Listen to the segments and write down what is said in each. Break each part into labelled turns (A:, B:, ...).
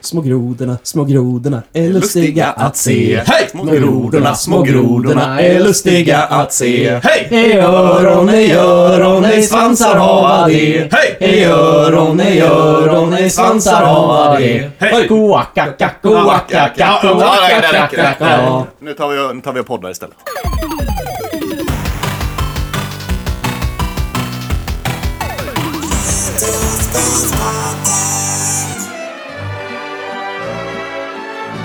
A: små grodorna, små grodorna är lustiga att se.
B: Hej! Små grodorna, små grodorna är lustiga att se. Hej!
A: I öron, i öron, i svansar hava de.
B: Hej!
A: I öron, i öron, i svansar hava de.
B: Hej!
A: Koakakakoakakako.
B: Ja, nej, det räcker, det räcker. Nu tar vi, nu tar vi och poddar istället.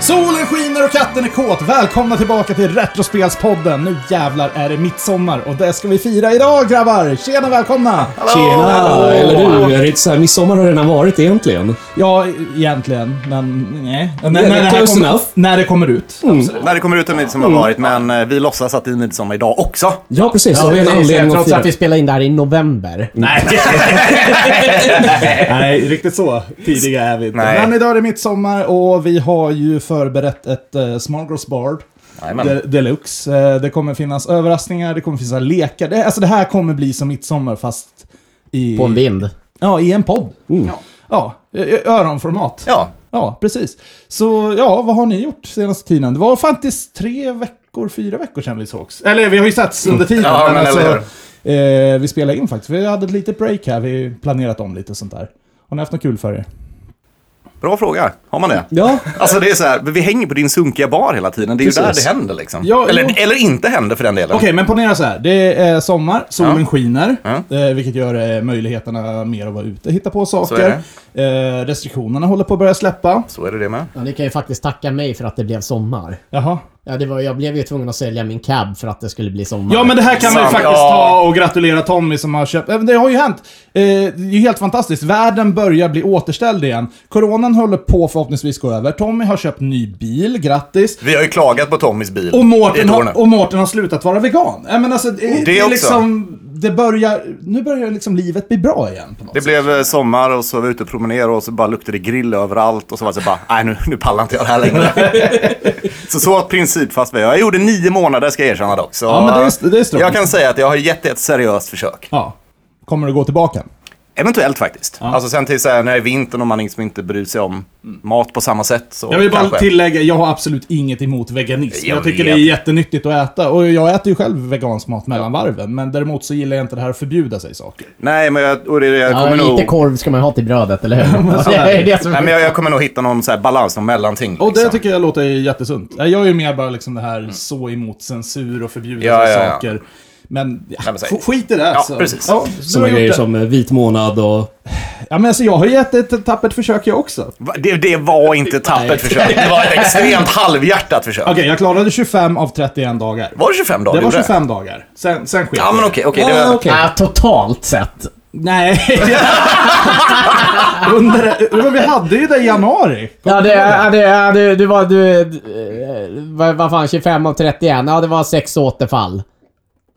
C: Solen skiner och katten är kåt. Välkomna tillbaka till Retrospelspodden. Nu jävlar är det midsommar och det ska vi fira idag grabbar. Tjena välkomna!
A: Tjena! Eller du, är det inte så här, midsommar har redan varit egentligen.
C: Ja, egentligen, men nej. När,
A: det är
C: det här
A: close
C: kommer-
A: enough.
C: när det kommer ut.
B: När det kommer ut en midsommar har varit, men eh, vi låtsas att det är midsommar idag också.
A: Ja, precis. Då har vi en
D: Precis,
A: anledning att
D: Trots
A: fira.
D: att vi spelar in det här i november.
C: Nej, riktigt så tidiga är vi inte.
B: Nej.
C: Men idag är det midsommar och vi har ju förberett ett uh, Smallgross Bard.
B: Jajamän.
C: de- Deluxe. Eh, det kommer finnas överraskningar, det kommer finnas lekar. Det, alltså det här kommer bli som midsommar fast i...
D: På en vind.
C: Ja, i en podd. Ja, ö- ö- öronformat.
B: Ja.
C: Ja, precis. Så ja, vad har ni gjort senaste tiden? Det var faktiskt tre veckor, fyra veckor sedan vi sågs. Eller vi har ju setts under tiden. alltså,
B: Ja, men eller
C: eh, vi spelade in faktiskt. Vi hade ett litet break här. Vi planerat om lite och sånt där. Har ni haft något kul för er?
B: Bra fråga. Har man det?
A: Ja,
B: Alltså det är så här, vi hänger på din sunkiga bar hela tiden. Det är ju där
A: Precis.
B: det händer liksom.
C: Ja, jo.
B: eller, eller inte händer för den delen.
C: Okej, men ponera så här. Det är sommar, solen
B: Ja.
C: skiner,
B: Ja.
C: eh, vilket gör eh, möjligheterna mer att vara ute, hitta på saker.
B: är
C: Eh, restriktionerna håller på att börja släppa.
B: Så är det det med.
D: Ja, ni kan ju faktiskt tacka mig för att det blev sommar.
C: Jaha.
D: Ja, det var, jag blev ju tvungen att sälja min cab för att det skulle bli sommar.
C: Ja, men det här kan man ju
B: Sant.
C: faktiskt
B: Ja.
C: ta och gratulera Tommy som har köpt. Även Det har ju hänt. Eh, det är ju helt fantastiskt. Världen börjar bli återställd igen. Coronan håller på förhoppningsvis gå över. Tommy har köpt ny bil, grattis.
B: Vi har ju klagat på Tommys bil
C: Och
B: i
C: Mårten,
B: ett år nu.
C: har, och Mårten har slutat vara vegan. Äh, men alltså, det, det, är
B: också.
C: liksom... Det börjar... Nu börjar liksom livet bli bra igen på något
B: Det blev eh, sommar och så var vi ute och promenerade och så bara luktade det grill överallt och så var det så bara, nej nu, nu pallar inte jag det här längre. så så principfast var jag. Jag gjorde nio månader ska jag erkänna dock. Så
C: Ja, men det är- det är strångt.
B: jag kan säga att jag har gett det ett seriöst försök.
C: Ja. Kommer det gå tillbaka?
B: Eventuellt faktiskt. Alltså sen till så här, när det är vintern och man liksom inte bryr sig om mat på samma sätt så
C: Jag vill bara
B: kanske.
C: tillägga, jag har absolut inget emot veganism. Jag,
B: Jag
C: tycker
B: vet.
C: det är jättenyttigt att äta. Och jag äter ju själv vegansk mat mellan varven. Men däremot så gillar jag inte det här att förbjuda sig saker.
B: Nej, men jag, och det, jag
D: Ja,
B: kommer
D: lite
B: nog...
D: korv ska man ju ha till brödet, eller hur? Alltså, det är det som...
B: Nej, men jag, jag kommer nog hitta någon så här balans, någon mellanting.
C: Och det
B: liksom.
C: tycker jag låter jättesunt. Jag är ju mer bara liksom det här så emot censur och förbjuda
B: Ja,
C: sig
B: ja, ja.
C: saker. Men, ja,
B: Nej, men säg.
C: sk- skit i det.
B: Ja,
C: så.
B: precis.
C: Ja, så
A: sådana
C: har jag
A: grejer
C: gjort det.
A: som eh, vit månad och...
C: Ja, men alltså, jag har ju gett ett tappert försök jag också. Okej,
B: Va- Det, det var inte ett tappert försök. Det var ett extremt halvhjärtat försök.
C: jag klarade 25 av 31 dagar.
B: Var det 25 dagar?
C: Det var
B: Gjorde
C: 25 dagar. Sen, sen sket
B: Ja, men
C: jag. Ah,
B: okej. okej, det
A: Ja,
B: var...
A: okej.
D: Ja, totalt sett.
C: Nej. Under, men vi hade ju det i januari.
D: Ja, det, ja, det, ja, det, det var... Du, eh, vad, vad fan, 25 av 31? Ja, det var sex återfall.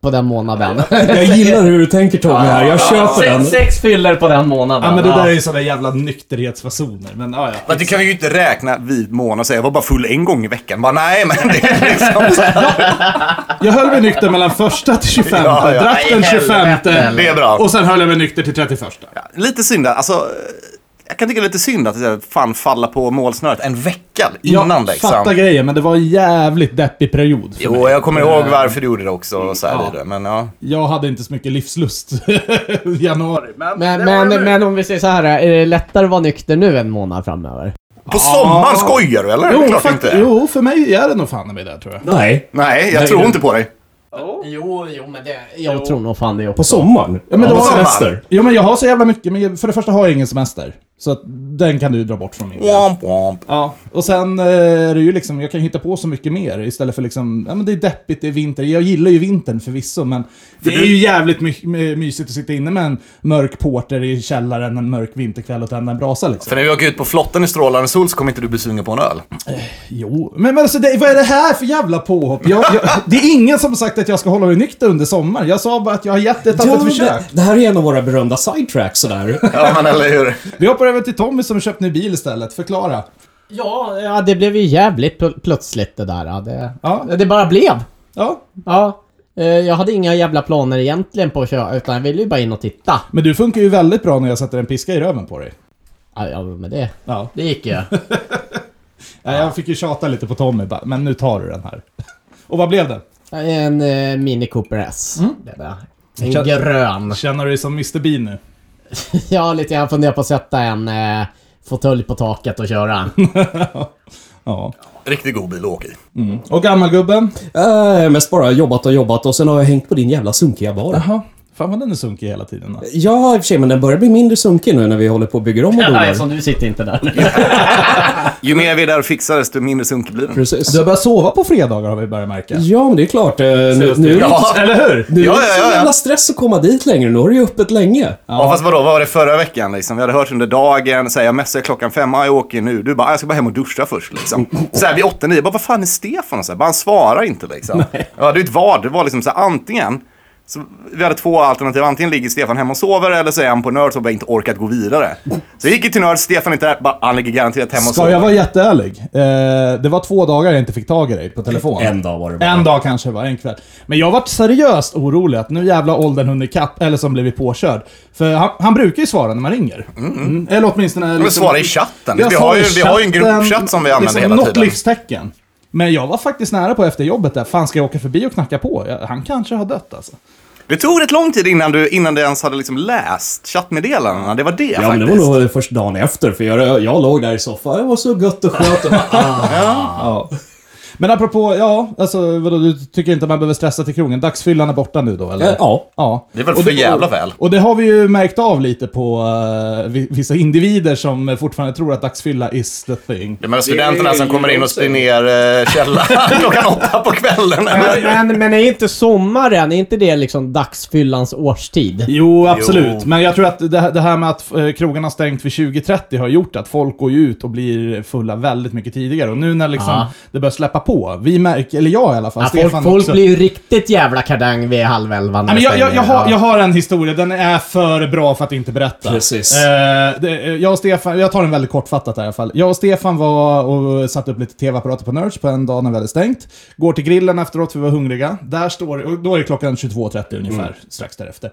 D: På den månaden.
A: Jag gillar hur du tänker Tommy här. Jag köper den.
D: sex fyller på den månaden.
C: Ja, men det där är ju sådana jävla nykterhetsfasoner. Men ja, ja.
B: Men det kan vi ju inte räkna vit månad och säga jag var bara full en gång i veckan. Bara, nej, men det är liksom så här.
C: Jag höll mig nykter mellan första till 25,
B: Ja, ja.
C: drack den
B: Nej,
C: 25
B: Det är bra.
C: och sen höll jag mig nykter till 31.
B: Lite synd, att- alltså. eh, Jag kan tycka det är lite synd att så här, fan falla på målsnöret en vecka innan
C: jag fattar
B: liksom.
C: grejen, men det var en jävligt deppig period. för mig.
B: Jo, jag kommer ihåg varför du gjorde det också. Och så här vidare. Men Eh. ja.
C: Jag hade inte så mycket livslust i januari. Men,
D: Men,
C: det har jag nu.
D: men, men om vi säger så här, är det lättare att vara nykter nu en månad framöver?
B: På sommaren, skojar du eller?
C: jo,
B: Klart
C: fakt-
B: inte.
C: jo, för mig är det nog fan i mig där tror jag.
A: Nej,
B: Nej, jag tror inte på dig.
D: Jo, jo men det... Jag tror nog fan det också.
A: på sommaren.
C: men det
A: på
C: var-
A: semester.
C: Jo, men jag har så jävla mycket, men för det första har jag ingen semester. Så att den kan du dra bort från min del.
B: Womp, womp.
C: Ja, och sen eh, är det ju liksom, jag kan hitta på så mycket mer istället för liksom, ja men det är deppigt, det är vinter. Jag gillar ju vintern förvisso, men det är
B: du-
C: ju jävligt my my- mysigt att sitta inne med en mörk porter i källaren en mörk vinterkväll och tända en brasa liksom.
B: För när vi åker ut på flotten i strålande sol så kommer inte du bli sugen på en öl.
C: Jo, men, men alltså det, vad är det här för jävla påhopp? Jag, jag, det är ingen som har sagt att jag ska hålla mig nykter under sommaren. Jag sa bara att jag har gett det ett
A: Ja,
C: tappert
A: men
C: försök.
A: det, det här är en av våra berömda sidetracks sådär.
B: Ja, men eller hur?
C: Vi hoppar över till Tommy som köpt ny bil istället. Förklara.
D: Ja, ja, det blev ju jävligt pl- plötsligt det där. ja. Det,
C: Ja.
D: det bara blev.
C: Ja,
D: Ja. Eh, Jag hade inga jävla planer egentligen på att köra, utan jag ville ju bara in och titta.
C: men du funkar ju väldigt bra när jag sätter en piska i röven på dig.
D: Ja, ja men det,
C: Ja.
D: det gick ju.
C: Nej, Jag fick ju tjata lite på Tommy bara, men nu tar du den här. Och vad blev det?
D: En eh, Mini Cooper S. Det där. En
C: Kän-
D: grön.
C: Mm. Känner du dig som Mr Bean nu?
D: Ja, lite grann funderar på att sätta en eh, fåtölj på taket och köra.
C: Ja.
B: Riktigt god bil att åka i.
C: Och gammalgubben?
A: Äh, mest bara jobbat och jobbat och sen har jag hängt på din jävla sunkiga bar.
C: Jaha. Fan vad den är sunkig hela tiden. Alltså.
A: Ja, i och för sig, men den börjar bli mindre sunkig nu när vi håller på och bygger om och
D: Nej,
A: donar.
C: alltså,
D: som du sitter inte där.
B: Ju mer vi är där och fixar, desto mindre sunkig blir den.
A: Precis.
C: Du har börjat sova på fredagar har vi börjat märka.
A: Ja, men det är klart. eh, Nu, nu, är det inte-
B: Ja,
C: Eller hur?
A: nu är det
B: Ja,
A: inte
B: ja,
A: så
B: ja, ja.
A: jävla stress att komma dit längre. Nu har du ju öppet länge.
B: Ja, fast vadå, vad var det förra veckan liksom? Vi hade hört under dagen, så här, jag messade klockan fem, ah, jag åker nu. Du bara, ah, jag ska bara hem och duscha först liksom. Så här, vid åtta, nio, bara, vad fan är Stefan? Och Så här, bara, han svarar inte liksom. Ja, det är ett vad, det var liksom så här, antingen, så, vi hade två alternativ, antingen ligger Stefan hemma och sover eller så är han på Nörd som bara inte orkat gå vidare. Så jag gick ju till Nörd, Stefan är inte där, bara, "Ah, han ligger garanterat hemma och
C: Ska
B: sover.
C: jag vara jätteärlig? Eh, det var två dagar jag inte fick tag i dig på telefon.
A: En dag var det bara.
C: En dag kanske var en kväll. Men jag vart seriöst orolig att nu jävla åldern hunnit kapp eller som blivit påkörd. För han, han brukar ju svara när man ringer. Mm. Eller åtminstone...
B: Men svara i chatten. Vi har, ju, vi har ju en gruppchatt som vi använder
C: liksom,
B: hela
C: något
B: tiden.
C: livstecken. Men jag var faktiskt nära på efter jobbet där. Fan, ska jag åka förbi och knacka på? Jag, han kanske har dött alltså.
B: Det tog rätt lång tid innan du, innan du ens hade liksom läst chattmeddelandena. Det var det
A: Ja, men
B: faktiskt.
A: det var nog först dagen efter, för jag, jag låg där i soffan. Det var så gött och skönt. Och bara, ah.
C: Ja. Men apropå, ja, alltså vadå, du tycker inte man behöver stressa till krogen? Dagsfyllan är borta nu då, eller?
A: Eh, ja.
C: ja.
B: Det är väl
C: Och
B: för jävla väl.
C: Och det har vi ju märkt av lite på eh, vi- vissa individer som fortfarande tror att dagsfylla is the thing.
B: De här studenterna som kommer in och spyr ner eh, källaren klockan åtta på kvällen.
D: men, men, men är inte sommaren, är inte det liksom dagsfyllans årstid?
C: Jo, absolut. Men jag tror att det, här- det här med att eh, krogarna har stängt vid 20.30 har gjort att folk går ju ut och blir fulla väldigt mycket tidigare. Och nu när liksom
D: Ja.
C: det börjar släppa på, vi märker, eller jag i alla fall,
D: Ja,
C: Stefan
D: folk folk
C: också.
D: blir ju riktigt jävla kardang vid halv elva när
C: Ja, men
D: det
C: jag, jag, jag,
D: stänger.
C: har,
D: Ja.
C: jag har en historia, den är för bra för att inte berätta.
A: Precis.
C: Eh, det, eh, jag och Stefan, jag tar den väldigt kortfattat här i alla fall. Jag och Stefan var och satte upp lite tv-apparater på Nerds på en dag när vi hade stängt. Går till grillen efteråt för vi var hungriga. Där står det- och då är det klockan 22.30 ungefär, strax därefter.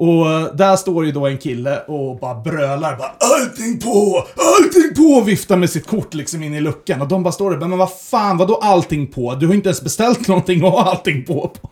C: Och eh, där står ju då en kille och bara brölar bara “Allting på! Allting på!” och viftar med sitt kort liksom in i luckan. Och de bara står där “Men vad fan, vadå allting på? Du har inte ens beställt någonting och har allting på?” på.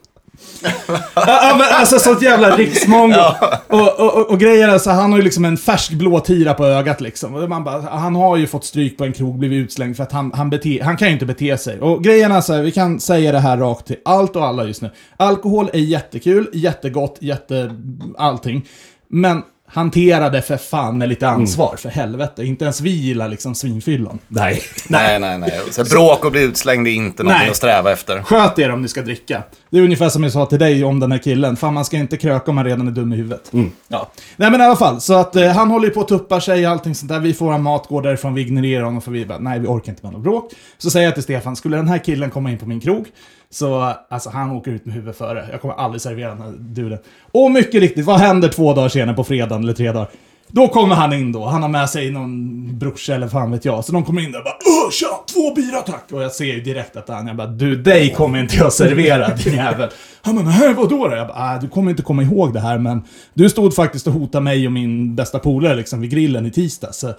C: Ja, ja, men alltså sånt jävla riksmongo. Och, och, och, och grejen är så här, han har ju liksom en färsk blå tira på ögat liksom. Och man bara, han har ju fått stryk på en krog, blivit utslängd för att han, han, bete, han kan ju inte bete sig. Och grejen är så här, vi kan säga det här rakt till allt och alla just nu. Alkohol är jättekul, jättegott, jätte... allting. Men hantera det för fan med lite ansvar, för helvete. Inte ens vi gillar liksom svinfyllon.
A: Nej.
B: Nej, nej, nej. Så här, bråk och bli utslängd är inte någonting
C: Nej.
B: att sträva efter.
C: Sköt er om ni ska dricka. Det är ungefär som jag sa till dig om den här killen. Fan, man ska inte kröka om man redan är dum i huvudet. Ja. Nej men i alla fall, så att eh, han håller ju på och tuppar sig och allting sånt där. Vi får han mat, går därifrån, vi ignorerar honom för vi bara, nej vi orkar inte med något bråk. Så säger jag till Stefan, skulle den här killen komma in på min krog, så eh, alltså han åker ut med huvudet före. Jag kommer aldrig servera den här duden. Och mycket riktigt, vad händer två dagar senare på fredagen eller tre dagar? Då kommer han in då, han har med sig någon brorsa eller fan vet jag. Så de kommer in där och bara Åh, tja, två bira tack! Och jag ser ju direkt att han, jag bara du, dig kommer inte jag servera din jävel. Han bara, nej vadå då? Jag bara, ah, du kommer inte komma ihåg det här men du stod faktiskt och hotade mig och min bästa polare liksom vid grillen i tisdags. Så-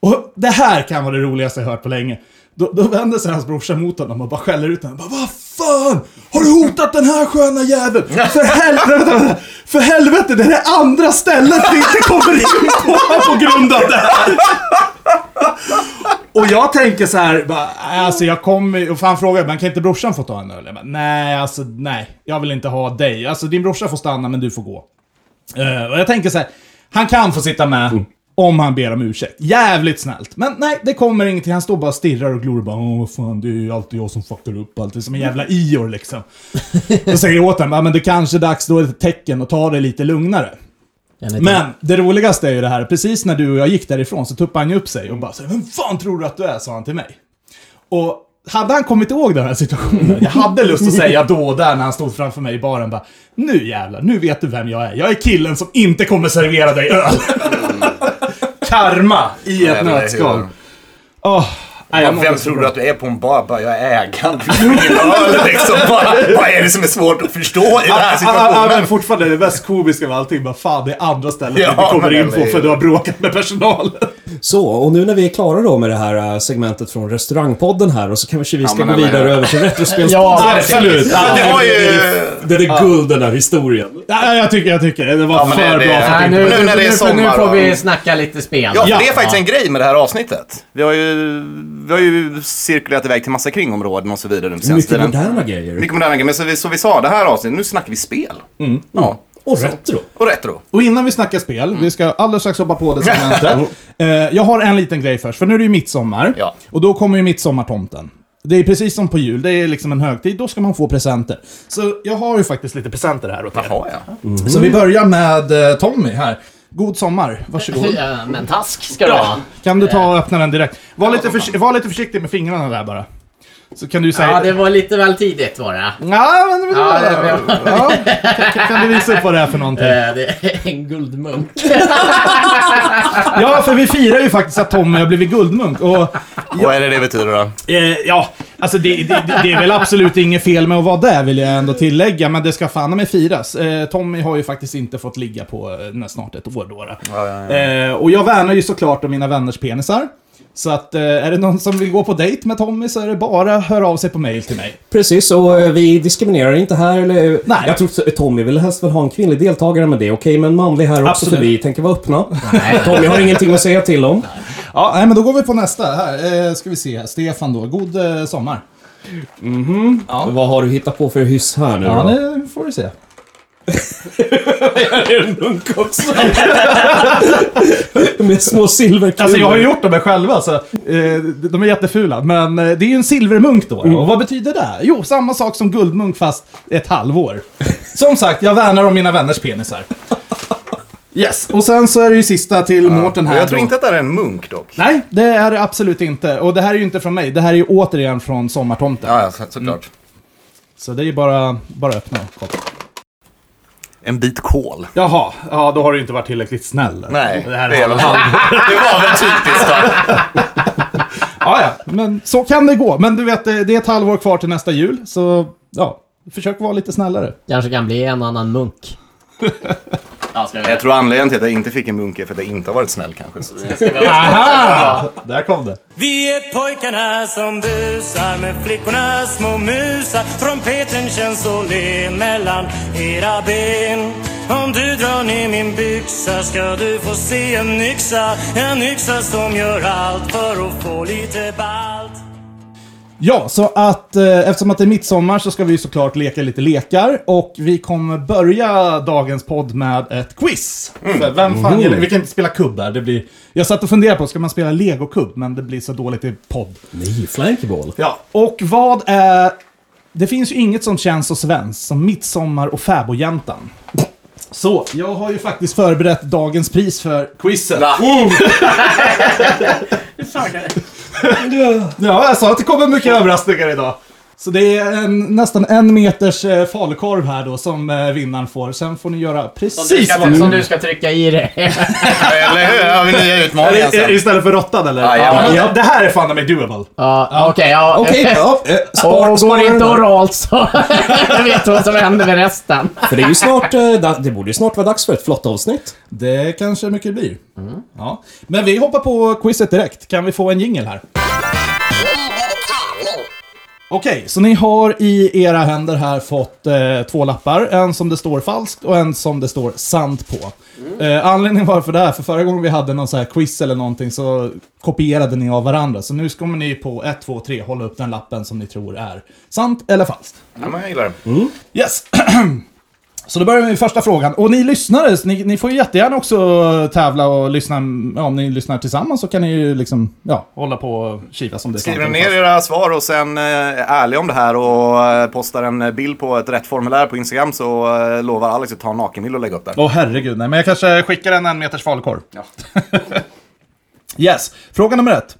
C: Och det här kan vara det roligaste jag hört på länge. Då, då vänder sig hans brorsa mot honom och bara skäller ut honom. Bara, Vad fan! Har du hotat den här sköna jäveln? För helvete! För helvete! Det är det andra stället vi inte kommer in på på grund av det här! Och jag tänker så här, bara, alltså jag kommer och fan frågar, men kan inte brorsan få ta en öl? Jag bara, nej, alltså nej. Jag vill inte ha dig. Alltså din brorsa får stanna, men du får gå. Eh, och jag tänker så här, han kan få sitta med om han ber om ursäkt. Jävligt snällt. Men nej, det kommer ingenting. Han står bara och stirrar och glor och bara Åh, fan, det är ju alltid jag som fuckar upp allt. Det är som en jävla Ior liksom. Då säger jag åt honom, "Ja, men det kanske är dags, då är det ett tecken att ta det lite lugnare.
D: En liten-
C: Men det roligaste är ju det här, precis när du och jag gick därifrån så tuppade han ju upp sig och bara så här, Vem fan tror du att du är? sa han till mig. Och hade han kommit ihåg den här situationen, jag hade lust att säga då och där när han stod framför mig i baren bara Nu jävlar, nu vet du vem jag är. Jag är killen som inte kommer servera dig öl. Karma i ett
B: Nej, det är
C: nötskal.
B: ju-
C: Åh, Nej, jag mår
B: Vem
C: inte så
B: tror du
C: bra.
B: att du är på en bar? Bara, jag är ägaren. liksom. Vad vad är det som är svårt att förstå i den här
C: Ja, ah, men
B: situationen?
C: fortfarande det mest komiska med allting. Bara, fan, det är andra stället
B: Ja,
C: du kommer
B: men
C: in på
B: eller-
C: för du har bråkat med personalen.
A: Så, och nu när vi är klara då med det här eh, segmentet från restaurangpodden här och så kanske vi ska
B: men
A: gå
B: eller-
A: vidare över till retrospelspodden.
D: Ja,
C: Absolut.
B: Ja, det var ju...
A: Den är guld den här historien.
C: Ja, jag tycker, jag tycker. Det var
B: Ja, men
C: för
B: det-
C: bra
B: det-
C: för att
D: Nej,
C: inte...
D: nu,
B: Nu när det är
D: nu, får- nu
B: sommar
D: får vi
B: och-
D: snacka lite spel.
B: Ja, för
C: Ja.
B: det är faktiskt en grej med det här avsnittet. Vi har ju, vi har ju cirkulerat iväg till massa kringområden och så vidare den senaste
A: Mycket
B: tiden.
A: moderna grejer.
B: Mycket moderna grejer. Men så vi, så vi sa, det här avsnittet, nu snackar vi spel. Ja.
A: Mm. Och retro.
B: Och retro.
C: Och innan vi snackar spel, vi ska alldeles strax hoppa på det segmentet. eh, jag har en liten grej först, för nu är det ju midsommar.
B: Ja.
C: Och då kommer ju midsommartomten. Det är precis som på jul, det är liksom en högtid, då ska man få presenter. Så jag har ju faktiskt lite presenter här åt er.
B: Jaha, ja.
C: Så vi börjar med eh, Tommy här. God sommar, varsågod.
D: Ja, äh, Men task ska du ha.
C: Kan du ta och öppna den direkt? Var lite, förs- var lite försiktig med fingrarna där bara. Så kan du säga...
D: Ja, det var lite väl tidigt var det.
C: Ja, men, men,
D: Ja,
C: ja,
D: det-
C: Kan, kan du visa upp vad det är för någonting?
D: Eh, Det är en guldmunk.
C: Ja, för vi firar ju faktiskt att Tommy har blivit guldmunk. Och
B: Vad är det det betyder då?
C: Eh, ja, alltså det, det, det är väl absolut inget fel med att vara där vill jag ändå tillägga, men det ska fan med firas. Eh, Tommy har ju faktiskt inte fått ligga på eh, nä- snart ett år då. då. Eh, och jag värnar ju såklart om mina vänners penisar. Så att eh, är det någon som vill gå på dejt med Tommy så är det bara hör av sig på mail till mig.
A: Precis, och eh, vi diskriminerar inte här. Eller, äh,
C: Nej.
A: Jag tror att Tommy vill helst väl ha en kvinnlig deltagare, men det är okej med en manlig här också,
C: Absolut.
A: för vi tänker vara öppna. Tommy har ingenting att säga till om.
C: Ja, nej, men då går vi på nästa. Här eh, ska vi se här. Stefan då. God eh, sommar.
A: Vad har du hittat på för hyss här nu
C: Ja,
A: då?
C: nu får du se.
A: Det är en munk också. Med små silverkulor.
C: Alltså jag har ju gjort dem här själva, så eh, de är jättefula. Men eh, det är ju en silvermunk då.
B: Mm.
C: Och vad betyder det? Jo, samma sak som guldmunk fast ett halvår. Som sagt, jag värnar om mina vänners penisar. Yes, och sen så är det ju sista till Mårten här
B: Jag tror
C: då.
B: inte att det här är en munk dock.
C: Nej, det är det absolut inte. Och det här är ju inte från mig, det här är ju återigen från Sommartomten.
B: Ja, ja så, såklart.
C: Så det är ju bara, bara öppna och kolla.
B: Mm. En bit kol.
C: Jaha, ja då har du inte varit tillräckligt snäll.
B: Nej,
C: det här
B: det,
C: är
B: är väl- det var väl typiskt. va?
C: Ja, ja, men så kan det gå. Men du vet, det det är ett halvår kvar till nästa jul, så ja, försök vara lite snällare.
D: Kanske kan bli en annan munk. Ja, ska
B: Jag tror anledningen till att jag inte fick en munk är för att jag inte har varit snäll kanske.
C: Aha! Där kom det.
E: Vi är pojkarna som busar med flickorna små musar Trumpeten känns så len mellan era ben Om du drar ner min byxa ska du få se en yxa En yxa som gör allt för att få lite balt
C: Ja, så att eh, eftersom att det är midsommar så ska vi ju såklart leka lite lekar. Och vi kommer börja dagens podd med ett quiz. För vem fan gillar, vi kan inte spela kubb här. Det blir, jag satt och funderade på, ska man spela legokubb? Men det blir så dåligt i podd.
A: Nej, flankeball.
C: Ja. Och vad är... Det finns ju inget som känns så svenskt som midsommar och fäbodjäntan. Så, jag har ju faktiskt förberett dagens pris för quizet. Mm.
B: Va?
C: Ja, jag sa att det kommer mycket överraskningar idag. Så det är en, nästan en meters eh, falukorv här då som eh, vinnaren får. Sen får ni göra precis vad
D: Som du ska trycka i dig.
B: Eller hur? Har vi nya utmaningar
D: alltså.
C: I- i-
B: sen?
C: Istället för råttan eller?
B: Ah, Ja, jajamän.
C: det här är fan mig doable.
D: Ja, okej. ja.
A: Okej, ja. eh, spar-
D: Och går
A: spara
D: det
A: den
D: inte
A: där.
D: oralt så jag vet vad som händer med resten.
A: För det är ju snart... eh, da- Det borde ju snart vara dags för ett flott avsnitt.
C: Det kanske mycket blir. Ja. Men vi hoppar på quizet direkt. Kan vi få en jingle här? Okej, så ni har i era händer här fått eh, två lappar. En som det står falskt och en som det står sant på. Eh, anledningen varför det är, för förra gången vi hade någon så här quiz eller någonting så kopierade ni av varandra. Så nu kommer ni på 1, 2, 3 hålla upp den lappen som ni tror är sant eller falskt.
B: Ja, men jag gillar det.
C: Yes. Så då börjar vi med första frågan. Och ni lyssnare, ni, ni får ju jättegärna också tävla och lyssna. Ja, om ni lyssnar tillsammans så kan ni ju liksom, ja, hålla på och kivas som det är sant
B: Skriver
C: eller
B: ner
C: falskt.
B: era svar och sen eh, är ärliga om det här och eh, postar en bild på ett rätt formulär på Instagram så eh, lovar Alex att ta en nakenbild och lägga upp den.
C: Åh herregud, nej men jag kanske skickar en en meters falukorv. yes, fråga nummer ett.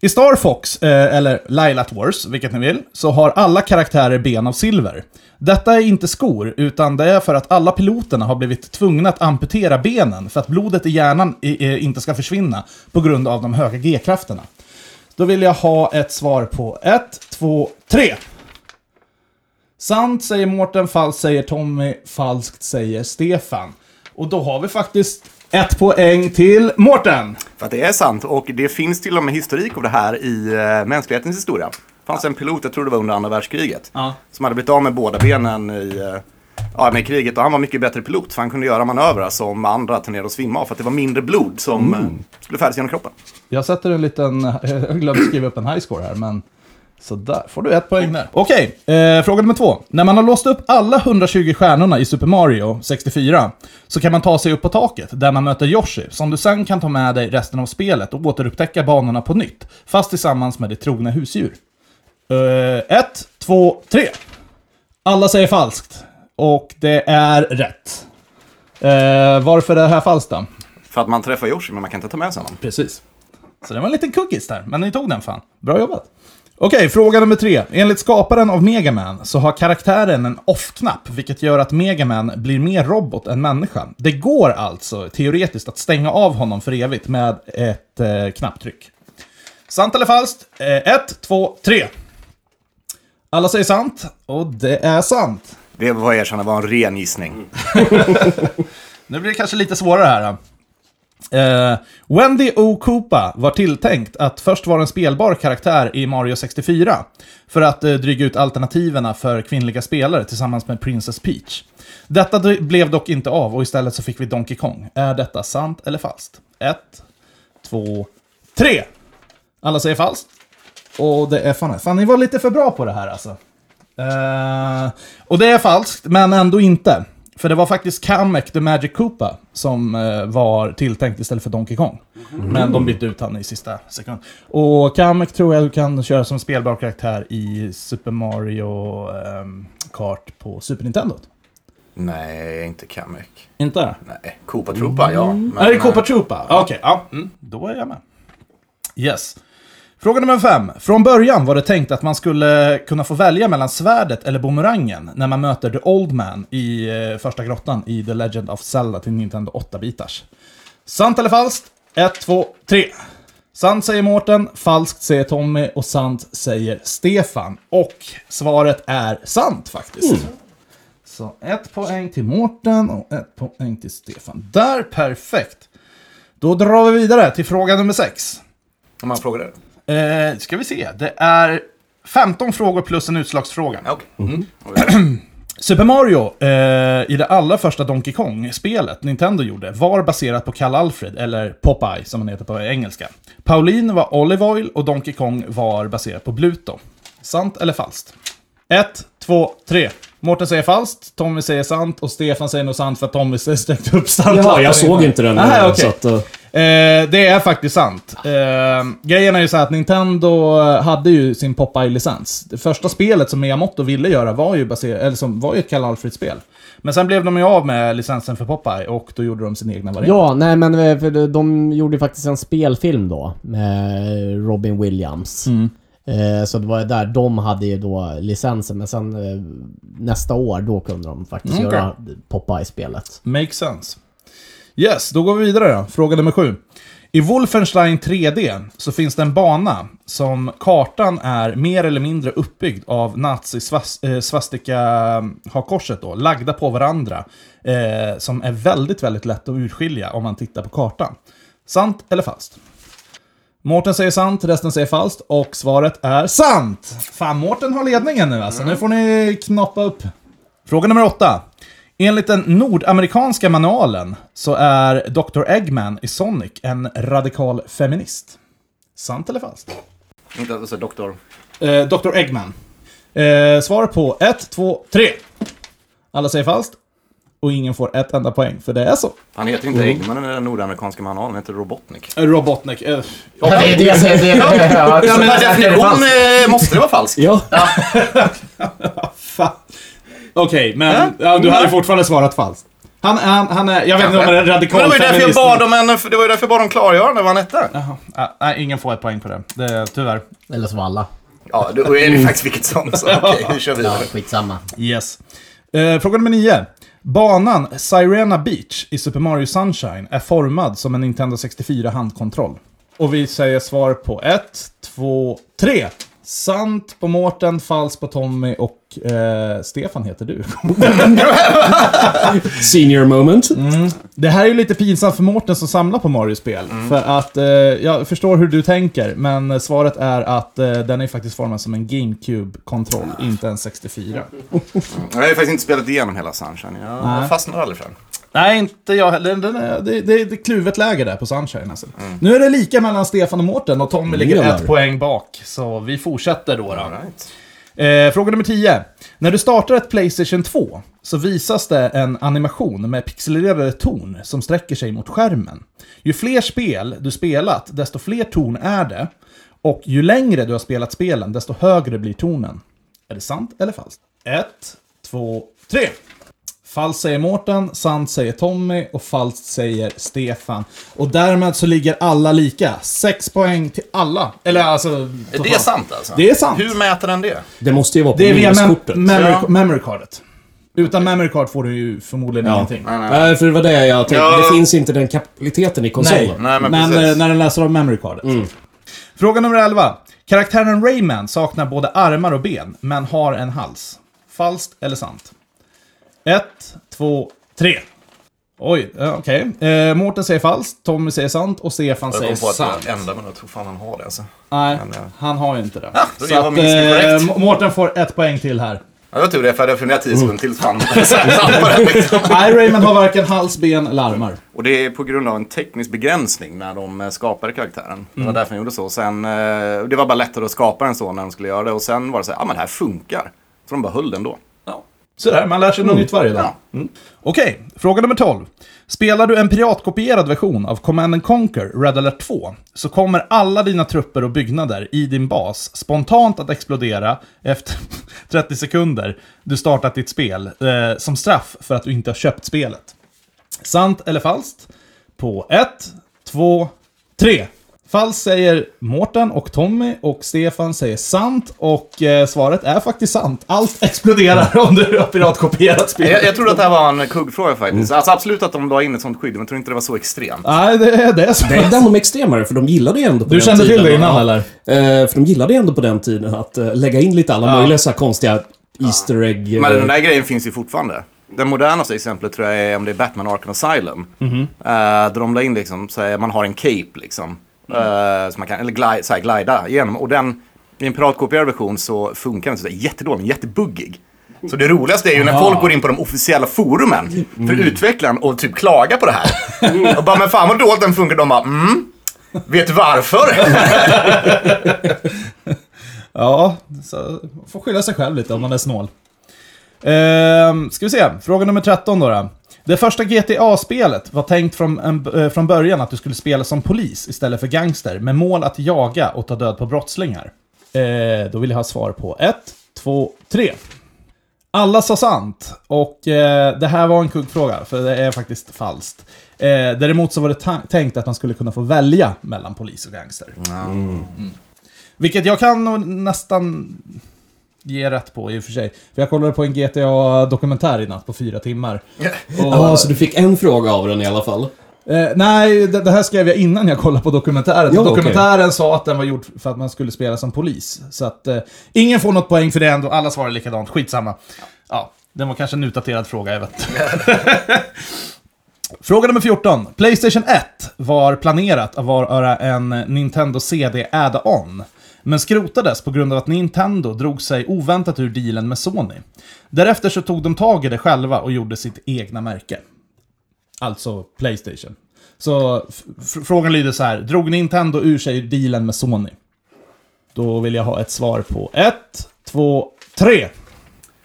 C: I Star Fox, eh, eller Laila Wars, vilket ni vill, så har alla karaktärer ben av silver. Detta är inte skor, utan det är för att alla piloterna har blivit tvungna att amputera benen för att blodet i hjärnan i, eh, inte ska försvinna på grund av de höga G-krafterna. Då vill jag ha ett svar på ett, två, tre. Sant säger Mårten, falskt säger Tommy, falskt säger Stefan. Och då har vi faktiskt ett poäng till Mårten.
B: För att det är sant och det finns till och med historik av det här i eh, mänsklighetens historia. Det fanns en pilot, jag tror det var under andra världskriget,
C: Ja.
B: som hade blivit av med båda benen i, eh, ja, med kriget och han var mycket bättre pilot för han kunde göra manövrar som andra turnerade och svimma av för att det var mindre blod som eh, skulle färdas genom kroppen.
C: Jag sätter en liten, jag glömde skriva upp en high score här, men så där får du ett poäng där. Okej, eh, fråga nummer två. När man har låst upp alla 120 stjärnorna i Super Mario 64 så kan man ta sig upp på taket där man möter Yoshi som du sen kan ta med dig resten av spelet och återupptäcka banorna på nytt, fast tillsammans med ditt trogna husdjur. Eh, ett, två, tre. Alla säger falskt. Och det är rätt. Eh, varför är det här falskt då?
B: För att man träffar Yoshi men man kan inte ta med sig honom.
C: Precis. Så det var en liten cookies där, men ni tog den fan. Bra jobbat. Okej, fråga nummer tre. Enligt skaparen av Mega Man så har karaktären en off-knapp, vilket gör att Mega Man blir mer robot än människa. Det går alltså teoretiskt att stänga av honom för evigt med ett eh, knapptryck. Sant eller falskt? Eh, ett, två, tre. Alla säger sant, och det är sant.
B: Det var jag erkänna var en ren gissning.
C: Nu blir det kanske lite svårare här. då. Eh, Wendy O. Koopa var tilltänkt att först vara en spelbar karaktär i Mario 64 för att eh, dryga ut alternativen för kvinnliga spelare tillsammans med Princess Peach. Detta dr- blev dock inte av och istället så fick vi Donkey Kong. Är detta sant eller falskt? Ett, två, tre! Alla säger falskt. Och det är fan, fan ni var lite för bra på det här alltså. Eh, och det är falskt, men ändå inte. För det var faktiskt Kamek the Magic Koopa som eh, var tilltänkt istället för Donkey Kong. Men de bytte ut han i sista sekund. Och Kamek tror jag du kan köra som spelbar karaktär i Super Mario ehm, Kart på Super Nintendo.
B: Nej, inte Kamek.
C: Inte?
B: Nej, Koopa Troopa, ja. Men,
C: Är det Koopa Troopa? Okej, ja. Mm, då är jag med. Yes. Fråga nummer fem. Från början var det tänkt att man skulle kunna få välja mellan svärdet eller bumerangen när man möter The Old Man i eh, första grottan i The Legend of Zelda till Nintendo 8-bitars. Sant eller falskt? 1, 2, 3. Sant säger Mårten, falskt säger Tommy och sant säger Stefan. Och svaret är sant faktiskt. Så ett poäng till Mårten och ett poäng till Stefan. Där, perfekt. Då drar vi vidare till fråga nummer sex.
B: Om man frågar det.
C: Eh, ska vi se, det är 15 frågor plus en utslagsfråga.
B: Ja, Okej.
C: Super Mario, eh, i det allra första Donkey Kong-spelet Nintendo gjorde, var baserat på Karl Alfred, eller Popeye som han heter på engelska. Pauline var Olive Oil och Donkey Kong var baserat på Bluto. Sant eller falskt? 1, 2, 3. Mårten säger falskt, Tommy säger sant och Stefan säger nog sant för att Tommy sträckte upp standarten.
A: Jaha, jag såg inte den.
C: Aha,
A: eh,
C: okej.
A: så att, eh,
C: Eh, det är faktiskt sant. Eh, grejen är ju så här att Nintendo eh, hade ju sin Popeye-licens. Det första spelet som Miyamoto ville göra var ju, baser- eller som var ju ett Kalle Alfred-spel. Men sen blev de ju av med licensen för Popeye och då gjorde de sin egna variant.
D: Ja, nej men eh, för de- de gjorde ju faktiskt en spelfilm då med Robin Williams. Eh, Så det var ju där de hade ju då licensen men sen eh, nästa år då kunde de faktiskt
C: Mm, okej.
D: göra Popeye-spelet.
C: Makes sense. Yes, då går vi vidare då. Fråga nummer sju. I Wolfenstein 3D så finns det en bana som kartan är mer eller mindre uppbyggd av eh, nazi-svastika-hakorset eh, då, lagda på varandra. Eh, som är väldigt, väldigt lätt att urskilja om man tittar på kartan. Sant eller falskt? Mårten säger sant, resten säger falskt och svaret är sant! Fan, Mårten har ledningen nu alltså. Nu får ni knoppa upp. Fråga nummer åtta. Enligt den nordamerikanska manualen så är Dr. Eggman i Sonic en radikal feminist. Sant eller falskt?
B: Inte alltså doktor.
C: Eh, Dr. Eggman. Eh, svar på 1, 2, 3. Alla säger falskt. Och ingen får ett enda poäng, för det är så.
B: Han heter inte Eggman i den nordamerikanska manualen, han heter Robotnik.
C: Robotnik. Eh,
D: Det är det jag säger, det är
B: Ja, men
D: det.
B: definition eh, måste det vara falsk.
A: ja.
C: fan. Okej, men ja, du hade fortfarande svarat falskt. Han, han, han är... Jag vet inte om han är en radikal
B: Men det var ju därför jag
C: feminist.
B: bad om en, det var ju därför jag bad om klargörande vad han hette.
C: Jaha. Ah, nej, ingen får ett poäng på det. det är, tyvärr.
D: Eller så var alla.
B: Ja, då är det ju faktiskt vilket som. Så okej, nu kör vi
D: Ja,
B: vidare.
D: skitsamma.
C: Yes. Eh, fråga nummer nio. Banan Sirena Beach i Super Mario Sunshine är formad som en Nintendo 64 handkontroll. Och vi säger svar på 1, två, tre! Sant på Mårten, falskt på Tommy och eh, Stefan heter du.
A: Senior moment.
C: Mm. Det här är ju lite pinsamt för Mårten som samlar på Mario-spel. För att eh, jag förstår hur du tänker, men svaret är att eh, den är faktiskt formad som en GameCube-kontroll, inte en 64.
B: Jag har ju faktiskt inte spelat igenom hela Sunshine. Jag fastnade aldrig för den.
C: Nej, inte jag heller. Den är, det, det, det är kluvet läge där på Sunshine. Alltså. Nu är det lika mellan Stefan och Mårten och Tommy ligger
A: Jävlar.
C: ett poäng bak. Så vi fortsätter då. då. Eh, fråga nummer 10. När du startar ett Playstation 2 så visas det en animation med pixelerade torn som sträcker sig mot skärmen. Ju fler spel du spelat, desto fler torn är det. Och ju längre du har spelat spelen, desto högre blir tonen. Är det sant eller falskt? 1, 2, 3. Falskt säger Mårten, sant säger Tommy och falskt säger Stefan. Och därmed så ligger alla lika. Sex poäng till alla. Eller alltså...
B: Är det
C: totalt.
B: sant alltså?
C: Det är sant.
B: Hur mäter den det?
A: Det måste ju vara på
C: Det är via mem
A: minneskortet.
C: memory,
B: Ja.
C: memory cardet. Utan memory card får du ju förmodligen
A: Ja.
C: ingenting.
A: Nej, för det var det jag tänkte.
B: Ja.
A: Det finns inte den kapaciteten i konsolen.
C: Nej,
B: Nej,
C: men,
B: men precis.
C: eh, när den läser av memory cardet. Fråga nummer 11. Karaktären Rayman saknar både armar och ben, men har en hals. Falskt eller sant? 1, 2, 3. Oj, eh, okej. Eh, Mårten säger falskt, Tommy säger sant och Stefan
B: Jag
C: säger
B: kom på att
C: sant.
B: det enda, men jag tror fan han har det alltså.
C: Nej,
B: Men, eh,
C: han har ju inte det.
B: då var min gissning korrekt.
C: Må- Mårten får ett poäng till här.
B: Ja, det var tur det, för jag hade funderat 10 sekunder till. Fan, sant på det, liksom.
C: Nej, Rayman har varken hals, ben eller armar.
B: Och det är på grund av en teknisk begränsning när de eh, skapade karaktären. Det var därför de gjorde så. Sen, eh, det var bara lättare att skapa den så när de skulle göra det. Och sen var det så här, ja ah, men det här funkar. Så de bara höll den då. Ja.
C: Sådär, man lär sig något nytt varje dag. Mm. Okej, fråga nummer 12. Spelar du en piratkopierad version av Command and Conquer Red Alert 2 så kommer alla dina trupper och byggnader i din bas spontant att explodera efter 30 sekunder du startat ditt spel eh, som straff för att du inte har köpt spelet. Sant eller falskt? På 1, 2, 3. Falskt säger Mårten och Tommy och Stefan säger sant och eh, svaret är faktiskt sant. Allt exploderar om du har piratkopierat
B: Jag,
C: spelet.
B: jag trodde att det här var en kuggfråga faktiskt. Alltså absolut att de la in ett sånt skydd, men jag tror inte det var så extremt.
C: Nej, det är det som...
A: Det är bland de extremare, för de gillade ju ändå på
C: Du
A: den
C: kände till
A: tiden,
C: det innan,
A: ja.
C: eller?
A: Eh, För de gillade ju ändå på den tiden att eh, lägga in lite alla möjliga så här konstiga Easter egg... eh,
B: Men den där grejen finns ju fortfarande. Det modernaste exemplet tror jag är om det är Batman Arkham Asylum. Eh, där de la in liksom, så här, man har en cape liksom. eh, som man kan, eller glide, så här, glida igenom. Och den, i en piratkopierad version så funkar den sådär jättedåligt, jättebuggig. Så det roligaste är ju när folk går in på de officiella forumen för utvecklaren och typ klagar på det här. Och bara, men fan vad dåligt den funkar. De bara, mm, vet du varför?
C: Ja, så får skylla sig själv lite om man är snål. Ehm, ska vi se, fråga nummer 13 då. då. Det första GTA-spelet var tänkt från, en, eh, från början att du skulle spela som polis istället för gangster med mål att jaga och ta död på brottslingar. Eh, då vill jag ha svar på 1, 2, 3. Alla sa sant. Och eh, det här var en kuggfråga, för det är faktiskt falskt. Eh, däremot så var det ta- tänkt att man skulle kunna få välja mellan polis och gangster. Mm. Vilket jag kan nog nästan ge rätt på i och för sig. För jag kollade på en GTA-dokumentär i natt på fyra timmar. Och,
A: Ja, så du fick en fråga av den i alla fall.
C: eh, nej, det, det här skrev jag innan jag kollade på dokumentären.
A: Ja,
C: dokumentären sa att den var gjord för att man skulle spela som polis. Så att eh, ingen får något poäng för det ändå. Alla svarar likadant. Skitsamma. Ja, den var kanske en utdaterad fråga, jag vet inte. Fråga nummer 14. Playstation 1 var planerat att vara en Nintendo CD add-on. Men skrotades på grund av att Nintendo drog sig oväntat ur dealen med Sony. Därefter så tog de tag i det själva och gjorde sitt egna märke. Alltså Playstation. Så f- f- frågan lyder så här. Drog Nintendo ur sig dealen med Sony? Då vill jag ha ett svar på 1, 2, 3.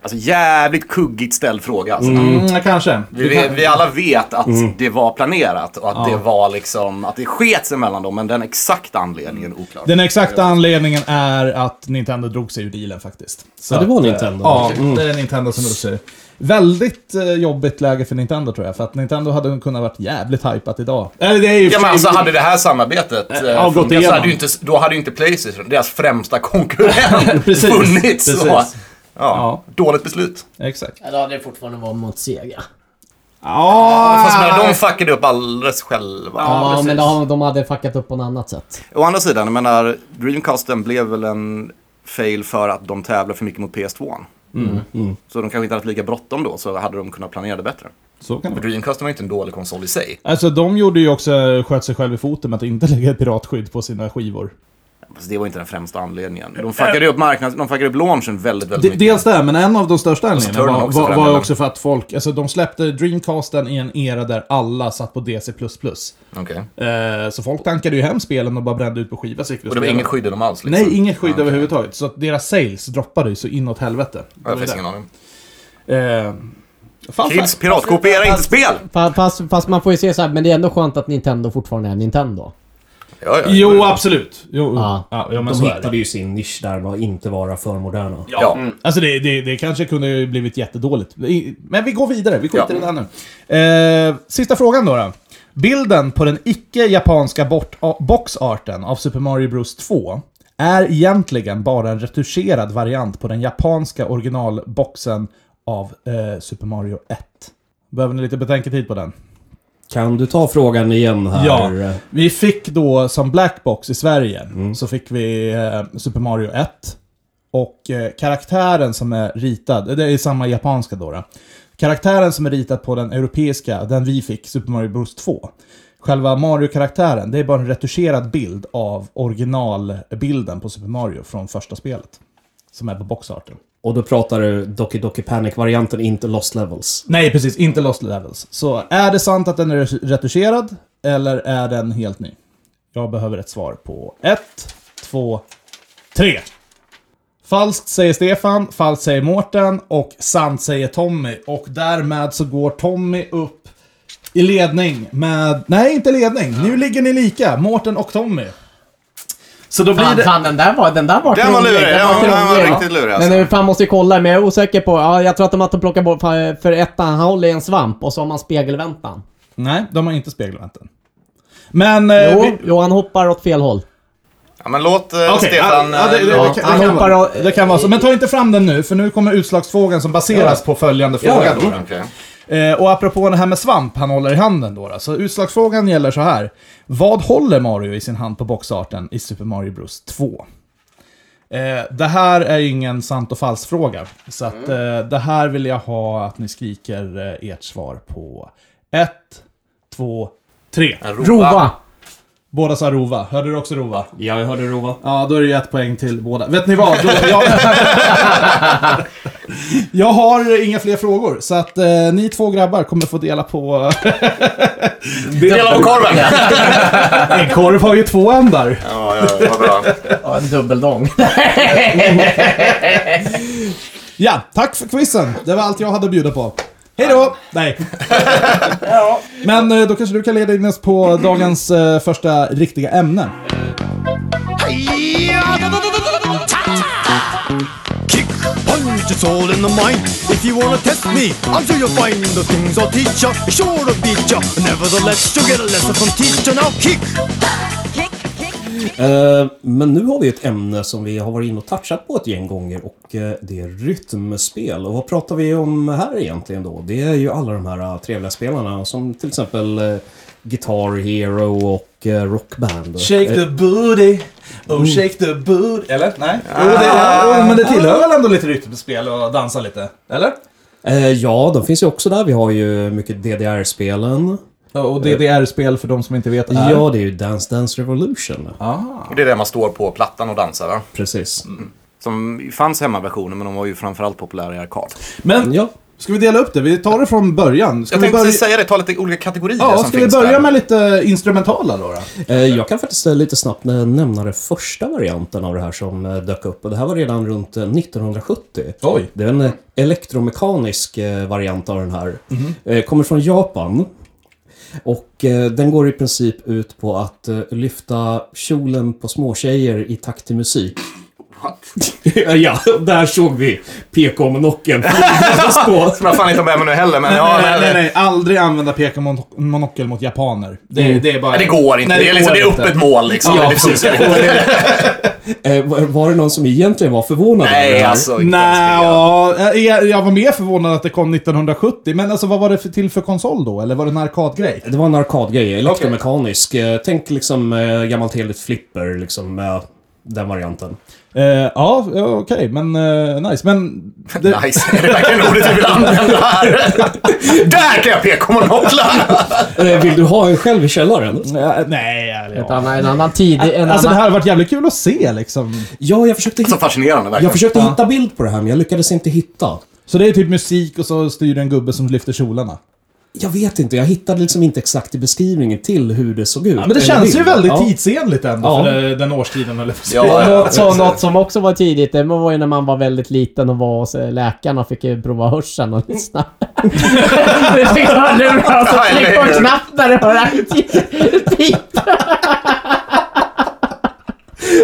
B: Alltså jävligt kuggigt ställd fråga. Alltså.
C: Mm, kanske.
B: Vi, vi, vi alla vet att det var planerat och att det var liksom, att det sket sig mellan dem, men den exakta anledningen är oklar.
C: Den exakta anledningen är att Nintendo drog sig ur dealen faktiskt. Så
A: Ja, det var Mm.
C: att, eh,
A: Nintendo.
C: Ja, det är Nintendo som drog sig ur. Väldigt eh, jobbigt läge för Nintendo tror jag, för att Nintendo hade kunnat varit jävligt hypat idag. Eller det är ju...
B: Ja, men alltså hade det här samarbetet eh,
C: ja, gått
B: funkat så
C: igenom.
B: hade ju inte, då hade ju inte Playstation, deras främsta konkurrent,
C: Precis,
B: funnits. Så,
C: precis.
B: ja,
C: Ja.
B: Dåligt beslut.
C: Exakt.
D: Ja, Då hade det fortfarande varit mot Sega.
C: Ja,
B: Fast men, de fuckade upp alldeles själva.
D: Ja,
C: precis.
D: men de, de hade fuckat upp på något annat sätt.
B: Å andra sidan, jag menar, Dreamcasten blev väl en fail för att de tävlar för mycket mot PS2.
C: Mm,
B: Så de kanske inte hade lika bråttom då, så hade de kunnat planera det bättre.
C: så kan
B: För
C: det
B: Dreamcasten var ju inte en dålig konsol i sig.
C: Alltså de gjorde ju också, sköt sig själv i foten med att inte lägga piratskydd på sina skivor.
B: Fast det var inte den främsta anledningen. De fuckade ju upp marknaden, de fuckade upp launchen väldigt, väldigt mycket.
C: dels Äh. det, men en av de största anledningarna
B: Saturn
C: var,
B: också, för
C: var,
B: den
C: var
B: delen.
C: också för att folk, alltså de släppte Dreamcasten i en era där alla satt på DC++.
B: Okej.
C: Eh, så folk tankade ju hem spelen och bara brände ut på skiva. så gick vi
B: Och det var
C: spelade.
B: inget skydd i dem alls? Liksom.
C: Nej, inget skydd
B: Okej.
C: överhuvudtaget. Så att deras sales droppade ju så inåt helvete.
B: Jag har faktiskt ingen aning.
C: Eh, fan,
B: Kids,
C: fan.
B: piratkopiera inte spel!
D: Fa- Fast, fast man får ju se så här, men det är ändå skönt att Nintendo fortfarande är Nintendo.
B: Ja, ja.
C: Jo, absolut. Jo,
D: Ja.
C: ja, ja men
A: De
C: så är det.
A: hittade ju sin nisch där med att inte vara för moderna.
B: Ja.
C: Alltså det, det, det kanske kunde ju blivit jättedåligt. I- Men vi går vidare, vi skiter
B: Ja.
C: i det här nu. Eh, sista frågan då. då. Bilden på den icke-japanska bort- a- boxarten av Super Mario Bros 2 är egentligen bara en retuscherad variant på den japanska originalboxen av eh, Super Mario 1. Behöver ni lite betänketid på den?
A: Kan du ta frågan igen här?
C: Ja, vi fick då som Blackbox i Sverige, så fick vi eh, Super Mario 1. Och eh, karaktären som är ritad, eh, det är samma japanska då, då. Karaktären som är ritad på den europeiska, den vi fick, Super Mario Bros 2. Själva Mario-karaktären, det är bara en retuscherad bild av originalbilden på Super Mario från första spelet. Som är på boxarten.
A: Och då pratar du Doki Doki Panic-varianten, inte Lost Levels.
C: Nej, precis. Inte Lost Levels. Så är det sant att den är retuscherad eller är den helt ny? Jag behöver ett svar på ett, två, tre. Falskt säger Stefan, falskt säger Mårten och sant säger Tommy. Och därmed så går Tommy upp i ledning med... Nej, inte ledning. Nu ligger ni lika, Mårten och Tommy. Så då blir
D: Fan,
C: det...
D: fan den där var, den där var
B: Den var
D: krånglig,
B: lurig, den var- den var
D: krånglig.
B: riktigt lurig, alltså.
D: Men nu, fan måste ju kolla, men jag är osäker på, ja, jag tror att de har plockat bort, fan, för ettan, han håller i en svamp och så har man spegelväntan.
C: Nej, de har inte spegelväntan. Men... eh,
D: Jo,
C: vi-
D: jo, han hoppar åt fel håll.
B: ja men låt eh,
C: Okej,
B: Stefan...
C: ja, det-
B: eh,
C: det-
B: ja.
C: det kan-
D: Han
C: det kan
D: hoppar
C: vara-
D: och-
C: Det kan vara så. Men ta inte fram den nu, för nu kommer utslagsfrågan som baseras på följande fråga. då.
B: Okej.
C: Eh, och apropå det här med svamp han håller i handen då, då. Så utslagsfrågan gäller så här. Vad håller Mario i sin hand på boxarten i Super Mario Bros 2? Eh, det här är ju ingen sant och falsk fråga. Så att,
B: Mm.
C: eh, det här vill jag ha att ni skriker eh, ert svar på. Ett, två, tre.
D: Rova!
C: Båda sa Rova. Hörde du också Rova?
A: Ja, jag hörde Rova.
C: Ja, då är det ju ett poäng till båda. Vet ni vad? Då, jag... jag har inga fler frågor, så att eh, ni två grabbar kommer få dela på...
B: Dela på korven! ja,
C: en korv har ju två ändar.
B: ja, ja, vad bra.
D: Ja, en dubbeldång.
C: Ja, tack för quizen. Det var allt jag hade att bjuda på. Hej då! Nej. Men eh, då kanske du kan leda in oss på dagens eh, första riktiga ämne.
F: kick punch, it's all in the mind. If you wanna test me, I'm sure you'll find the things I'll teach ya, sure to beat ya. Nevertheless, you'll get a lesson from teacher. Now kick.
A: Eh, men nu har vi ett ämne som vi har varit inne och touchat på ett gäng gånger och eh, det är rytmspel. Och vad pratar vi om här egentligen då? Det är ju alla de här eh, trevliga spelarna som till exempel eh, Guitar Hero och eh, Rockband. Eh,
C: booty, oh shake the booty. Eller? Nej? Ah. Jo, det, jo, men det tillhör väl ändå lite rytmspel och dansa lite? Eller?
A: eh, ja, de finns ju också där. Vi har ju mycket DDR-spelen.
C: Och DDR-spel för de som inte vet är? Ah.
A: Ja, det är ju Dance Dance Revolution.
B: Och det är där man står på plattan och dansar va?
A: Precis.
B: Som fanns hemmaversioner men de var ju framförallt populära i arkad.
C: Men,
A: Ja.
C: ska vi dela upp det? Vi tar det från början. Ska
B: Jag
C: vi
B: tänkte
C: börja...
B: precis säga det, ta lite olika kategorier
C: Ja,
B: som
C: ska vi
B: finns där.
C: börja med lite instrumentala då? då?
A: Eh, Jag kan faktiskt eh, lite snabbt eh, nämna den första varianten av det här som eh, dök upp. Och det här var redan runt eh, 1970.
C: Oj.
A: Det är en eh, elektromekanisk eh, variant av den här.
B: Mhm.
A: Eh, Kommer från Japan. Och eh, den går i princip ut på att eh, lyfta kjolen på småtjejer i takt till musik.
B: What?
A: ja, där såg vi PK-monokeln
B: Som jag fan inte med mig nu heller, men ja.
C: nej, nej, nej, Aldrig använda PK-monokel mot japaner. Det, det är bara...
B: Nej, det går inte.
C: Nej,
B: det, är liksom, det är
C: går
B: öppet
C: inte.
B: mål liksom.
A: Ja,
B: det
A: precis.
B: funkar inte.
A: eh, var, var det någon som egentligen var förvånad över det
B: Nej,
A: här?
B: alltså. inte ens det.
C: Nej, ja, Eh, jag, jag var mer förvånad att det kom 1970. Men alltså vad var det för, till för konsol då? Eller var det en arkadgrej?
A: Det var en arkadgrej, elektromekanisk. Eh, Tänk liksom eh, gammalt heligt flipper, liksom eh, den varianten.
C: Eh, ja, ja, okej, men eh, nice. Men... Det,
B: Nice. Är det verkligen ordet vi vill använda här? Där kan jag peka monoklar!
A: Eh, Vill du ha en själv i källaren?
C: Ja, Eh, nej, eller
D: Ett
C: ja.
D: annan, en annan tid. En
C: Alltså det
D: annan...
C: här har varit jävligt kul att se liksom.
A: Ja, jag försökte,
B: Så
A: hitta,
B: fascinerande verkligen.
A: jag försökte hitta bild på det här, men jag lyckades inte hitta.
C: Så det är typ musik och så styr en gubbe som lyfter kjolarna.
A: Jag vet inte, jag hittade liksom inte exakt i beskrivningen till hur det såg ut.
C: Ja, men det
A: Eller
C: känns
A: bild.
C: ju väldigt
A: Ja.
C: tidsenligt ändå
A: Ja.
C: för eh, den årstiden eller
B: Ja, ja, ja.
D: Något, så, något som också var tidigt, det var ju när man var väldigt liten och var hos eh, läkaren och fick eh, prova hörseln och lyssna. Du fick alltså, hörlurar och så tryck på en knapp där du hör att- pip.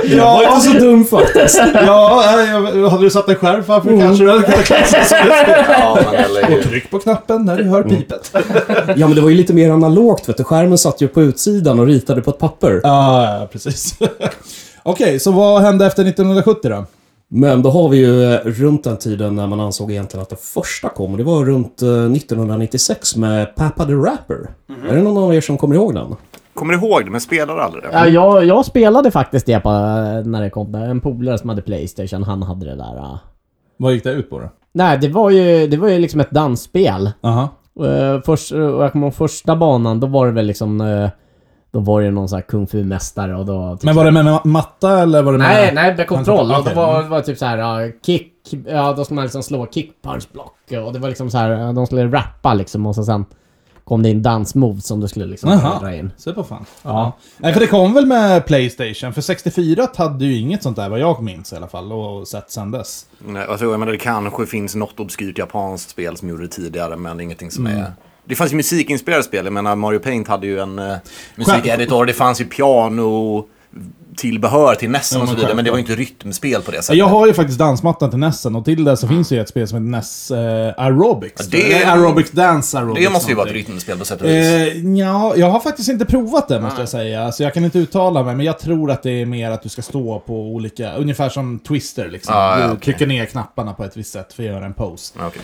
A: Jag var inte så dum faktiskt.
C: Ja, eh, jag- hade du satt en skärm framför kanske du hade kunnat kasta
B: Ja, men eller
C: Och
B: hur?
C: tryck på knappen när du hör pipet.
A: Ja, men det var ju lite mer analogt vet du. Skärmen satt ju på utsidan och ritade på ett papper.
C: Ja, ja, precis. Okej, så vad hände efter 1970 då?
A: Men då har vi ju eh, runt den tiden när man ansåg egentligen att det första kom. Och det var runt eh, 1996 med Papa the Rapper. Är det någon av er som kommer ihåg den?
B: Kommer du ihåg det, men spelar aldrig det?
D: Ja, jag, jag spelade faktiskt det på, när det kom. En polare som hade Playstation, han hade det där. eh.
C: Vad gick det ut på då?
D: Nej, det var ju, det var ju liksom ett dansspel.
C: Aha.
D: Uh, först, eh, och jag kommer ihåg första banan, då var det väl liksom... eh, då var det ju någon sån här kung fu-mästare och då... Typ,
C: Men var det med ma- matta eller var det med...
D: nej, nej, med kontroll. Och
C: Okej. mm.
D: Då var det var typ så här ja, kick... Ja, då skulle man liksom slå kick, punch, block. Och det var liksom så här, eh, de skulle rappa liksom och så sen kom det in dansmove som du skulle liksom
C: Jaha.
D: dra in.
C: Se på fan. Ja. Nej, för det kom väl med Playstation? För 64 hade ju inget sånt där vad jag minns i alla fall och sett sen dess.
B: Nej, alltså, jag menar, det kanske finns något obskyrt japanskt spel som gjorde det tidigare, men ingenting som
C: Mm.
B: är... Det fanns ju musikinspelade spel. Jag menar, Mario Paint hade ju en eh, musikeditor. Det fanns ju piano tillbehör till nästan
C: Ja,
B: och så
C: men
B: vidare, men det var ju inte rytmspel på det sättet.
C: Jag har ju faktiskt dansmattan till Nessen och till det så finns ju ett spel som heter Ness eh, Aerobics.
B: Ja, det-
C: Eller Aerobics Dance Aerobics.
B: Det måste ju vara ett
C: någonting.
B: rytmspel på sätt och vis.
C: Eh, ja, jag har faktiskt inte provat det måste jag säga. Så jag kan inte uttala mig, men jag tror att det är mer att du ska stå på olika, ungefär som Twister liksom.
B: Ah,
C: du
B: ja, okej.
C: trycker ner knapparna på ett visst sätt för att göra en pose.
B: Ja, okej.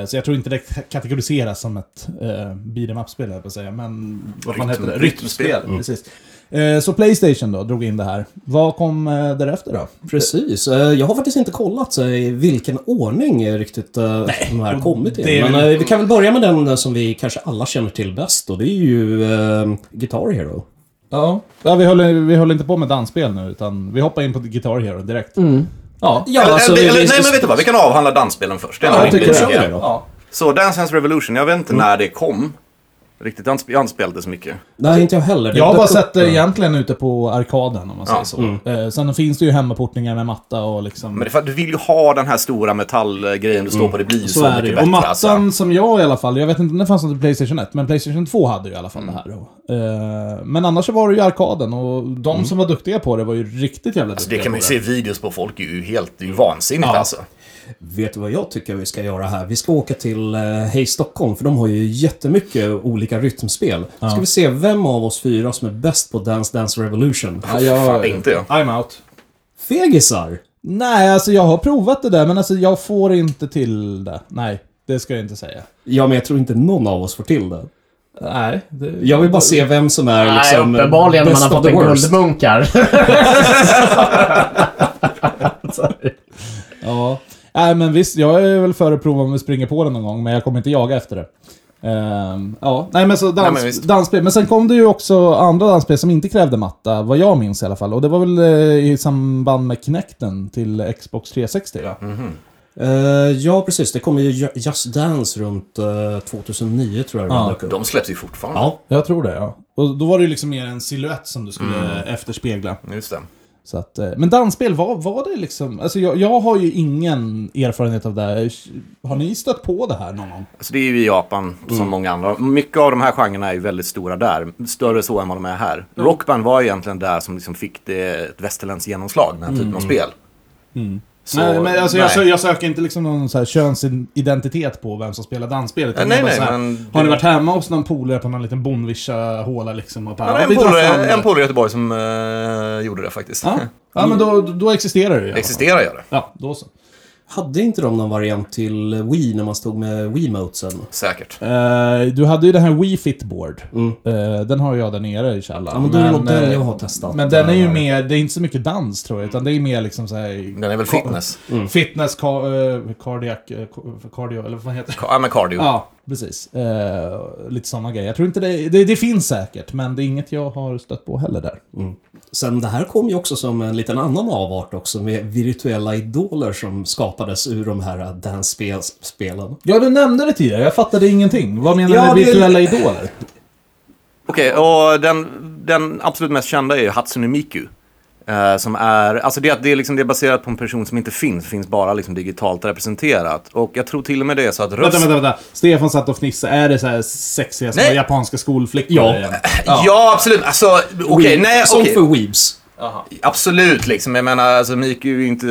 C: Eh, så jag tror inte det k- kategoriseras som ett eh, beat'em up-spel, höll jag på att säga. Men vad man
B: Rytm-
C: heter det?
B: rytmspel. Mm.
C: Precis. Eh, så Playstation då, drog in det här. Vad kom eh, därefter då?
A: Precis. Eh, Jag har faktiskt inte kollat så i vilken ordning eh, riktigt eh, de här kommit
C: det
A: i.
C: är
A: Men
C: väl-
A: eh, vi kan väl börja med den eh, som vi kanske alla känner till bäst och det är ju eh, Guitar Hero.
C: Ja, vi, höll, vi höll inte på med dansspel nu, utan vi hoppade in på Guitar Hero direkt.
A: Ja,
B: Eller-
A: alltså,
B: eller,
A: det-
B: eller,
A: det-
B: nej, men vet du vad? Vi kan avhandla dansspelen först. Det är
A: Ja,
B: en
A: jag tycker
B: rimlig
A: det.
B: tanke.
A: Kör vi då.
B: Så Dance Dance Revolution, jag vet inte när det kom. Riktigt, jag har inte- jag har inte spelat det så mycket.
A: Nej, inte jag heller. Det
C: Jag har bara
A: dök upp,
C: sett det
A: eh,
C: egentligen ute på arkaden, om man säger
B: Ja. Mm.
C: så. Eh, sen finns det ju hemmaportningar med matta och liksom...
B: Men det, är för att du vill ju ha den här stora metallgrejen du står på. Det blir ju så,
C: Mm. Så är det
B: mycket
C: ju.
B: bättre.
C: Och
B: alltså.
C: mattan som jag i alla fall, jag vet inte om det fanns något i Playstation 1, men Playstation 2 hade ju i alla fall
B: Mm.
C: det här. då. Eh, men annars så var det ju arkaden och de som var duktiga på det var ju riktigt jävla
B: Mm. Alltså,
C: duktiga
B: det kan man ju se
C: på
B: i videos på folk. Det är ju helt det är ju vansinnigt alltså.
A: Vet du vad jag tycker vi ska göra här? Vi ska åka till eh, Hej Stockholm, för de har ju jättemycket olika rytmspel. Ska vi se vem av oss fyra som är bäst på Dance Dance Revolution?
C: det. Ja, jag-
B: Fan, det är inte jag.
C: I'm out.
A: Fegisar!
C: Nej, alltså jag har provat det där, men alltså jag får inte till det. Nej, det ska jag inte säga.
A: Ja, men jag tror inte någon av oss får till det.
C: Nej, det...
A: Jag vill bara se vem som är
D: Nej,
A: liksom... eh,
D: uppenbarligen när man
A: best
D: har
A: of
D: fått
A: the
D: en
A: worst.
D: guldmunkar.
C: Ja. Nej, men visst, jag är väl för att prova om vi springer på den någon gång, men jag kommer inte jaga efter det. Ehm, ja, nej men så dans,
B: Nej, men visst.
C: dansspel. Men sen kom det ju också andra dansspel som inte krävde matta, vad jag minns i alla fall. Och det var väl eh, i samband med Kinecten till Xbox 360 va?
B: Mm.
A: Eh, ja, precis. Det kommer ju Ju- Just Dance runt eh, 2009, tror jag.
C: Ja,
A: det dök upp.
B: De släpps ju fortfarande.
A: Ja.
C: Jag tror det ja. Och då var det ju liksom mer en silhuett som du skulle
B: Mm.
C: eh, efterspegla.
B: Just det.
C: Så att, eh, men dansspel, vad var det liksom? Alltså jag, jag har ju ingen erfarenhet av det här. Har ni stött på det här någon gång?
B: Alltså, det är ju i Japan som
C: Mm.
B: många andra. Mycket av de här genrerna är ju väldigt stora där. Större så än vad de är här. Rockband var egentligen där som liksom fick det, ett västerländskt genomslag. Den här typen av spel. Så,
C: Mm. Nej, men alltså, Jag,
B: nej.
C: sö- jag söker inte liksom någon så här könsidentitet på vem som spelar dansspelet.
B: Ja,
C: utan
B: nej,
C: jag bara
B: nej,
C: så här,
B: men-
C: Har ni varit hemma hos någon polare på någon liten Bonvischa-håla liksom? Och bara,
B: Ja,
C: ja,
B: det är
C: vi
B: en
C: drar fram
B: polare
C: det.
B: en polare i Göteborg som eh, gjorde det faktiskt.
C: Ja, ja men då, då existerar det ju.
B: Existerar gör det.
C: Ja, då så.
A: Hade inte de någon variant till Wii när man stod med Wiimotesen?
B: Säkert.
C: Eh, du hade ju den här Wii Fit Board. Eh, den har jag där nere i källaren.
A: Mm. Ja, men då är det nog den
C: eh,
A: jag har testat.
C: Men den är ju
A: Där.
C: mer, det är inte så mycket dans tror jag, utan det är mer liksom så här
B: Den är väl fitness?
A: Mm.
C: fitness, ka, eh, cardiac, eh, ka- cardio, eller vad heter det?
B: Ka- Ja, men cardio.
C: Ja, precis. Eh, lite sådana grejer. Jag tror inte det, det, det finns säkert, men det är inget jag har stött på heller där.
A: Sen det här kom ju också som en liten annan avart också med virtuella idoler som skapades ur de här dansspelen.
C: Ja, du nämnde det tidigare. Jag fattade ingenting. Vad menar du
A: Ja,
C: med
A: det-
C: virtuella idoler?
B: Okej, och den, den absolut mest kända är ju Hatsune Miku. Eh, som är, alltså det, det, är liksom, det är baserat på en person som inte finns, det finns bara liksom digitalt representerat. Och jag tror till och med det är så att röst...
C: Vänta, vänta, vänta. Stefan satt och fnissade. Är det så här sexiga små
B: Nej.
C: japanska skolflickor
A: Ja.
C: igen?
B: Ja. absolut. Alltså, okej, nej,
A: Som
B: okej.
A: för Weebs.
B: Absolut, liksom. Jag menar, alltså, Miku är ju inte...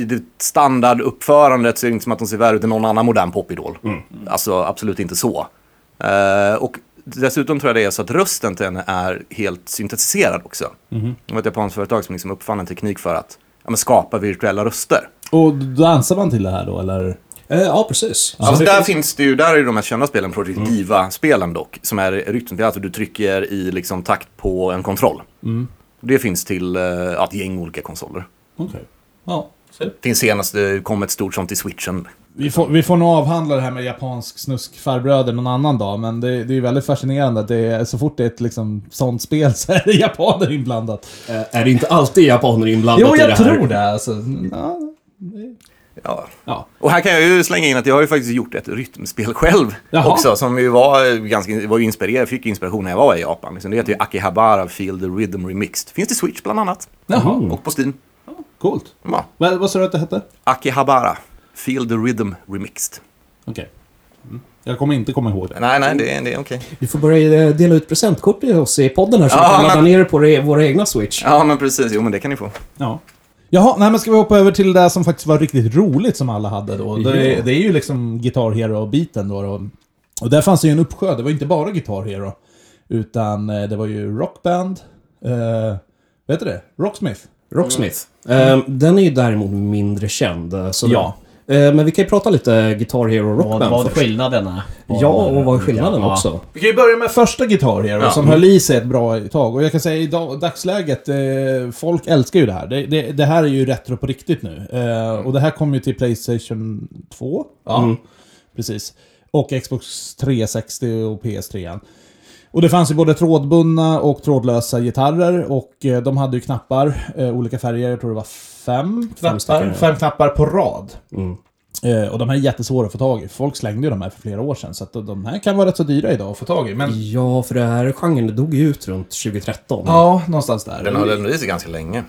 B: I det standarduppförandet så är det inte som att de ser värre ut än någon annan modern popidol. Alltså, absolut inte så. Eh, och dessutom tror jag det är så att rösten till henne är helt syntetiserad också. Det var ett japanskt företag som liksom uppfann en teknik för att ja, men, skapa virtuella röster.
C: Och dansar man till det här då, eller?
A: Eh, ja, precis.
B: Alltså där finns det ju, där är ju de mest kända spelen, Project Diva-spelen dock, som är rytmspel, alltså du trycker i liksom takt på en kontroll. Det finns till eh, ja, ett gäng olika konsoler.
C: Okej. Ja.
B: Finns senast, det kom ett stort sånt till switchen.
C: Vi får, vi får nog avhandla det här med japansk snuskfarbröder någon annan dag, men det, det är ju väldigt fascinerande att det är, så fort det är ett liksom, sånt spel så är det japaner inblandat.
A: Eh, är det inte alltid japaner inblandat
C: Jo,
A: i det
C: jag
A: här?
C: tror det. Alltså, ja.
B: Ja.
C: Ja.
B: Och här kan jag ju slänga in att jag har ju faktiskt gjort ett rytmspel själv
C: Jaha.
B: också, som ju var eh, ganska, var ju inspirerad, fick inspiration när jag var i Japan. Liksom. Det heter ju
C: Mm.
B: Akihabara Feel the Rhythm Remixed. Finns till Switch bland annat,
C: Jaha,
B: och på Steam.
C: coolt.
B: Ja.
C: Vad, vad sa du att det hette? Okej.
B: Akihabara Feel the Rhythm Remixed.
C: Mm. Jag kommer inte komma ihåg det.
B: Nej, nej, det, är- det är okej.
A: Vi får börja eh, dela ut presentkort till oss i podden här så vi
B: Ja,
A: kan
B: men-
A: ladda ner det på re- våra egna Switch.
B: Ja, men precis. Jo, men det kan ni få.
C: Ja. Jaha, nej men ska vi hoppa över till det som faktiskt var riktigt roligt som alla hade då. Det,
A: Ja.
C: det är ju liksom Guitar Hero-biten då, då. Och där fanns det ju en uppsjö. Det var inte bara Guitar Hero. Utan eh, det var ju Rockband. Eh, vad heter det? Rocksmith.
A: Rocksmith. Eh, den är ju däremot mindre känd. eh, Så
C: Ja.
A: Eh, men vi kan ju prata lite Guitar Hero
D: Vad,
A: Rockband
D: vad
A: först.
D: skillnaden är.
A: Ja, och vad är skillnaden
D: Ja.
A: också?
C: Vi kan ju börja med första Guitar Hero som höll i sig ett bra tag. Och jag kan säga i dag, dagsläget, eh, folk älskar ju det här. Det, det, det här är ju retro på riktigt nu. Eh, och det här kom ju till Playstation 2. Ja, precis. Och Xbox 360 och PS3. Och det fanns ju både trådbundna och trådlösa gitarrer och eh, de hade ju knappar, eh, olika färger, jag tror det var fem
A: stycken,
C: knappar,
A: ja.
C: fem knappar på rad. Eh, och de här är jättesvåra att få tag i. Folk slängde ju de här för flera år sedan, så att de här kan vara rätt så dyra idag att få tag i. Men
A: Ja, för det här genren det dog ju ut runt 2013.
C: ja, någonstans där.
B: Den höll ändå i sig ganska länge.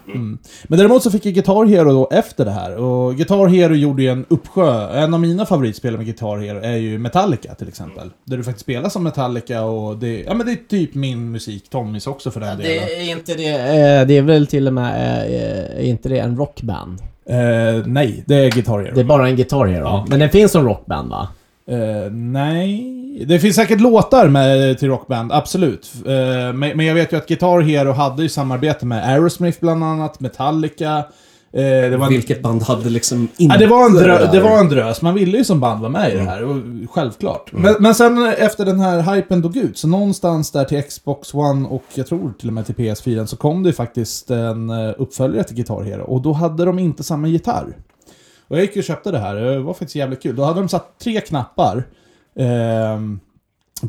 C: Men däremot så fick ju Guitar Hero då efter det här. Och Guitar Hero gjorde ju en uppsjö. En av mina favoritspel med Guitar Hero är ju Metallica till exempel. Där du faktiskt spelar som Metallica och det, ja, men det är typ min musik, Tommys också för den delen.
D: Det är inte det... Eh, det är väl till och med... Eh, eh, är inte det en rockband?
C: Eh, nej, det är Guitar Hero.
D: Det är bara en Guitar Hero.
C: Ja.
D: Men den finns som rockband va?
C: Eh, nej. Det finns säkert låtar med, till Rockband, absolut. Eh, men, men jag vet ju att Guitar Hero hade ju samarbete med Aerosmith bland annat, Metallica. Eh, det var en,
A: Vilket band hade liksom inte...
C: Ja, det, var en
A: där?
C: drö- det var en drös. Man ville ju som band vara med i det här, och självklart. Men, men sen efter den här hypen dog ut, så någonstans där till Xbox One och jag tror till och med till PS4 så kom det ju faktiskt en eh, uppföljare till Guitar Hero. Och då hade de inte samma gitarr. Och jag gick och köpte det här, det var faktiskt jävligt kul. Då hade de satt tre knappar. ehm,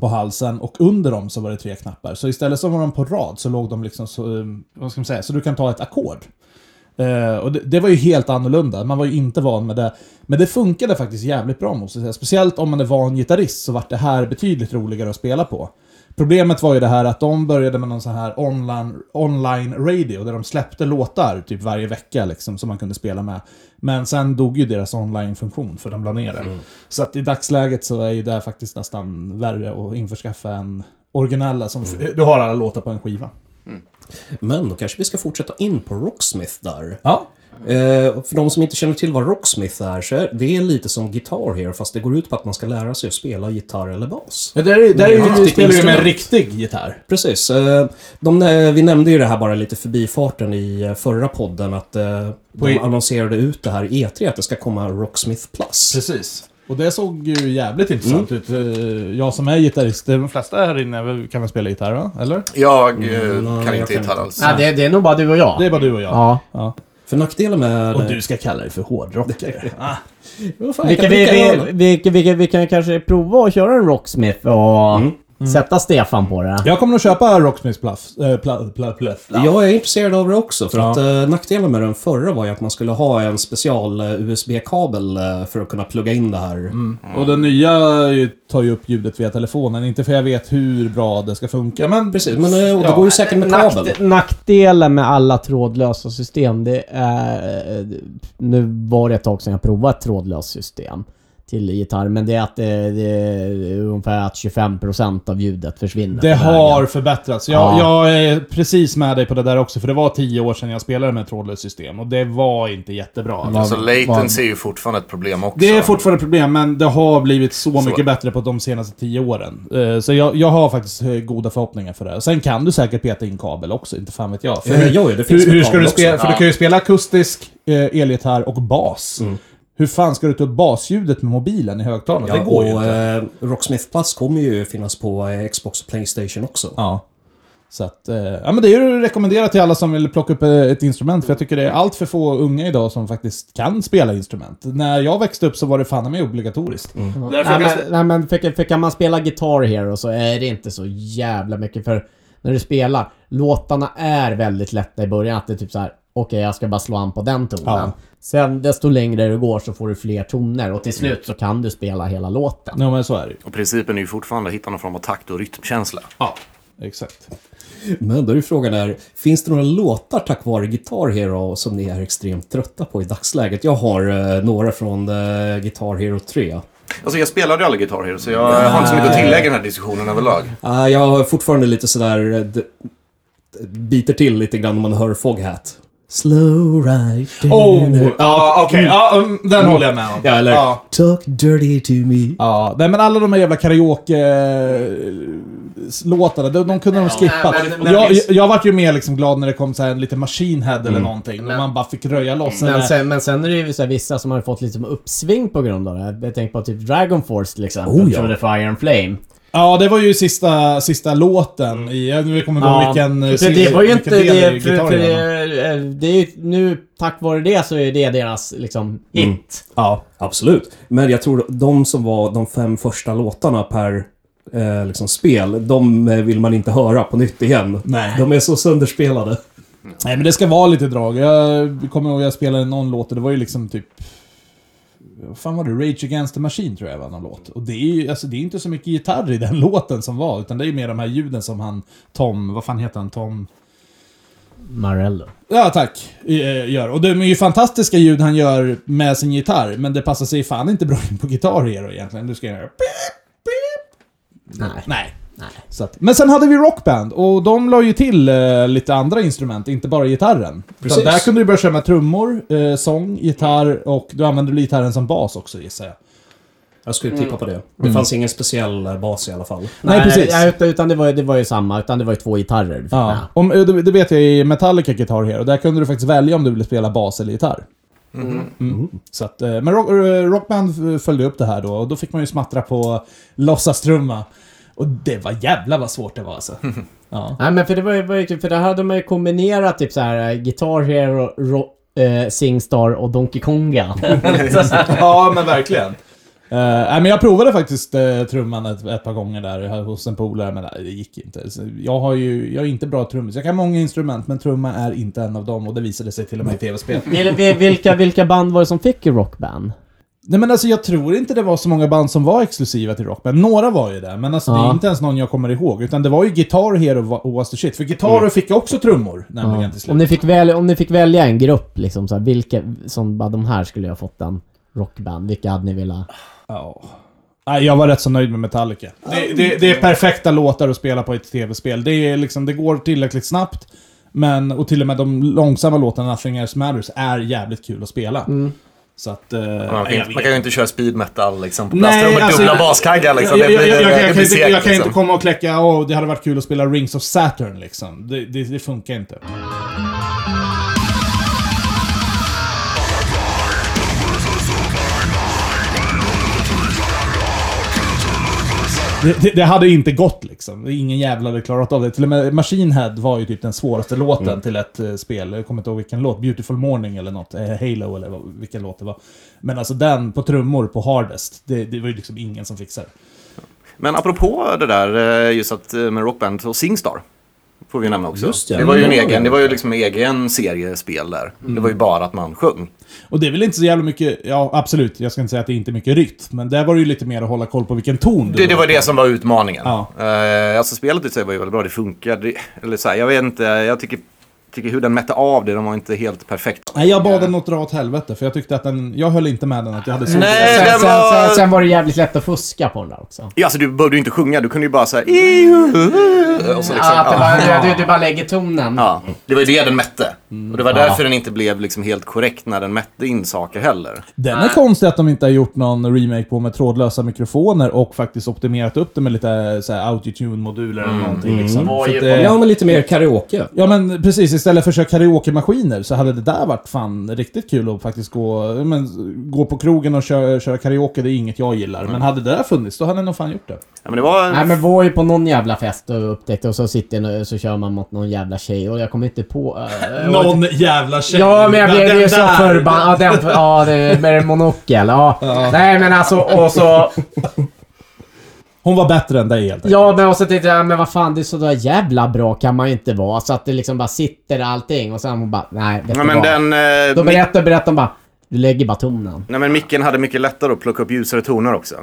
C: på halsen och under dem så var det tre knappar. Så istället så var de på rad så låg de liksom så, eh, vad ska man säga, så du kan ta ett ackord. Eh, och det, det var ju helt annorlunda, man var ju inte van med det. Men det funkade faktiskt jävligt bra måste jag säga. Speciellt om man är van gitarrist så vart det här betydligt roligare att spela på. Problemet var ju det här att de började med någon sån här online, online radio där de släppte låtar typ varje vecka liksom som man kunde spela med. Men sen dog ju deras online-funktion för de la ner den. Så att i dagsläget så är ju det här faktiskt nästan värre att införskaffa än originella som... Du har alla låtar på en skiva.
A: Men då kanske vi ska fortsätta in på Rocksmith där.
C: Ja.
A: Eh, för de som inte känner till vad Rocksmith är, så är det är lite som Guitar Hero, fast det går ut på att man ska lära sig att spela gitarr eller bas.
C: Ja, där är, där är
A: Mm.
C: ju, du spelar ju med
A: Instrument.
C: en riktig gitarr.
A: Precis. eh, De, eh, vi nämnde ju det här bara lite förbifarten i eh, förra podden, att eh, de
C: i-
A: annonserade ut det här i E3, att det ska komma Rocksmith Plus.
C: Precis. Och det såg ju jävligt intressant
D: Mm.
C: ut. Eh, Jag som är gitarrist, de flesta här inne kan väl spela gitarr va? Eller?
B: Jag eh,
A: nej, Mm,
B: kan
C: Mm.
A: jag
B: inte
A: kan
B: gitarr
A: inte.
B: alls.
D: Nej, det, det är nog bara du och jag.
C: Det är bara du och jag.
D: Ja.
A: För nackdelen med...
C: Och du ska kalla dig för hårdrockare. ah.
A: Vad fan, jag
D: Vilka
A: kan
D: vi,
A: dricka
D: vi,
A: öl.
D: vilka, vilka, vi kan kanske prova att köra en Rocksmith och Mm. sätta Stefan på det.
C: Jag kommer att köpa Rocksmith Pluff. Äh, pla, pla, pla, pla.
A: Jag är intresserad av det också, för
C: Ja.
A: att eh, nackdelen med den förra var ju att man skulle ha en special eh, USB-kabel eh, för att kunna plugga in det här.
C: Och den nya är ju- tar ju upp ljudet via telefonen. Inte för jag vet hur bra det ska funka, men...
A: Precis, men eh, och det
C: Ja.
A: går ju säkert med kabel.
D: Nackde- Nackdelen med alla trådlösa system, det är... eh, Nu var det ett tag sedan jag provade ett trådlöst system till gitarr, men det är att eh, det är ungefär att 25% av ljudet försvinner.
C: Det
D: på vägen.
C: har förbättrats. Jag,
D: Ja.
C: jag är precis med dig på det där också, för det var tio år sedan jag spelade med trådlöst system och det var inte jättebra.
B: Alltså latency är ju fortfarande ett problem också.
C: Det är fortfarande ett problem, men det har blivit så, mycket bättre på de senaste tio åren. Eh, Så jag, jag har faktiskt eh, goda förhoppningar för det. här. Sen kan du säkert peta in kabel också, inte fan vet jag. För
A: Ja, men Eh, jo, det finns
C: hur,
A: med
C: hur ska
A: kabel
C: du
A: också.
C: spela? För du
B: Ja.
C: kan ju spela akustisk, eh, elgitarr och bas.
A: Mm.
C: Hur fan ska du ta upp basljudet med mobilen i högtalarna? det går
A: och,
C: ju inte.
A: eh, Rocksmith Plus kommer ju finnas på eh, Xbox och Playstation också.
C: Ja. Så att, eh, ja men det är ju rekommenderat till alla som vill plocka upp eh, ett instrument, för jag tycker det är allt för få unga idag som faktiskt kan spela instrument. När jag växte upp så var det fan i mig obligatoriskt.
A: Mm.
D: Nej men, nej, men för, för kan man spela Guitar Hero så är det inte så jävla mycket för när du spelar, låtarna är väldigt lätta i början. Att det är typ så här: okej jag ska bara slå an på den tonen.
C: Ja.
D: Sen desto längre du går så får du fler toner och till
C: Mm.
D: slut så kan du spela hela låten.
C: Ja, men så är det ju.
B: Och principen är ju fortfarande att hitta någon form av takt och rytmkänsla.
C: Ja, exakt.
A: Men då är ju frågan där, finns det några låtar tack vare Guitar Hero som ni är extremt trötta på i dagsläget? Jag har eh, några från eh, Guitar Hero 3.
B: Alltså jag spelade ju aldrig Guitar Hero, så jag har inte så mycket att tillägga i den här diskussionen överlag.
A: Eh, jag har fortfarande lite sådär... eh, d- d- biter till lite grann när man hör Foghat. Slow ride down
C: Oh!
A: the-
C: Ja, okej. Ja, um, den håller jag med om.
A: Ja, eller
C: Ja.
A: Talk dirty to me.
C: Ja, nej men alla de här jävla karaoke-låtarna, de, de kunde de skippa.
D: men- men-
C: Jag, jag, jag vart ju mer liksom glad när det kom så här en liten Machine Head eller någonting, och man bara fick röja loss.
D: Mm. Men
C: Eller-
D: sen, men sen är det ju så här, vissa som har fått lite som uppsving på grund av det. här. Jag tänker på typ Dragon Force till exempel.
A: Oh, ja.
D: Through the Fire and Flame.
C: Ja, det var ju sista, sista låten i... Jag nu kommer jag ihåg vilken... eh,
D: för det var ju
C: vilken
D: inte...
C: del i
D: Det, för,
C: gitarren
D: för det,
C: var.
D: är- eh, det är ju, nu, tack vare det så är det deras liksom
C: Mm.
D: hit.
C: Ja.
A: Absolut. Men jag tror de som var de fem första låtarna per eh, liksom spel, de eh, vill man inte höra på nytt igen.
C: Nej.
A: De är så sönderspelade.
C: Nej, men det ska vara lite drag. Jag kommer ihåg att jag spelade någon låt och det var ju liksom typ... Vad fan var det? Rage Against the Machine tror jag var någon låt. Och det är ju alltså, det är inte så mycket gitarr i den låten som var, utan det är ju mer de här ljuden som han Tom... Vad fan heter han? Tom...
D: Marello.
C: Ja, tack. eh, Gör. Och det är ju fantastiska ljud han gör med sin gitarr, men det passar sig fan inte bra in på gitarr Hero egentligen. Du ska göra...
D: Nej.
C: Nej. Så att, men sen hade vi Rockband och de la ju till eh, lite andra instrument, inte bara gitarren. Precis.
A: Precis.
C: Där kunde du börja köra med trummor, eh, sång, gitarr och du använde väl gitarren som bas också gissar jag.
A: Jag skulle tippa på det. Det fanns ingen speciell Mm. eh, bas i alla fall.
C: Nej, precis.
D: ja, utan, utan det, var, det var ju samma. Utan det var ju två gitarrer. du fick
C: Ja.
D: med.
C: Om, eh, det, det vet jag i Metallica Guitar Hero, där kunde du faktiskt välja om du ville spela bas eller gitarr. Mm. Så att, eh, men rock, eh, Rockband följde upp det här då och då fick man ju smattra på låtsastrumma. Och det var jävla vad svårt det var alltså. Ja.
D: Nej men för det var ju, var ju typ, för det här hade man ju kombinerat typ så här eh, Guitar Hero, ro, eh, Singstar och Donkey Konga.
C: ja, men verkligen. Eh, nej, men jag provade faktiskt eh, trumman ett, ett par gånger där här hos en polare, men nej, det gick inte. Så jag, har ju, jag är inte bra trummis. Jag kan många instrument, men trumma är inte en av dem och det visade sig till och med i tv-spel.
D: Vil- vil- vilka, vilka band var det som fick Rockband?
C: nej, men alltså jag tror inte det var så många band som var exklusiva till Rockband. Några var ju det, men alltså, det är
D: Ja.
C: inte ens någon jag kommer ihåg. Utan det var ju Guitar Hero och Va- och Was the Shit. För Guitar Hero fick också trummor, nämligen till slut.
D: Om ni fick, välja, om ni fick välja en grupp liksom så här, vilka som bara de här skulle jag ha fått en Rockband. Vilka hade ni velat?
C: Ja. Nej, jag var rätt så nöjd med Metallica. Det, det, det är perfekta låtar att spela på ett tv-spel. Det, är liksom, det går tillräckligt snabbt. Men, och till och med de långsamma låtarna, Nothing Else Matters, är jävligt kul att spela. Så att... eh,
G: Man kan,
C: jag
G: ju-
C: vet
G: man kan ju inte köra speed metal liksom, på
C: Nej,
G: plastrum med
C: alltså-
G: dubbla baskaggar. Liksom. Det
C: jag,
G: blir,
C: jag, jag, jag,
G: det
C: kan,
G: blir
C: inte,
G: segt,
C: jag kan
G: liksom.
C: inte komma och kläcka åh, det hade varit kul att spela Rings of Saturn liksom. Det, det, det funkar inte. Det, det, det hade inte gått liksom. Ingen jävla hade klarat av det. Till och med Machine Head var ju typ den svåraste låten
G: Mm.
C: till ett eh, spel. Jag kommer inte ihåg vilken låt. Beautiful Morning eller något. Eh, Halo eller vad, vilken låt det var. Men alltså den på trummor på Hardest. Det, det var ju liksom ingen som fixade det.
G: Men apropå det där, eh, just att eh, med Rockband och Singstar. Får vi nämna också.
A: Just det.
G: det, var ju en
A: Mm.
G: egen, det var ju liksom en egen serie spel där. Det var ju bara att man sjöng.
C: Och det är väl inte så jävla mycket, ja absolut, jag ska inte säga att det inte är mycket rytm, men där var det ju lite mer att hålla koll på vilken ton du
G: Det, det var det som var utmaningen.
C: Ja.
G: Eh, alltså spelet i sig var ju väldigt bra, det funkade. Eller så här, jag vet inte, jag tycker, tycker hur den mätte av det, den var inte helt perfekt.
C: Nej, jag bad den att dra åt helvete, för jag tyckte att den, jag höll inte med den att jag hade så
G: Nej,
D: Sen,
G: den
D: sen,
G: var-
D: sen, sen var det jävligt lätt att fuska på den där också.
G: Ja, alltså du behövde ju inte sjunga, du kunde ju bara säga EU och så liksom.
D: Ja, att Ah, det
G: ja.
D: bara, du, du bara lägger tonen.
G: Ja, Mm. det var ju det den mätte. Och det var därför den inte blev liksom helt korrekt när den mätte in saker heller.
C: Den är konstig att de inte har gjort någon remake på med trådlösa mikrofoner och faktiskt optimerat upp det med lite eh, så här autotune-moduler eller någonting liksom.
H: Mm. Vad
C: För
H: är
C: att,
H: det?
C: eh,
A: Ja, men lite mer karaoke.
C: Ja men precis, istället för att köra karaoke-maskiner så hade det där varit fan riktigt kul att faktiskt gå, ja, men, gå på krogen och köra, köra karaoke, det är inget jag gillar.
H: Mm.
C: Men hade det där funnits, då hade nog fan gjort det.
G: Ja, men det var...
D: Nej men var ju på någon jävla fest och upptäckte och så sitter nu, så kör man mot någon jävla tjej och jag kommer inte på... eh,
C: Någon jävla tjej.
D: Ja, men jag blev
C: Den
D: ju så
C: där.
D: förbannad. Ja, den, ja det, med en monokel. Ja. Nej, men alltså och så...
C: Hon var bättre än dig helt enkelt.
D: Ja, men och så tänkte jag, men vad fan, det är så där jävla bra kan man ju inte vara. Så att det liksom bara sitter allting och sen hon bara, nej, vet du
G: Ja, men
D: vad?
G: den... eh,
D: Då
G: mic-
D: berättar och berättar hon bara, du lägger bara tonen.
G: Nej men micken hade mycket lättare att plocka upp ljusare toner också.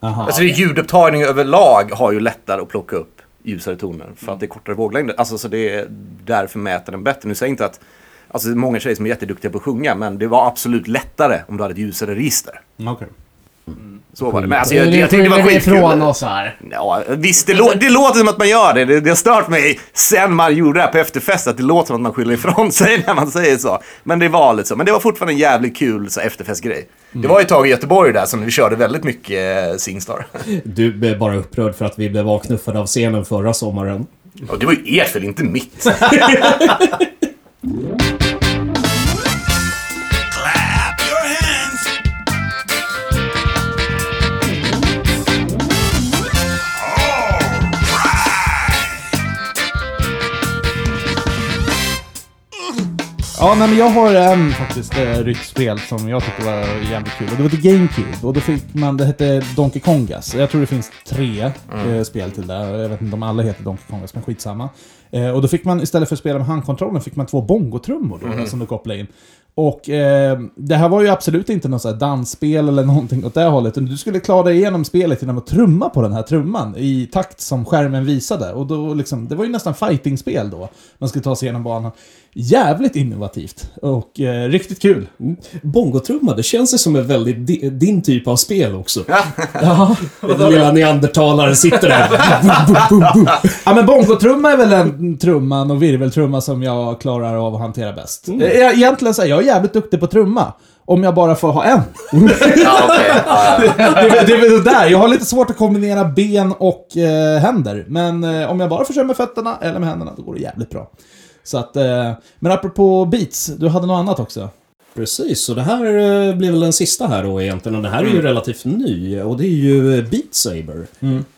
C: Aha.
G: Alltså det är ljudupptagning överlag har ju lättare att plocka upp ljusare toner. För att det är kortare våglängder. Alltså så det är därför mäter den bättre. Nu säger jag inte att... Alltså det är många tjejer som är jätteduktiga på att sjunga men det var absolut lättare om du hade ett ljusare register.
C: Okej.
G: Så var det. Men alltså
D: Nu
G: jag, jag, tyckte det var
D: skiljer vi
G: skitkul.
D: ifrån oss här.
G: Ja, visst, det, lå- det låter som att man gör det. det. Det har stört mig sen man gjorde det här på efterfest, att det låter som att man skyller ifrån sig när man säger så. Men det var lite så. Men det var fortfarande en jävligt kul så, efterfestgrej. Det var ju ett tag i Göteborg där som vi körde väldigt mycket eh, Singstar.
A: Du blev bara upprörd för att vi blev avknuffade av scenen förra sommaren.
G: Och det var ju ert fel, inte mitt.
I: Clap your hands.
C: Ja, nej, men jag har en faktiskt eh, ryttspel som jag tyckte var jävligt kul. Och det var till GameCube. Och då fick man, det hette Donkey Kongas. Jag tror det finns tre eh, spel till det. Jag vet inte om alla heter Donkey Kongas, men skitsamma. Eh, och då fick man, istället för att spela med handkontrollen, fick man två bongotrummor då, som du kopplade in. Och eh, det här var ju absolut inte något så här dansspel eller någonting åt det hållet. utan Du skulle klara dig igenom spelet genom att trumma på den här trumman i takt som skärmen visade. Och då liksom, det var ju nästan fightingspel då. Man skulle ta sig igenom banan. Jävligt innovativt och eh, riktigt kul.
A: Bongotrumma, det känns ju som en väldigt di- din typ av spel också. Den lilla neandertalaren sitter där. Bo, bo, bo, bo.
C: Ja men bongotrumma är väl den trumman och virveltrumma som jag klarar av att hantera bäst. Mm. Egentligen så här, jag är jävligt duktig på trumma. Om jag bara får ha en.
G: ja, okej. Ja, ja.
C: det, är- det är väl det där. Jag har lite svårt att kombinera ben och eh, händer. Men eh, om jag bara får köra med fötterna eller med händerna, då går det jävligt bra. Så att, eh, men apropå beats, du hade något annat också?
A: Precis, så det här eh, blir väl den sista här då egentligen. Och det här är ju relativt ny och det är ju eh, Beat Saber.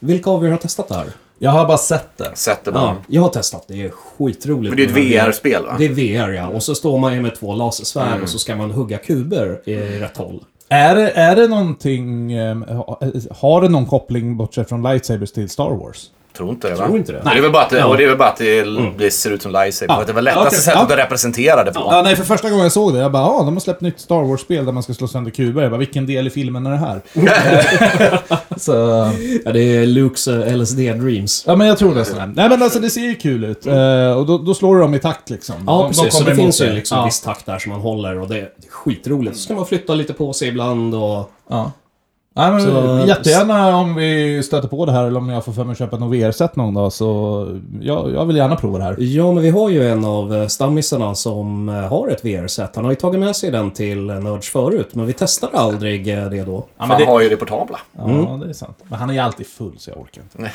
A: Vilka av er har testat det här?
C: Jag har bara sett det.
G: Sätt det bara.
A: Ja, jag har testat. Det är skitroligt. Mm.
G: Men det är ett VR-spel va?
A: Det är VR, ja. Och så står man ju med två lasersvärd och så ska man hugga kuber i rätt håll.
C: Är det, är det någonting, eh, ha- har det någon koppling bortsett från lightsabers till Star Wars?
G: Tror inte det va?
A: Tror inte det.
G: Nej. Det är väl bara att, det- och det, är väl bara att det, det ser ut som lightsaber. För att Det var lättaste
C: okej.
G: sättet
C: Ja.
G: att representera det på.
C: Ja, nej, för första gången jag såg det, jag bara ah, de har släppt nytt Star Wars-spel där man ska slå sönder kuber. Jag bara, vilken del i filmen är det här? så,
A: Ja, det är Lukes eh, LSD-dreams.
C: ja, men jag tror nästan det. Nej, men alltså det ser ju kul ut. Eh, och då, då slår du dem i takt liksom.
A: Mm. Ja,
C: de,
A: precis.
C: De
A: så
C: kommer
A: det
C: emot
A: finns ju
C: dig.
A: liksom
C: ja.
A: viss takt där som man håller och det är det är skitroligt. Så ska man flytta lite på sig ibland och...
C: Ja. Nej, men
A: Så-
C: jättegärna om vi stöter på det här eller om jag får för mig att köpa något VR-set någon dag så jag, jag vill gärna prova det här.
A: Ja, men vi har ju en av eh, stammisarna som eh, har ett VR-set. Han har ju tagit med sig den till eh, Nörds förut, men vi testade aldrig eh, det Mm. då.
C: Ja,
G: Fan har ju det portabla.
C: ja, det är sant. Men han är ju alltid full så jag orkar inte.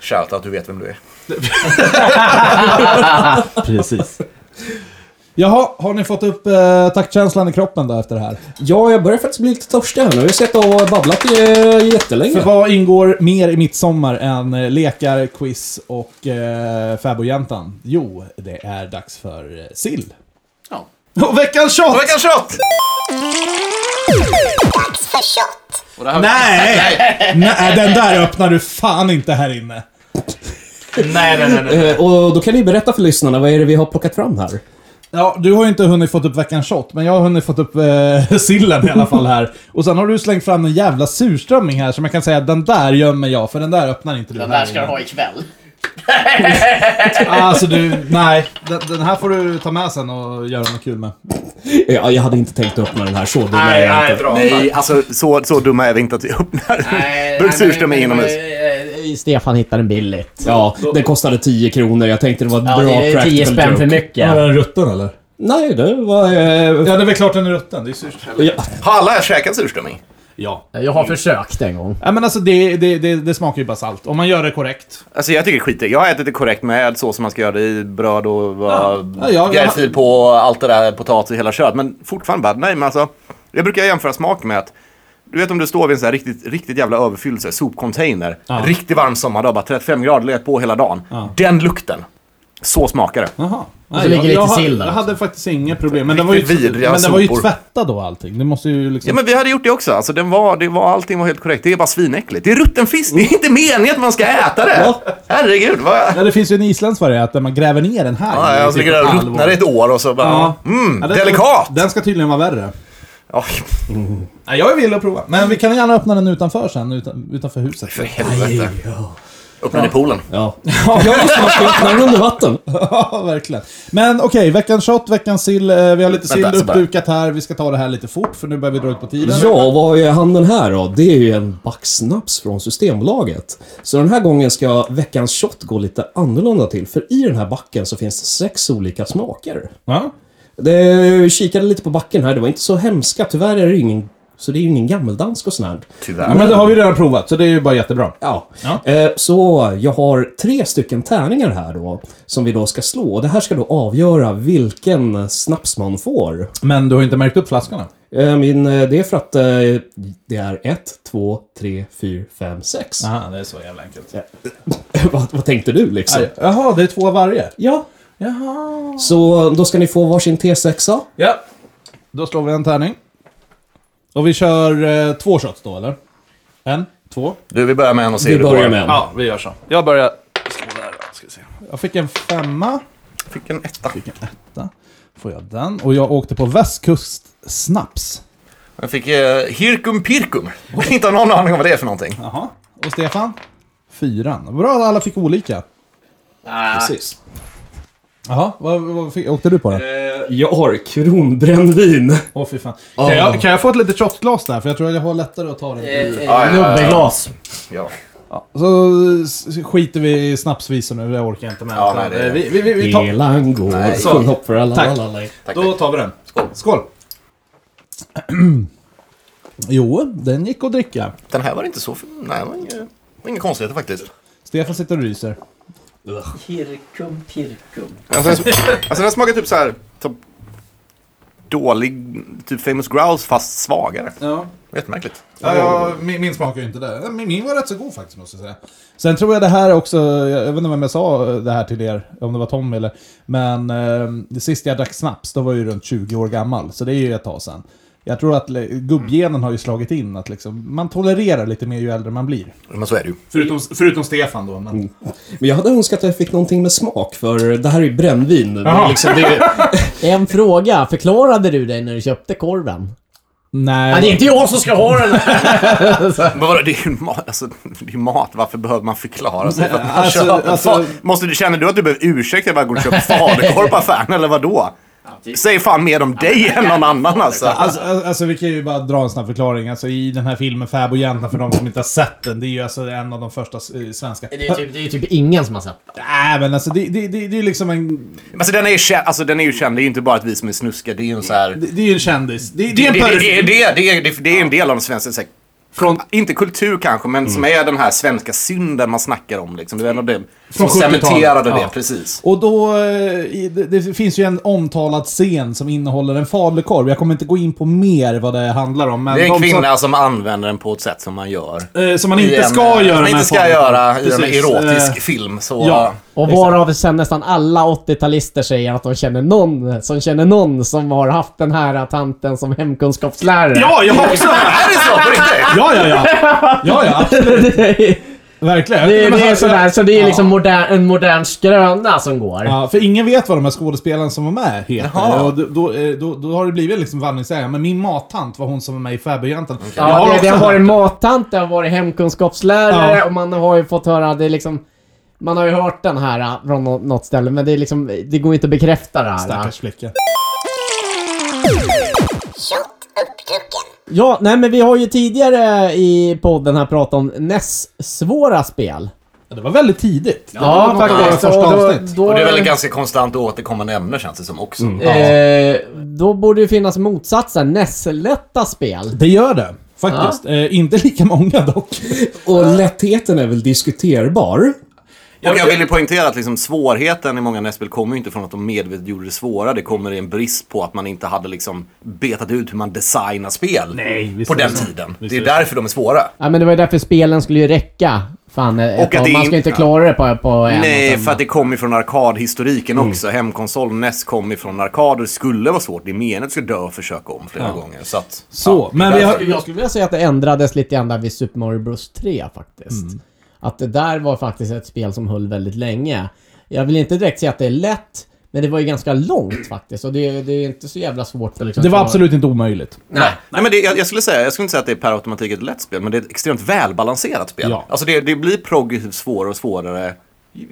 G: Shout att du vet vem du är.
C: Precis. Jaha, har ni fått upp eh, taktkänslan i kroppen då efter det här?
A: Ja, jag börjar faktiskt bli lite törstig här nu. Jag har suttit och babblat eh, jättelänge.
C: För vad ingår mer i midsommar än eh, lekar, quiz och eh, fäbodjäntan? Jo, det är dags för eh, sill.
G: Ja.
C: Och veckans shot!
G: Och veckans shot! Och det här-
C: Nej! Nej, den där öppnar du fan inte här inne.
G: Nej, nej, nej, nej.
A: Eh, Och då kan ni berätta för lyssnarna, vad är det vi har plockat fram här?
C: Ja, du har ju inte hunnit fått upp veckans shot, men jag har hunnit fått upp eh, sillen i alla fall här. Och sen har du slängt fram en jävla surströmming här, som jag kan säga den där gömmer jag, för den där öppnar inte du.
J: Den
C: här
J: där ska du
C: inne.
J: ha ikväll.
C: Alltså du, nej. Den, den här får du ta med sen och göra något kul med.
A: Ja, jag hade inte tänkt öppna den här så dum är jag inte.
J: bra.
G: Nej,
B: eh,
G: alltså så, så dumma är vi inte att vi öppnar. Bruksurström är inomhus.
D: Stefan hittar den billigt.
A: Ja, den kostade 10 kronor. Jag tänkte det var ett
D: Ja,
A: bra
D: det är 10
A: practical
D: spänn
A: joke.
D: för mycket.
C: den rutten eller?
A: Nej, det var... eh,
C: Ja, det är väl klart den är rutten. Det är surströmming.
A: Ja,
G: Har alla här käkat surströmming?
C: Ja.
D: Jag har försökt en gång.
C: Nej men alltså det, det, det, det smakar ju bara salt. Om man gör det korrekt.
G: Alltså jag tycker det är skit. Jag har ätit det korrekt med så som man ska göra det i bröd och ja.
C: Ja, ja,
G: gräddfil på och allt det där, potatis och hela köret. Men fortfarande bara, nej men alltså. Jag brukar jämföra smak med att du vet om du står vid en sån här riktigt, riktigt jävla överfylld så här sopcontainer. Riktigt varm sommardag, bara 35 grader, legat på hela dagen. Den lukten. Så smakar det.
C: Jaha. Och
D: så ligger lite sill där
C: Jag
D: också.
C: hade faktiskt inga problem. Men den var ju,
G: Riktigt vidriga
C: men den var ju
G: sopor.
C: tvättad då allting. Det måste ju liksom...
G: Ja men vi hade gjort det också. Alltså, den var, det var, allting var helt korrekt. Det är bara svinäckligt. Det är rutten fisk. Det är inte meningen att man ska äta det. Herregud. Vad...
C: Ja, det finns ju en isländsk variant där man gräver ner den här.
G: Ja, jag
C: typ
G: ligger där
C: ett
G: och
C: halvår.
G: ruttnar i ett år och så bara...
C: Ja.
G: Mm,
C: Ja, den-
G: delikat!
C: Den ska tydligen vara värre.
G: Oj,
C: Nej, jag är villig att prova. Men vi kan gärna öppna den utanför sen, utan, utanför huset.
G: för helvete. Öppna den i poolen.
A: ja. ja just det, man ska öppna den under vatten.
C: Ja, verkligen. Men okej, veckans shot, veckans sill. eh, Vi har lite sill
G: alltså bara.
C: uppdukat här. Vi ska ta det här lite fort, för nu börjar vi dra ut på tiden.
A: Ja, vad är han den här då? Det är ju en backsnaps från Systembolaget. Så den här gången ska veckans shot gå lite annorlunda till. För i den här backen så finns det sex olika smaker.
C: Ja.
A: Det, jag kikade lite på backen här, det var inte så hemska. Tyvärr är det ju ingen... Så det är ju ingen gammeldansk och sånt här.
G: Tyvärr.
C: Ja, men det har vi redan provat, så det är ju bara jättebra.
A: Ja. Eh, Så jag har tre stycken tärningar här då, som vi då ska slå. Och Det här ska då avgöra vilken snaps man får.
C: Men du har inte märkt upp flaskorna?
A: Eh, Min, eh, det är för att eh, det är 1, 2, 3, 4, 5, 6.
C: Aha, det är så jävla enkelt.
A: vad, vad tänkte du liksom?
C: Aj, Jaha, det är två av varje?
A: Ja.
C: Jaha.
A: Så då ska ni få varsin T6.
C: Ja. Då slår vi en tärning. Och vi kör eh, två shots då, eller? En, två.
G: Du, vi börjar med en och ser
A: Vi
G: hur det
A: börjar
G: går.
A: med en.
C: Ja, vi gör så.
G: Jag börjar... Slå där, då, ska vi se.
C: Jag fick en femma.
G: Fick en etta.
C: Fick en etta. Får jag den. Och jag åkte på västkustsnaps.
G: Jag fick eh, Hirkum Pirkum. Inte har någon aning om vad det är för någonting.
C: Jaha. Och Stefan? Fyran. Bra att alla fick olika.
A: Precis.
C: Jaha, vad, vad fick, åkte du på den?
A: Jag har kronbrännvin.
C: Åh fy fan. Kan, jag, kan jag få ett litet shotglas där? För jag tror att jag har lättare att ta den.
D: Eh. Nubbeglas.
G: Ja.
C: Så s- skiter vi i snapsvisor nu, det orkar jag inte med.
G: Ja, nej, det-
C: Eh, vi, vi, vi, vi tar...
A: Elan går,
C: så.
A: sjung hopp för alla.
C: Tack.
A: alla, alla.
G: Tack.
C: Då tar vi den. Skål. Skål. jo, den gick att dricka.
G: Den här var inte så... För... Nej, det var inga, inga konstigheter faktiskt.
C: Stefan sitter och ryser.
J: Pirkum, pirkum.
G: Alltså, den- alltså den smakar typ så här... Typ, dålig... Typ Famous Growls fast svagare.
C: Ja.
G: Jättemärkligt.
C: Ja, jag- min, min smakar ju inte det. Min, min var rätt så god faktiskt, måste jag säga. Sen tror jag det här också, jag, jag vet inte vem jag sa det här till er, om det var Tom eller... Men eh, det sista jag drack snaps, då var jag ju runt 20 år gammal, så det är ju ett tag sedan. Jag tror att le- gubbgenen har ju slagit in att liksom, man tolererar lite mer ju äldre man blir.
G: Men så är det ju.
C: Förutom, förutom Stefan då. Men...
D: Mm.
A: Men jag hade önskat att jag fick någonting med smak, för det här är ju brännvin. Det är liksom, det är,
D: En fråga. Förklarade du dig när du köpte korven?
C: Nej.
D: Ja, det är inte jag som ska ha den här.
G: Men vadå, det är ju mat. Alltså, det är ju mat. Varför behöver man förklara sig? För att man
C: alltså-
G: köper
C: alltså-
G: fa- Måste du, känner du att du behöver ursäkta att jag bara går och köper falukorv på affären, eller vadå?
A: typ.
K: riktigt.
G: Säger fan mer om dig än någon annan alltså.
C: Alltså, alltså, alltså, vi kan ju bara dra en snabb förklaring. Alltså, I den här filmen Fäbodjäntan, för de som inte har sett den, det är ju alltså en av de första eh, svenska...
D: Det är, typ, det är typ ingen som har sett den.
C: Nej, men alltså det, det, det, det är liksom en...
G: Alltså den är ju känd, alltså, den är ju känd. Det är ju inte bara att vi som är snuskiga. Det är ju en så här...
C: Det, det är ju en kändis. Det, det,
G: Det,
C: är en
G: det, det,
C: person.
G: det, det, det, det är en del av den svenska, så här, från, inte kultur kanske, men som
C: Mm.
G: är den här svenska synden man snackar om. Liksom. Det var en av dem som
C: Från 70-talet,
G: cementerade det,
C: ja.
G: precis.
C: Och då... eh, i- Det, det finns ju en omtalad scen som innehåller en falukorv. Jag kommer inte gå in på mer vad det handlar om. Men
G: Det är en
C: de
G: kvinna som använder den på ett sätt som man gör.
C: Som, eh, som man
G: I
C: inte
G: en,
C: ska göra
G: Som man
C: med
G: inte ska
C: falukorv.
G: göra i en
C: Precis,
G: erotisk
C: eh,
G: film. Så,
C: ja.
D: Och varav sen nästan alla 80-talister säger att de känner någon som känner någon som har haft den här tanten som hemkunskapslärare.
C: Ja, jag har också...
G: Är det så på riktigt?
C: Ja, ja, ja. Ja, ja.
D: det, är-
C: Verkligen.
D: det, är- det är
C: Men-
D: sådär, så det är
C: Ja.
D: liksom modern, en modern skröna som går.
C: Ja, för ingen vet vad de här skådespelarna som var med heter.
G: Jaha.
C: Och då, då, eh, då, då har det blivit liksom vandringssägen. Men min mattant var hon som var med i Fäbodjäntan. Okay.
D: Ja, det, det har varit mattant, det har varit hemkunskapslärare
C: Ja.
D: och man har ju fått höra, det är liksom... Man har ju hört den här ah, från nå- något ställe, men det är liksom, det går inte att bekräfta det här. ah.
C: Stackars flicka.
D: Ja, nej men vi har ju tidigare i podden här pratat om NES svåra spel.
C: Ja, det var väldigt tidigt.
D: Ja,
C: det var något av de
D: Och
C: Första
D: då,
C: avsnitt.
D: då,
G: Och det är väl ett ganska konstant och återkommande ämne känns det som också.
C: Mm.
D: eh, då borde ju finnas motsatsen, NES-lätta spel.
C: Det gör det. Faktiskt. Eh, inte lika många dock.
A: Och lättheten är väl diskuterbar.
G: Och jag vill ju poängtera att liksom svårigheten i många nästspel kommer ju inte från att de medvetet gjorde det svåra. Det kommer i en brist på att man inte hade liksom betat ut hur man designar spel
C: Nej, visst
G: på
C: är det
G: den
C: så.
G: tiden.
C: Visst
G: det är
C: är det
G: därför de är svåra.
D: Ja, men det var ju därför spelen skulle ju räcka. Fan, ett
G: att det
D: tag.
G: är
D: man
G: inte-
D: ska inte klara det på, på en och
G: Nej,
D: samma.
G: för att det kommer ju från arkadhistoriken också. Hemkonsol NES kom ju från arkader. Det skulle vara svårt. Det är meningen att du ska dö och försöka om flera gånger. Så att,
C: Så, men vi har...
D: Jag skulle vilja säga att det ändrades lite grann där vid Super Mario Bros 3 faktiskt.
C: Mm.
D: Att det där var faktiskt ett spel som höll väldigt länge. Jag vill inte direkt säga att det är lätt, men det var ju ganska långt faktiskt. Och det, det är inte så jävla svårt. För, liksom,
C: Det var
D: att-
C: absolut inte omöjligt.
G: Nej. Nej, men det, jag, jag skulle säga, jag skulle inte säga att det är per automatik ett lätt spel, men det är ett extremt välbalanserat spel.
C: Ja.
G: Alltså det, det blir progressivt svårare och svårare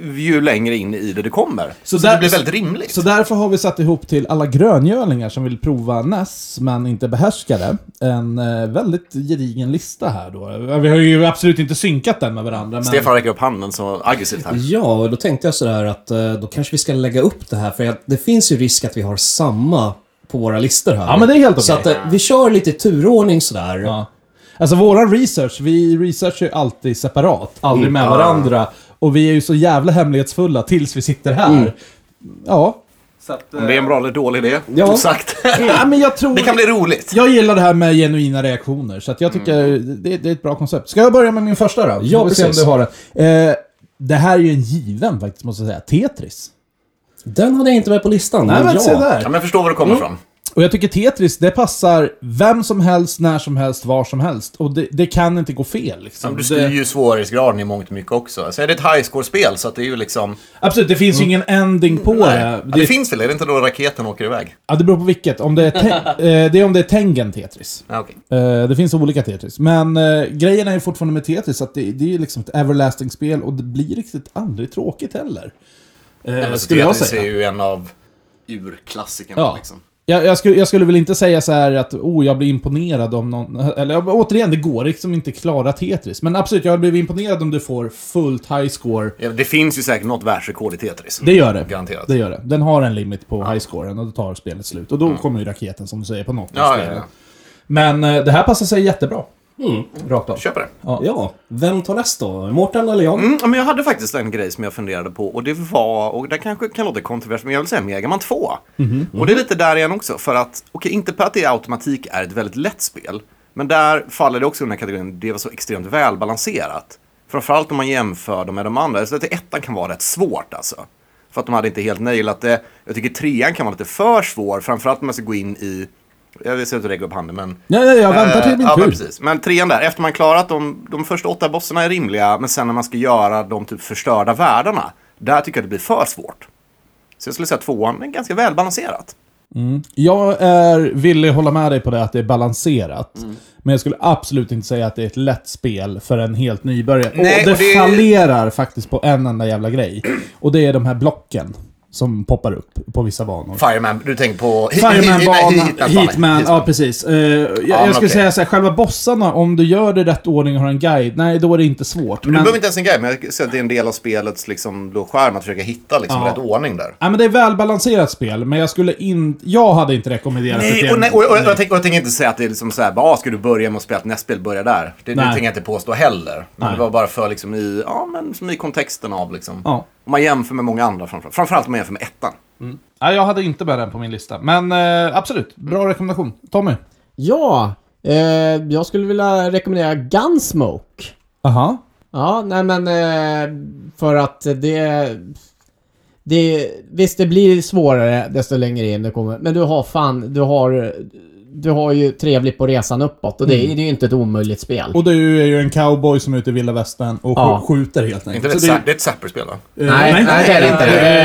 G: ju ju längre in i det det kommer. Så,
C: där-
G: det blir väldigt rimligt.
C: Så därför har vi satt ihop till alla gröngölingar som vill prova NES men inte behärskar det. En eh, väldigt gedigen lista här då. Vi har ju absolut inte synkat den med varandra. Men...
G: Stefan räcker upp handen så aggressivt här.
A: Ja, och då tänkte jag sådär att eh, då kanske vi ska lägga upp det här för jag, det finns ju risk att vi har samma på våra listor här.
C: Ja, men det är helt
A: Så
C: okej.
A: att eh, vi kör lite i turordning sådär.
C: Ja. Alltså våran research, vi researchar ju alltid separat, aldrig
G: Mm.
C: med varandra. Och vi är ju så jävla hemlighetsfulla tills vi sitter här.
G: Mm.
C: Ja. Så att,
G: Om det är en bra eller dålig idé,
C: Ja.
G: osagt.
C: ja, men jag tror...
G: Mm. det kan bli roligt.
C: Jag gillar det här med genuina reaktioner, så att jag tycker det, det är ett bra koncept. Ska jag börja med min första då?
A: Ja,
C: Får vi se om
A: precis.
C: du har det. Eh, det här är ju en given faktiskt, måste jag säga. Tetris.
A: Den hade jag inte med på listan.
C: Nej, men
A: ja.
C: se där.
G: Ja, men jag förstår var du kommer
C: Mm.
G: ifrån.
C: Och jag tycker Tetris, det passar vem som helst, när som helst, var som helst. Och det, det kan inte gå fel. Liksom.
G: Du
C: Det-
G: styr ju svårighetsgraden i mångt och mycket också. Så är det ett highscore-spel så att det är ju liksom...
C: Absolut, det finns ju ingen ending på det.
G: Ja, det finns väl? Är det inte då raketen åker iväg?
C: ja, det beror på vilket. Om det är, te- eh, det är om det är Tengen Tetris.
G: Ja, okej.
C: Eh, det finns olika Tetris. Men eh, grejen är ju fortfarande med Tetris att det, det är ju liksom ett everlasting spel och det blir riktigt aldrig tråkigt heller.
G: Nej, men
C: Eh,
G: så
C: skulle jag
G: Tetris
C: säga.
G: är ju en av urklassikerna
C: Ja.
G: liksom.
C: Jag, jag, skulle, jag skulle väl inte säga så här att oh, jag blir imponerad om någon... Eller jag- återigen, det går liksom inte klara Tetris. Men absolut, jag blir imponerad om du får fullt high score.
G: Ja, Det finns ju säkert något världsrekord i Tetris.
C: Det gör det.
G: Garanterat.
C: Det gör det. Den har en limit på high scoren och då tar spelet slut. Och då kommer ju raketen som du säger på något av
G: Mm. Ja, ja,
C: spelen. Men eh, det här passar sig jättebra. Rakt av.
G: ja. Köper det.
A: Ja, vem tar näst då? Mårten eller jag?
G: Mm, ja, men jag hade faktiskt en grej som jag funderade på och det var, och det kanske kan låta kontroversiellt, men jag vill säga Mega Man 2. Och det är lite där igen också, för att, okej, inte på att det automatik är ett väldigt lätt spel, men där faller det också under kategorin, det var så extremt välbalanserat. Framförallt om man jämför dem med de andra, så att ettan kan vara rätt svårt alltså. För att de hade inte helt nailat det. Jag tycker trean kan vara lite för svår, framförallt om man ska gå in i, jag ser ut att räcka upp handen, men
C: Ja, ja, jag väntar till
G: Eh,
C: min
G: ja, men
C: tur.
G: precis. Men trean där, efter man klarat de, de första åtta bossarna är rimliga, men sen när man ska göra de typ förstörda världarna, där tycker jag det blir för svårt. Så jag skulle säga att tvåan är ganska välbalanserat.
C: Jag är villig hålla med dig på det att det är balanserat.
B: Mm.
C: Men jag skulle absolut inte säga att det är ett lätt spel för en helt nybörjare.
G: Nej,
C: och det,
G: och det-
C: fallerar faktiskt på en enda jävla grej. Och det är de här blocken. som poppar upp på vissa banor.
B: Fireman, du tänker på... hi- hi- hi- nej,
C: Fireman-banan,
B: Hitman-banan.
C: Hitman, ja precis. Eh, jag jag
B: men
C: skulle
B: okej.
C: säga så här, själva bossarna, om du gör det i rätt ordning och har en guide, nej då är det inte svårt.
B: Du behöver inte ens en guide, men jag ser att det är en del av spelets liksom, då skärm att försöka hitta liksom,
C: Ja.
B: rätt ordning där.
C: Nej, men det är välbalanserat spel, men jag skulle inte... Jag hade inte rekommenderat det
B: Nej,
C: till
B: och,
C: en-
B: nej, och, och, och, jag tänker, och jag tänker inte säga att det är liksom så här, bara, "Ah, ska du börja med att spela ett nästspel, börja där. Det, det
C: Nej.
B: tänker jag inte påstå heller. Men
C: Nej.
B: det var bara för liksom i, ja men som i kontexten av liksom.
C: Ja.
B: Om man jämför med många andra framförallt. Framförallt om man jämför med ettan.
C: Nej, jag hade inte med den på min lista. Men eh, absolut, bra rekommendation. Tommy?
D: Ja, eh, jag skulle vilja rekommendera Gunsmoke.
C: Aha.
D: Ja, nej men eh, för att det, det... Visst, det blir svårare desto längre in du kommer. Men du har fan, du har... Du har ju trevligt på resan uppåt och det, är- det är ju inte ett omöjligt spel.
C: Mm. Och du är ju en cowboy som är ute i vilda västern och
D: Ja.
C: sk- skjuter helt
B: Inte
C: enkelt.
B: det,
C: Så
B: det, är... det är ett Zapper-spel va?
C: eh,
D: Nej, nej, det är det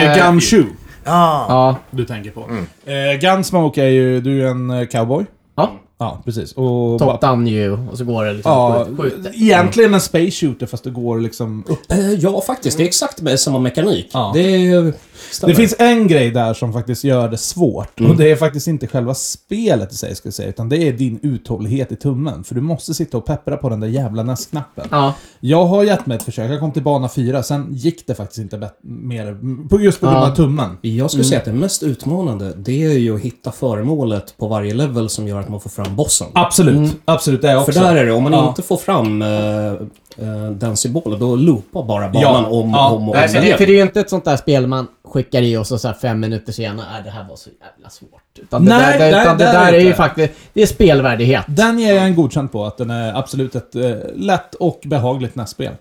D: inte.
C: Eh, Gumshoe
D: ja.
C: du tänker på.
D: Mm.
C: Eh, Gunsmoke är ju... Du är en eh, cowboy.
D: ja.
C: Ja, precis. Och...
D: Top down you och så går det liksom
C: Ja,
D: skjut, skjuter.
C: egentligen en space shooter fast det går liksom upp.
A: Eh, Ja, faktiskt. Det är exakt med samma mekanik.
C: Ja.
A: Det, är-
C: Det
A: stämmer.
C: finns en grej där som faktiskt gör det svårt.
D: Mm.
C: Och det är faktiskt inte själva spelet i sig, ska jag säga, utan det är din uthållighet i tummen. För du måste sitta och peppra på den där jävla näsknappen.
D: Ja.
C: Jag har gett mig ett försök, jag kom till bana 4, sen gick det faktiskt inte bet- mer, på- just på grund av
D: Ja.
C: tummen.
A: Jag
C: Mm.
A: skulle säga att det mest utmanande, det är ju att hitta föremålet på varje level som gör att man får fram bossen.
C: Absolut, absolut, det är jag
A: Mm. För
C: också.
A: där är det, om man
C: Ja.
A: inte får fram eh, eh, den symbolen, då loopar bara banan
C: Ja.
A: om
C: Ja.
A: och om och om
D: Nej, för, det,
A: igen.
D: för det är ju inte ett sånt där spel man skickar i och så, så här fem minuter senare, nej det här var så jävla svårt. Utan det
C: Nej,
D: där, det,
C: nej,
D: utan det
C: där
D: där är,
C: är
D: ju
C: inte.
D: faktiskt, det är spelvärdighet.
C: Den ger jag en godkänd på, att den är absolut ett eh, lätt och behagligt nästspel.
A: Mm.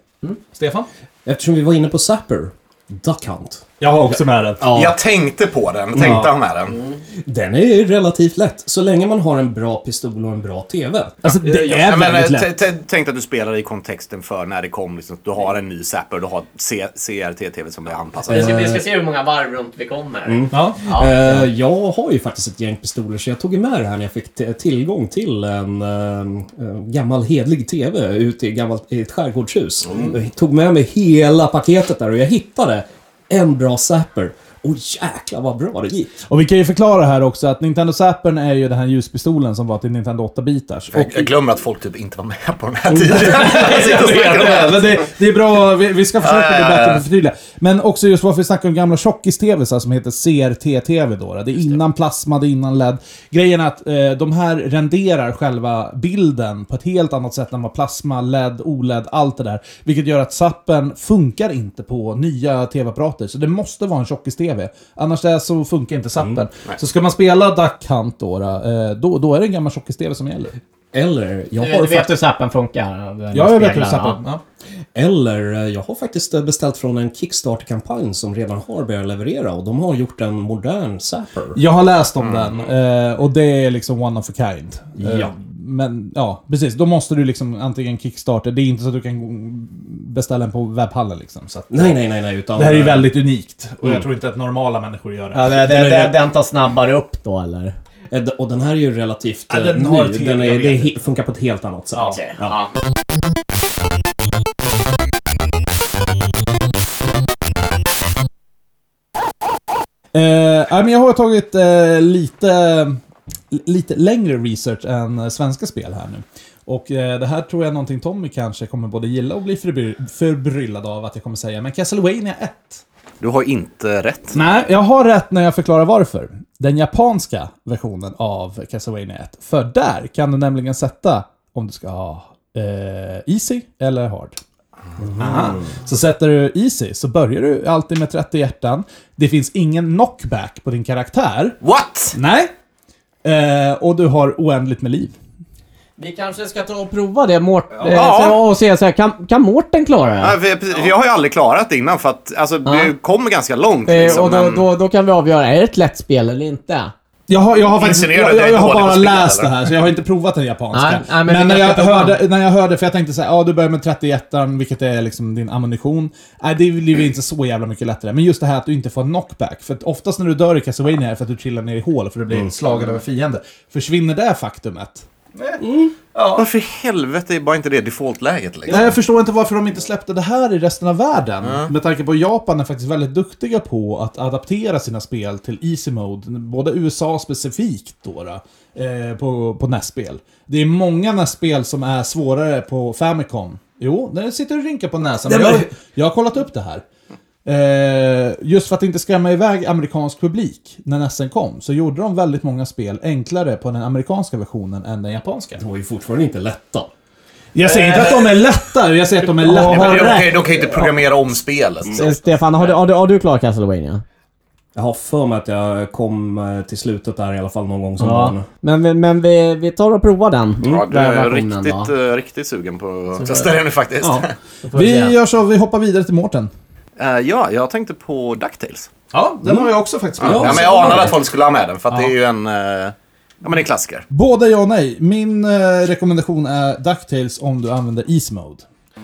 C: Stefan?
A: Eftersom vi var inne på Zapper, Duck Hunt.
C: Jag har också med den.
A: Ja.
B: Jag tänkte på den, tänkte
C: Ja.
B: han med den.
A: Den är ju relativt lätt, så länge man har en bra pistol och en bra TV.
C: Alltså, det är
B: Jag menar,
C: väldigt lätt.
B: eh, t- t- tänk att du spelar i kontexten för när det kom. Liksom, du har en ny Zapper och du har C- CRT-TV som är anpassad.
D: Vi ska, vi ska se hur många varv runt vi kommer.
C: Ja.
A: Eh, jag har ju faktiskt ett gäng pistoler, så jag tog ju med det här när jag fick t- tillgång till en eh, eh, gammal hedlig TV ute i, gammalt, i ett skärgårdshus.
C: Mm.
A: Jag tog med mig hela paketet där och jag hittade en bra Zapper. Och jäklar vad bra det gick!
C: Och vi kan ju förklara här också att Nintendo Zappern är ju den här ljuspistolen som var till Nintendo 8-bitars.
B: Jag, jag glömmer att folk typ inte var med på den här tiden. Jag sitter och snackar om det.
C: Men det, det är bra, vi, vi ska försöka
B: Ja, ja,
C: bli
B: ja,
C: bättre
B: ja.
C: på att förtydliga. Men också just varför vi snackar om gamla tjockis-tvsar som heter CRT-tv då. då. Det är innan plasma, det är innan LED. Grejen är att eh, de här renderar själva bilden på ett helt annat sätt än vad plasma, LED, OLED, allt det där. Vilket gör att zappen funkar inte på nya tv-apparater. Så det måste vara en tjockis-tv. Annars där så funkar inte zappen.
B: Mm,
C: så ska man spela Duck Hunt då, då, eh, då, då är det en gammal tjockis-tv som gäller.
A: Eller, jag
D: Du,
C: Eh,
A: har
D: du vet hur
A: faktiskt,
D: zappen funkar? Den
C: Ja, jag vet hur
D: speglar,
C: zappen...
D: ja.
C: Ja.
A: eller eh, jag har faktiskt eh, beställt från en Kickstarter-kampanj som redan har börjat leverera och de har gjort en modern Zapper.
C: Jag har läst om den eh, och det är liksom one of a kind. Eh,
A: Ja.
C: Men ja, precis. Då måste du liksom antingen kickstarta. Det är inte så att du kan gå- beställa den på webbhallen liksom. Så att,
A: Nej, nej, nej, nej, utan...
C: det här är ju väldigt unikt. Och jag tror inte att normala människor gör det.
D: Ja, det, det, det, den tar snabbare upp då eller?
A: Eh, d- Och den här är ju relativt
C: Ja,
A: eh,
C: den har
A: ny.
C: till-
A: Den
C: jag
A: är,
C: vet
A: det he- funkar på ett helt annat sätt.
C: Ja.
A: Ja.
C: Eh, ja, men jag har tagit eh, lite, lite längre research än eh, svenska spel här nu. Och eh, det här tror jag är någonting Tommy kanske kommer både gilla och bli förbry- förbryllad av att jag kommer säga. Men Castlevania 1.
B: Du har inte rätt.
C: Nej, jag har rätt när jag förklarar varför. Den japanska versionen av Castlevania 1. För där kan du nämligen sätta om du ska ha eh, easy eller hard. Aha. Så sätter du easy så börjar du alltid med 30 hjärtan. Det finns ingen knockback på din karaktär.
B: What?
C: Nej. Eh, och du har oändligt med liv.
D: Vi kanske ska ta och prova det Mårt, eh,
B: Ja.
D: så- och se så här, kan, kan Mårten klara det?
B: Nej, för, jag- precis, för jag har ju aldrig klarat det innan för att alltså, det kommer ganska långt.
D: Eh,
B: Liksom,
D: och då,
B: men...
D: då, då kan vi avgöra, är det ett lätt spel eller inte?
C: Jag har, jag har faktiskt
B: Insinuerar
C: jag,
B: du att jag
C: jag,
B: är
C: jag har
B: dålig på
C: bara
B: spel,
C: läst
B: eller?
C: det här, så jag har inte provat den japanska.
D: Nej, nej, men
C: men
D: vi
C: när
D: kan
C: jag,
D: prova.
C: hörde, när jag hörde, för jag tänkte så här, ja du börjar med 31 vilket är liksom din ammunition. Nej, det blir inte så jävla mycket lättare. Men just det här att du inte får knockback. För att
B: Mm.
C: oftast när du dör i Castlevania är det för att du trillar ner i hål för att du blir slagen av en fiende. Försvinner det faktumet,
B: Varför i helvete är bara inte det default-läget liksom?
C: Nej, jag förstår inte varför de inte släppte det här i resten av världen. Med tanke på att Japan är faktiskt väldigt duktiga på att adaptera sina spel till Easy Mode. Både USA specifikt då, då eh, på, på NES-spel. Det är många NES-spel som är svårare på Famicom. Jo, det sitter och rynkar på näsan.
A: Nej,
C: Jag,
A: men-
C: jag har kollat upp det här. Eh, just för att inte skrämma iväg amerikansk publik när NESen kom så gjorde de väldigt många spel enklare på den amerikanska versionen än den japanska.
A: De var ju fortfarande inte lätta.
C: Jag säger inte att de är lätta, jag säger att de är lätta.
B: Nej, Mm. men de, kan, ju- de kan ju inte programmera om spelet.
D: Eh, Stefan, har du, har, du, har du klarat Castlevania?
A: Jag har för mig att jag kom eh, till slutet där i alla fall någon gång som barn.
D: Men, vi- men vi, vi tar och provar den.
B: Ja, du
D: Den
B: är
D: versionen
B: riktigt,
D: då.
B: eh, riktigt sugen på att testa det nu faktiskt.
C: Ja.
D: vi
C: Vi
D: se.
C: gör så, vi hoppar vidare till Mårten.
B: Eh, ja, jag tänkte på DuckTales.
C: Ja, den har jag också faktiskt.
B: Ja, men jag anade att folk skulle ha med den för att det är ju en... eh, ja, men det är en klassiker.
C: Båda ja och nej. Min eh, rekommendation är DuckTales om du använder Ease Mode.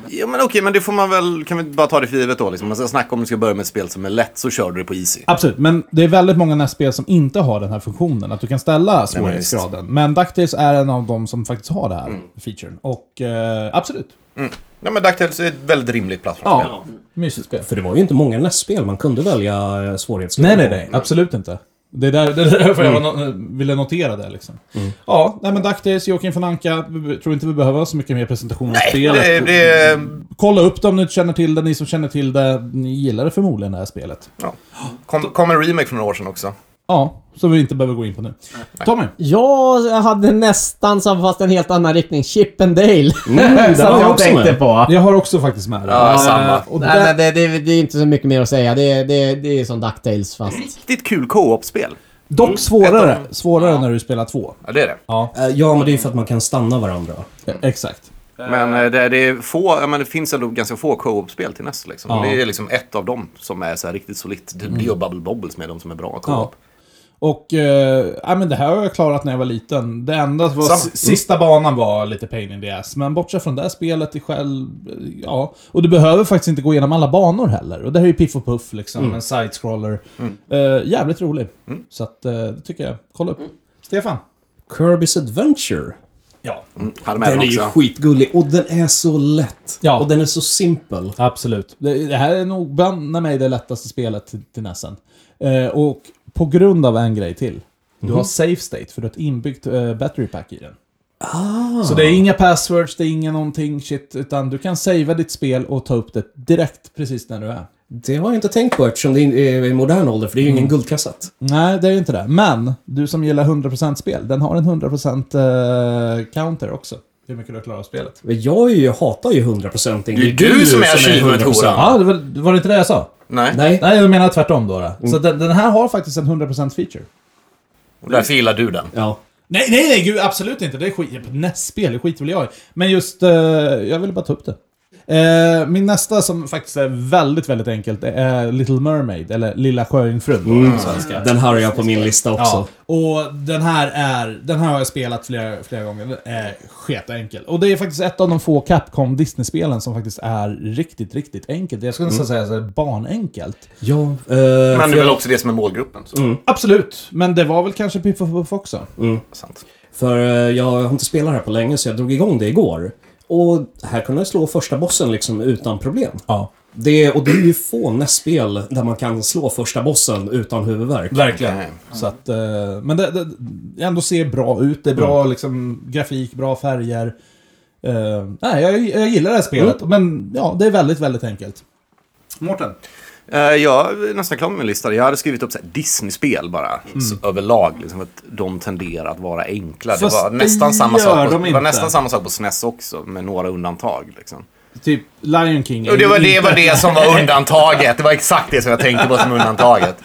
B: Ja, men okej, men det får man väl... Kan vi bara ta det för givet då liksom. Man ska snacka om du ska börja med ett spel som är lätt så kör du det på easy.
C: Absolut, men det är väldigt många NES-spel som inte har den här funktionen, att du kan ställa
B: men
C: svårighetsgraden. Men DuckTales är en av de som faktiskt har den här featuren. Och eh, absolut,
B: Nej, men DuckTales är ett väldigt rimligt plattformsspel.
C: ja. Mysigt spel.
A: För det var ju inte många NES-spel man kunde välja eh, svårighetsgrad
C: Nej, nej,
A: på.
C: nej. Absolut inte. Det är där- det är därför jag no- ville notera det liksom. Ja, nej men DuckTales, Joakim von Anka. vi be- Tror inte vi behöver så mycket mer presentation av spelet.
B: Eh, Det, det,
C: Kolla upp det om du inte känner till det. Ni som känner till det, ni gillar det förmodligen det här spelet.
B: ja. kom, kom en remake för några år sedan också.
C: Ja, som vi inte behöver gå in på nu. Tommy!
D: Jag hade nästan som fast en helt annan riktning. Chip and Dale.
A: Mm,
D: Som
A: där var jag
D: jag
A: också
D: tänkte
A: med.
D: på.
C: Jag har också faktiskt med det.
B: Ja, samma.
C: Och
D: Nej,
C: där,
D: men det, det, det är inte så mycket mer att säga. Det, det, det är som DuckTales fast...
B: Riktigt kul co-op-spel.
C: dock svårare. Svårare när du spelar två. Eh,
B: Ja, det är det.
A: Eh, Ja, men det är ju för att man kan stanna varandra.
C: Exakt.
B: Men eh, det, det, är få, ja, men det finns ändå ganska få co-op-spel till nästa. Liksom.
C: Ja.
B: Det är liksom ett av dem som är så här riktigt solitt. Det det är ju Bubble Bobble som är de som är bra co-op.
C: Och, eh, ja, men det här har jag klarat när jag var liten. Det enda var
B: Samma.
C: s- sista banan var lite pain in the ass, men bortsett från det här spelet i själv, eh, ja. Och du behöver faktiskt inte gå igenom alla banor heller. Och det här är ju Piff och Puff liksom, en side-scroller. Eh, jävligt rolig. Så att, eh, det tycker jag. Kolla upp. Stefan?
A: Kirby's Adventure.
C: Ja.
B: Hade med
A: Den
B: den
A: är ju
B: också.
A: skitgullig och den är så lätt.
C: Ja.
A: Och den är så simpel.
C: Absolut. Det, det här är nog banne mig det lättaste spelet till, till näsen. Eh, och på grund av en grej till. Du har safe state för du har ett inbyggt eh, battery pack i den. Så det är inga passwords, det är inga någonting shit, utan du kan savea ditt spel och ta upp det direkt precis när du är.
A: Det har jag inte tänkt på eftersom det är eh, i modern ålder, för det är ju
C: Mm.
A: ingen guldkassett.
C: Nej, det är ju inte det. Men, du som gillar 100% spel, den har en 100% eh, counter också. Hur mycket du klarar av spelet.
A: Jag är ju, hatar ju 100% Det
B: Det är du som är achievement-horan.
C: Ja, det var, var det inte det jag sa?
B: Nej.
A: Nej.
C: Nej, Mm. jag menar tvärtom då. då. Så den, den här har faktiskt en 100% feature.
B: Och därför gillar du den.
A: Ja.
C: Nej, nej, nej, gud, absolut inte. Det är skit. Nästspel, det skiter väl jag i. Men just, eh, jag ville bara ta upp det. Eh, min nästa som faktiskt är väldigt, väldigt enkelt, det är Little Mermaid, eller Lilla Sjöjungfrun mm. på svenska.
A: Den här har jag på min lista också.
C: Ja, och den här är, den här har jag spelat flera, flera gånger. Den är skitenkel. Och det är faktiskt ett av de få Capcom Disney-spelen som faktiskt är riktigt, riktigt enkelt. Jag skulle nästan säga så här, barnenkelt.
A: Ja. eh,
B: Men
A: för
B: det är väl
A: jag,
B: också det som är målgruppen. Så.
C: Absolut, men det var väl kanske Piff och Puff också.
B: Sant.
A: för eh, jag har inte spelat här på länge, så jag drog igång det igår. Och här kunde jag slå första bossen liksom utan problem.
C: Ja,
A: Det, och det är ju få nästspel där man kan slå första bossen utan huvudvärk.
C: Verkligen.
B: Mm.
C: Så att, eh, men det, det det ändå ser bra ut. Det är bra liksom, grafik, bra färger. Eh, nej, jag, jag gillar det här spelet, men ja, det är väldigt, väldigt enkelt. Mm. Mårten?
B: Eh, jag är nästan klar med min lista. Jag hade skrivit upp så här Disney-spel bara.
C: Mm.
B: Så, överlag. Liksom, att de tenderar att vara enkla. Det
C: Fast
B: var,
C: det
B: nästan samma
C: gör
B: sak på,
C: de
B: det var
C: inte.
B: nästan samma sak på SNES också. Med några undantag. Liksom.
C: Typ Lion King. är
B: Och det,
C: ju
B: var, det
C: inte-
B: var det som var undantaget. Det var exakt det som jag tänkte på som undantaget.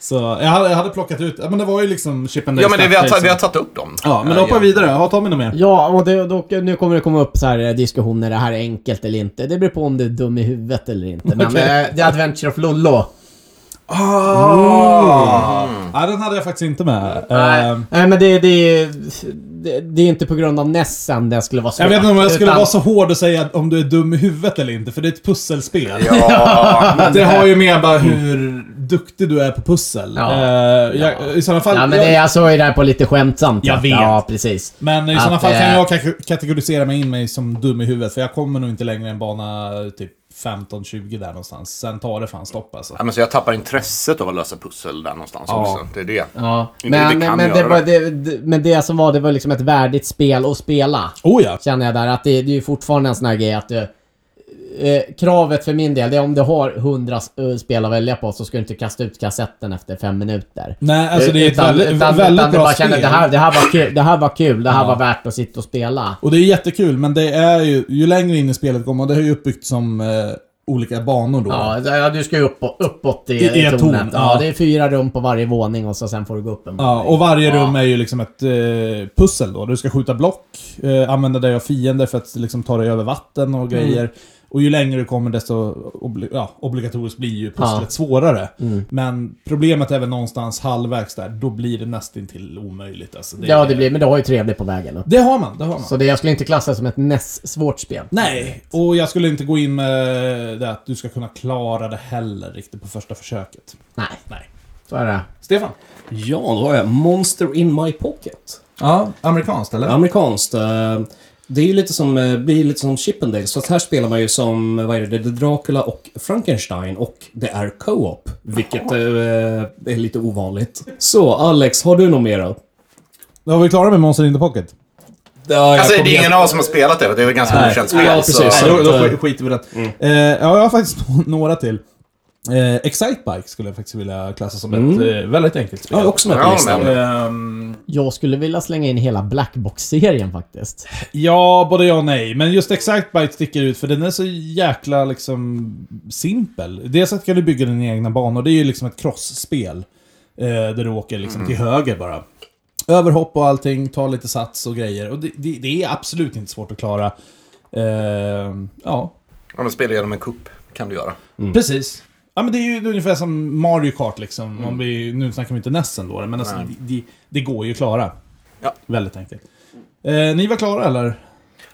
C: Så, jag, hade, jag hade plockat ut, ja, men det var ju liksom Chip and
B: Ja, men det, vi, har, ta-
C: Dale
B: vi har tagit upp dem. Eh,
C: Ja, men då hoppar vi vidare. Ja, ta mig något mer.
D: Ja, och det, då, nu kommer det komma upp så här eh, diskussioner, det här är enkelt eller inte. Det beror på om du är dum i huvudet eller inte. Men
C: Okej.
D: eh, The Adventure of Lollo.
C: Nej, den hade jag faktiskt inte med.
D: Nej,
C: Eh,
D: Nej men det, det, det, det är inte på grund av Nessen det skulle vara svårt.
C: Jag vet inte om jag skulle
D: utan-
C: vara så hård och säga om du är dum i huvudet eller inte, för det är ett pusselspel.
B: Ja, men
C: Det har ju med bara hur duktig du är på pussel.
D: Mm. Ja.
C: Eh, jag, I sådana fall...
D: Ja, men
C: jag,
D: det, jag sa ju det här på lite skämtsamt.
C: Jag
D: att-
C: vet.
D: Ja, precis.
C: men i
D: Att,
C: sådana fall kan
D: eh,
C: jag ka- kategorisera mig in mig som dum i huvudet, för jag kommer nog inte längre än bana eh, typ 15-20 där någonstans. Sen tar det fan stopp alltså.
B: Ja, men så jag tappar intresset av att lösa pussel där någonstans också. Det är det.
D: Ja.
B: Inte
D: Men,
B: riktigt kan
D: men, men, det
B: göra
D: var, det, det, men det som var, det var liksom ett värdigt spel att spela.
C: Oh ja!
D: Känner jag där. Att det, det är ju fortfarande en sån här grej att du... Eh, kravet för min del, det är om du har 100 s- eh, spel att välja på så ska du inte kasta ut kassetten efter fem minuter.
C: Nej, alltså det är ett
D: Utan-
C: väldigt,
D: utan-
C: väldigt
D: utan du
C: bra
D: bara känner,
C: spel.
D: Det här, det här var kul, det här var kul, det här var värt att sitta och spela.
C: Och det är jättekul, men det är ju, ju längre in i spelet kommer, och det är ju uppbyggt som eh, olika banor då.
D: Ja, ja, du ska ju upp, uppåt i,
C: I- i
D: i,
C: ett
D: tornet.
C: torn,
D: Ja.
C: ja.
D: det är fyra rum på varje våning och så sen får du gå upp en
C: Ja,
D: våning.
C: och varje rum är ju liksom ett eh, pussel då. Du ska skjuta block, eh, använda dig av fiender för att liksom, ta dig över vatten
D: Mm.
C: och grejer. Och ju längre du kommer desto obli- ja, obligatoriskt blir ju pusslet
D: Ja. Mm.
C: svårare. Men problemet är väl någonstans halvvägs där, då blir det nästintill omöjligt. Alltså, det,
D: Ja, det blir, men du har ju trevligt på vägen upp.
C: det har man, det har man.
D: Så det, jag skulle inte klassa det som ett näst svårt spel.
C: Nej, och jag skulle inte gå in med det att du ska kunna klara det heller riktigt på första försöket.
D: Nej.
C: Nej.
D: Så är det.
C: Stefan?
A: Ja, då har jag Monster in my pocket.
C: Ja, amerikanskt eller?
A: Amerikanskt. eh, Det är ju lite som, eh, blir lite som Chippendales, fast här spelar man ju som, eh, vad är det, det är Dracula och Frankenstein och det är co-op, vilket eh, är lite ovanligt. Så, Alex, har du något mera?
B: Alltså,
C: Då var vi klara med Monster in the Pocket.
A: Ja,
B: Alltså, det är ingen av oss som har spelat det. Det är väl ganska okänt spel.
A: Ja, precis.
B: Så.
C: Nej, då, då
A: att, eh,
C: sk- skiter vi i det. Eh, ja, jag har faktiskt några till. Eh, Excitebike skulle jag faktiskt vilja klassa som
A: Mm.
C: ett eh, väldigt enkelt spel.
A: Jag är också med
B: Ja,
A: på listan.
B: men-
C: Ehm,
D: Jag skulle vilja slänga in hela Blackbox-serien faktiskt.
C: ja, både ja och nej. Men just Excitebike sticker ut för den är så jäkla liksom simpel. Dels att kan du bygga dina egna banor. Det är ju liksom ett crossspel. Eh, där du åker liksom till
A: Mm.
C: höger bara. Överhopp och allting, ta lite sats och grejer. Och det, det, det är absolut inte svårt att klara. Ehm, ja,
B: Om du spelar genom en kupp kan du göra.
C: Precis. Ja, men det är ju ungefär som Mario Kart liksom. Om vi, nu snackar vi inte Nessen då, men alltså, det, det, det går ju att klara.
B: Ja.
C: Väldigt enkelt. Eh, ni var klara eller?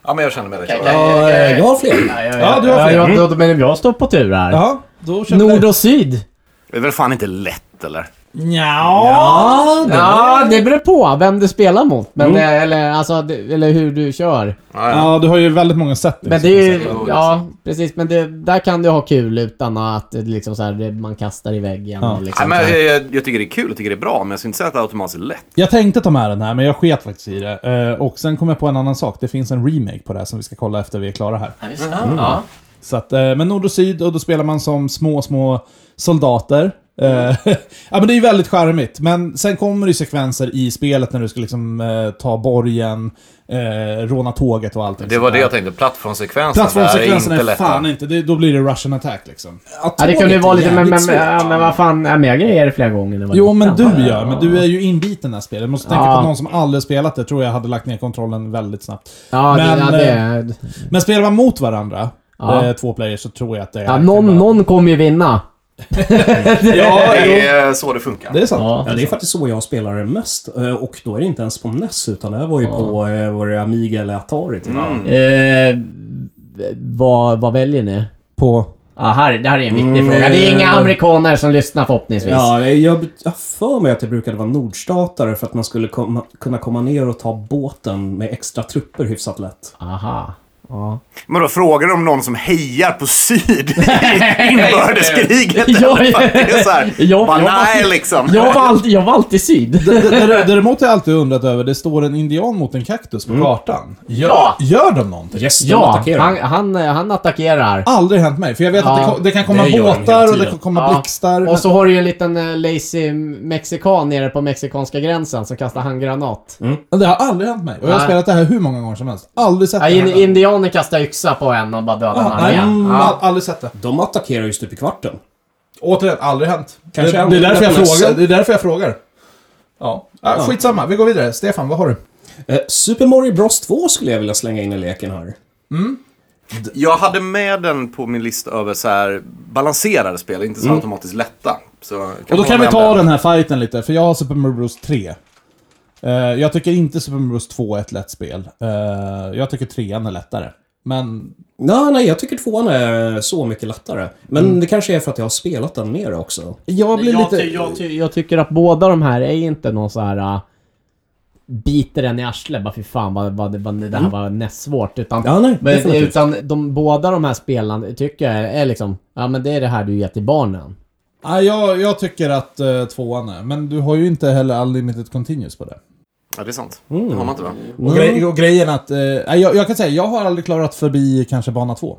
B: Ja, men jag känner mig rätt klar.
A: Ja, eh, jag har fler.
C: Ja, du har fler.
D: eh, jag, då, men jag står på tur här.
C: Ja, då kör
D: Nord och syd.
B: Det är väl fan inte lätt, eller?
C: Nja.
D: Ja, det beror på vem du spelar mot. Men, eh, eller, alltså, det- eller hur du kör.
C: Ja, du har ju väldigt många liksom. settings.
D: Men det är ju,
B: säga.
D: ja precis, men det, där kan du ha kul utan att det liksom så här, det, man kastar i väggen.
C: Ja.
D: Och liksom,
B: Nej, men
D: så här.
B: jag, jag, jag tycker det är kul, jag tycker det är bra, men jag skulle inte säga att det automatiskt är lätt.
C: Jag tänkte ta med den här, men jag sket faktiskt i det. Eh, och sen kom jag på en annan sak. Det finns en remake på det här som vi ska kolla efter vi är klara här.
L: Ja, visst. Ja.
C: Så att, eh, men nord och syd, och då spelar man som små, små soldater. Eh,
D: Mm.
C: ja, men det är ju väldigt charmigt. Men sen kommer det ju sekvenser i spelet när du ska liksom eh, ta borgen, eh, råna tåget och allting.
B: Det var det jag tänkte, plattformssekvensen.
C: Plattformssekvensen är, fan
B: lätt.
C: inte... Det, då blir det Russian attack liksom.
D: ja, det kunde ju vara lite, men,
C: jävligt
D: men,
C: svårt.
D: ja, men vad fan, ja, men jag grejade flera gånger när jag var
C: Jo,
D: liten.
C: men du gör. Men du är ju inbiten i det här spelet. Jag måste tänka
D: Ja.
C: på någon som aldrig spelat det. Tror jag hade lagt ner kontrollen väldigt snabbt.
D: Ja,
C: Men, eh,
D: det, ja, det är...
C: Men spelar man mot varandra,
D: Ja.
C: eh, två players, så tror jag att det är...
D: Ja, någon, någon kommer ju vinna.
B: Ja, det är så det funkar.
C: Det är sant.
A: Ja, det är faktiskt så jag spelar det mest. Eh, Och då är det inte ens på NES, utan det här var ju på eh, var det Amiga eller Atari. Typ.
D: Eh, vad, vad väljer ni?
C: På... Mm.
D: Ja, här, det här är en viktig fråga. Det är inga amerikaner som lyssnar förhoppningsvis.
A: Ja, jag jag har för mig att det brukade vara nordstatare för att man skulle komma, kunna komma ner och ta båten med extra trupper hyfsat lätt.
D: Aha. Ja.
B: Men då frågar de om någon som hejar på syd i inbördeskriget.
D: Ja,
B: eller vad det är så här.
D: Ja,
B: Bara,
D: jag var-
B: nej, liksom.
D: Jag var alltid, jag var alltid syd.
C: D- d- d- Däremot har jag alltid undrat över, det står en indian mot en kaktus
A: Mm.
C: på kartan. Gör,
D: Ja.
C: gör de någonting?
A: Yes, de
D: Ja,
A: attackerar.
D: han, han, han attackerar.
C: Aldrig hänt mig, för jag vet att det,
D: Ja.
C: ko- det kan komma
A: Det gör de hela
C: båtar och det
A: tiden.
C: kan komma
D: Ja.
C: blixtar.
D: Och så har du ju en liten eh, lazy mexikan nere på mexikanska gränsen som kastar handgranat.
B: Mm.
C: Men Det har aldrig hänt mig. Och jag har
D: Nej.
C: spelat det här hur många gånger som helst. Aldrig sett
D: Ja,
C: det
D: in,
C: hända.
D: indianer kastar yxa på en och bara dödar en
C: Ja, nej,
D: armé.
C: mm,
D: Ja.
C: all- Aldrig sett det.
A: De attackerar ju stup i kvarten.
C: Återigen, aldrig hänt. Det,
A: Kanske
C: det, är
A: aldrig
C: därför jag
A: hänt på
C: frågar.
A: mässan.
C: det är därför jag frågar. Ja. Ja, Skitsamma, vi går vidare. Stefan, vad har du?
A: Eh, Super Mario Bros 2 skulle jag vilja slänga in i leken här.
B: Jag hade med den på min lista över så här balanserade spel, inte så automatiskt lätta. Så
C: Och då
B: man
C: kan vi
B: med
C: ta den här fighten lite, för jag har Super Mario Bros 3. Eh, jag tycker inte Super Mario Bros 2 är ett lätt spel. Eh, jag tycker 3 är lättare. Men
A: Nej, nej, jag tycker tvåan är så mycket lättare. Men det kanske är för att jag har spelat den mer också.
D: Jag blir
L: Jag
D: lite...
L: ty- jag
D: jag, tycker att båda de här är inte någon så här... äh, biter en i arslet bara fy fan vad, vad, vad det här var nästsvårt. Utan,
A: Ja, nej,
D: men,
A: definitivt.
D: utan de, båda de här spelarna tycker jag är liksom... Ja men det är det här du ger till barnen.
C: ja, jag, jag tycker att eh, tvåan är. Men du har ju inte heller Unlimited Continuous på det.
B: Ja, det är sant.
C: Mm.
B: Det har man inte va?
C: Och, grej, och grejen att... Eh, nej, jag, jag kan säga, jag har aldrig klarat förbi kanske bana 2.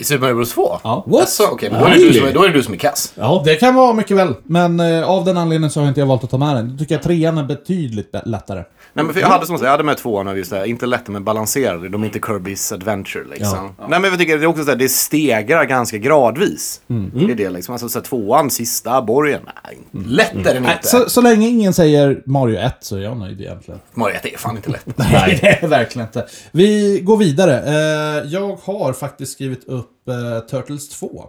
B: I Super Mario Bros 2?
C: Ja.
B: What? Alltså, okej, men då, är det du som, är- då är det du som är kass.
C: Ja. Det kan vara mycket väl. Men eh, av den anledningen så har inte jag valt att ta med den. Då tycker jag trean är betydligt be- lättare.
B: Nej, men för jag hade som sagt, jag hade med tvåan och just det här, inte lätta men balanserade. De är inte Kirby's Adventure liksom. Nej, men jag tycker det är också så här, det stegrar ganska gradvis. Det är det liksom. Alltså så här, tvåan, sista, borgen. Nej, lätt är den inte.
C: Så, så länge ingen säger Mario 1 så är jag nöjd egentligen.
B: Mario 1 är fan inte lätt.
C: Nej, det är verkligen inte. Vi går vidare. Eh, jag har faktiskt skrivit upp eh, Turtles 2.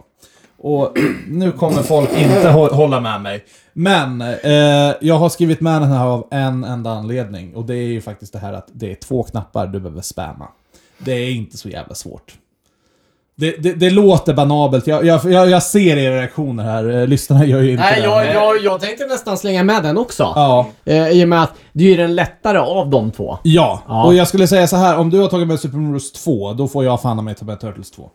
C: Och nu kommer folk inte hå- hålla med mig. Men eh, jag har skrivit med den här av en enda anledning. Och det är ju faktiskt det här att det är två knappar du behöver spamma. Det är inte så jävla svårt. Det, det, det låter banabelt. Jag, jag, jag, jag ser era reaktioner här. Eh, Lyssnarna gör ju inte
L: Nej,
C: det.
L: jag, jag, jag tänkte...
D: tänkte nästan slänga med den också.
C: Ja.
D: Eh, I och med att det är ju den lättare av de två.
C: Ja,
D: Ja.
C: och jag skulle säga så här. Om du har tagit med Super Mario Bros 2, då får jag fan mig ta med Turtles 2.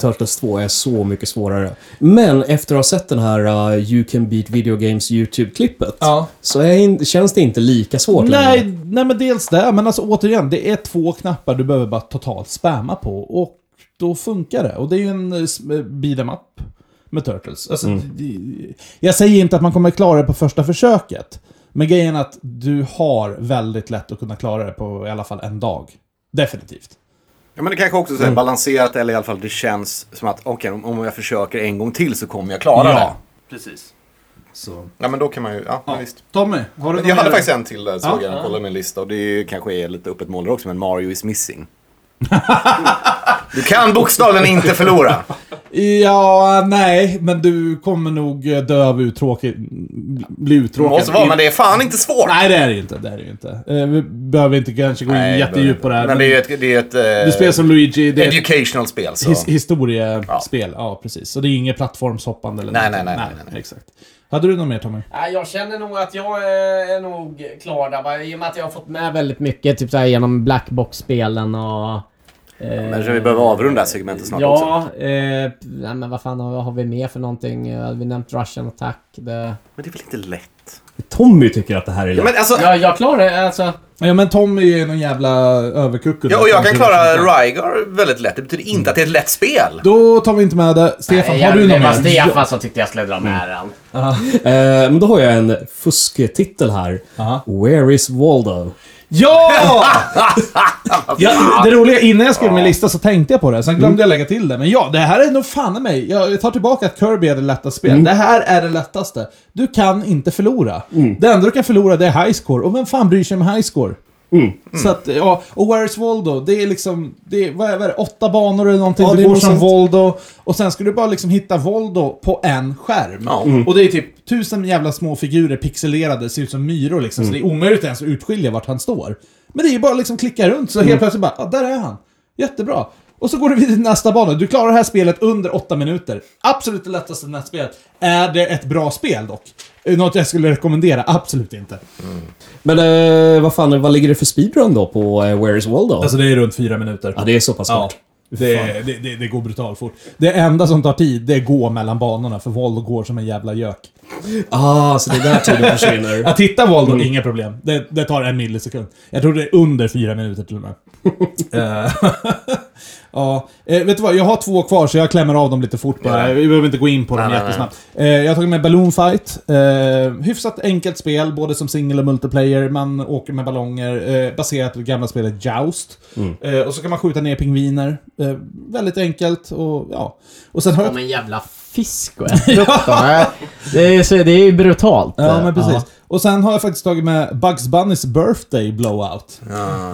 A: Turtles 2 är så mycket svårare. Men efter att ha sett den här uh, You Can Beat Video Games YouTube-klippet
C: Ja.
A: så är, in- känns det inte lika svårt
C: Nej,
A: längre.
C: nej, men dels det. Men alltså återigen, det är två knappar du behöver bara totalt spamma på. Och då funkar det. Och det är ju en eh, s- eh, beat em up med Turtles. Alltså, det- Jag säger inte att man kommer klara det på första försöket. Men grejen är att du har väldigt lätt att kunna klara det på i alla fall en dag. Definitivt.
B: Ja, men det kanske också är så här, balanserat eller i alla fall det känns som att okej, om- om jag försöker en gång till så kommer jag klara det.
C: precis.
B: Ja, men då kan man ju, ja, men visst.
C: Tommy, har du
B: Jag hade
C: mer?
B: faktiskt en till där, såg jag när jag kollade min lista. Och det är ju, kanske är lite öppet mål där också, men Mario is missing. du kan bokstavligen inte förlora.
C: Ja, nej, men du kommer nog eh, dö av uttråkig... Bli
B: Det
C: uttråkad.
B: måste vara, men det är fan inte svårt.
C: Nej, det är det ju inte. Det är det ju inte. Eh, Vi behöver inte kanske gå in
B: Nej,
C: jättedjupt på det här.
B: Men det är ju ett, det är ett eh,
C: Du spelar som Luigi, det är ett
B: educational spel. Så.
C: his historiespel. Ja. precis. Så det är inget plattformshoppande eller
B: Nej,
C: någonting.
B: nej, nej, nej, nej.
C: Exakt. Hade du något mer Tommy?
D: Nej, jag känner nog att jag eh, är nog klar där. va? I och med att jag har fått med väldigt mycket typ så här, genom Blackbox-spelen och...
B: Men så vi behöver avrunda det här segmentet snart också.
D: Ja, eh, nej, men vad fan har, har vi med för någonting? Eh, Hade vi nämnt Russian Attack? Det...
B: Men det är väl inte lätt?
A: Tommy tycker att det här är
B: Ja,
A: lätt.
B: men alltså,
D: Ja, jag klarar det. Alltså,
C: Ja, men Tommy är ju någon jävla överkuckel.
B: ja, och jag kan klara Rygar väldigt lätt. Det betyder
C: Mm.
B: inte att det är ett lätt spel.
C: Då tar vi inte med det. Stefan, har du något
L: Det var
C: mer?
L: Stefan som tyckte jag skulle dra med den.
A: Eh, men då har jag en fusketitel här.
C: Aha.
A: Where is Waldo?
C: Ja! ja! Mm. Det roliga, innan jag skrev min lista så tänkte jag på det, sen glömde jag lägga till det. Men ja, det här är nog fan i mig. Jag tar tillbaka att Kirby är det lättaste spelet. Det här är det lättaste. Du kan inte förlora. Det enda du kan förlora det är highscore, och vem fan bryr sig om highscore? Så att, ja, och Where's Waldo? Det är liksom, det är, vad är vad är det, åtta banor eller någonting.
A: Ja, det
C: du
A: är
C: går
A: något
C: som
A: sånt.
C: Voldo. Och sen ska du bara liksom hitta Voldo på en skärm.
B: Ja.
C: Och det är typ tusen jävla små figurer pixelerade, ser ut som myror liksom. Så det är omöjligt ens att utskilja vart han står. Men det är ju bara liksom klicka runt, så helt plötsligt bara, ah, där är han. Jättebra. Och så går du vidare till nästa bana. Du klarar det här spelet under åtta minuter. Absolut det lättaste nätspelet. Är det ett bra spel dock? Eh, Något jag skulle rekommendera? Absolut inte.
A: Men eh, vad fan, vad ligger det för speedrun då på eh, Where is Waldo?
C: Alltså det är runt fyra minuter.
A: ja, det är så pass
C: Ja.
A: kort.
C: Det, det, det, det går brutalt fort. Det enda som tar tid, det är gå mellan banorna, för Voldo går som en jävla gök.
A: Ah, så det är där tiden försvinner.
C: Att hitta Voldo, Mm. inga problem. Det, det tar en millisekund. Jag tror det är under fyra minuter till och med. Eh, ja, eh, vet du vad? Jag har två kvar, så jag klämmer av dem lite fort bara. Vi behöver inte gå in på dem
B: Nej, nej,
C: jättesnabbt. Eh, jag har tagit med Balloon Fight. Eh, hyfsat enkelt spel, både som singel och multiplayer. Man åker med ballonger, eh, baserat på det gamla spelet Joust.
B: Mm.
C: Eh, och så kan man skjuta ner pingviner. Eh, väldigt enkelt och ja. Och sen har jag
D: som en jävla fisk och äter upp dem. Eh, det, är, så, det är ju brutalt.
C: Ja, men precis. Och sen har jag faktiskt tagit med Bugs Bunnys birthday blowout.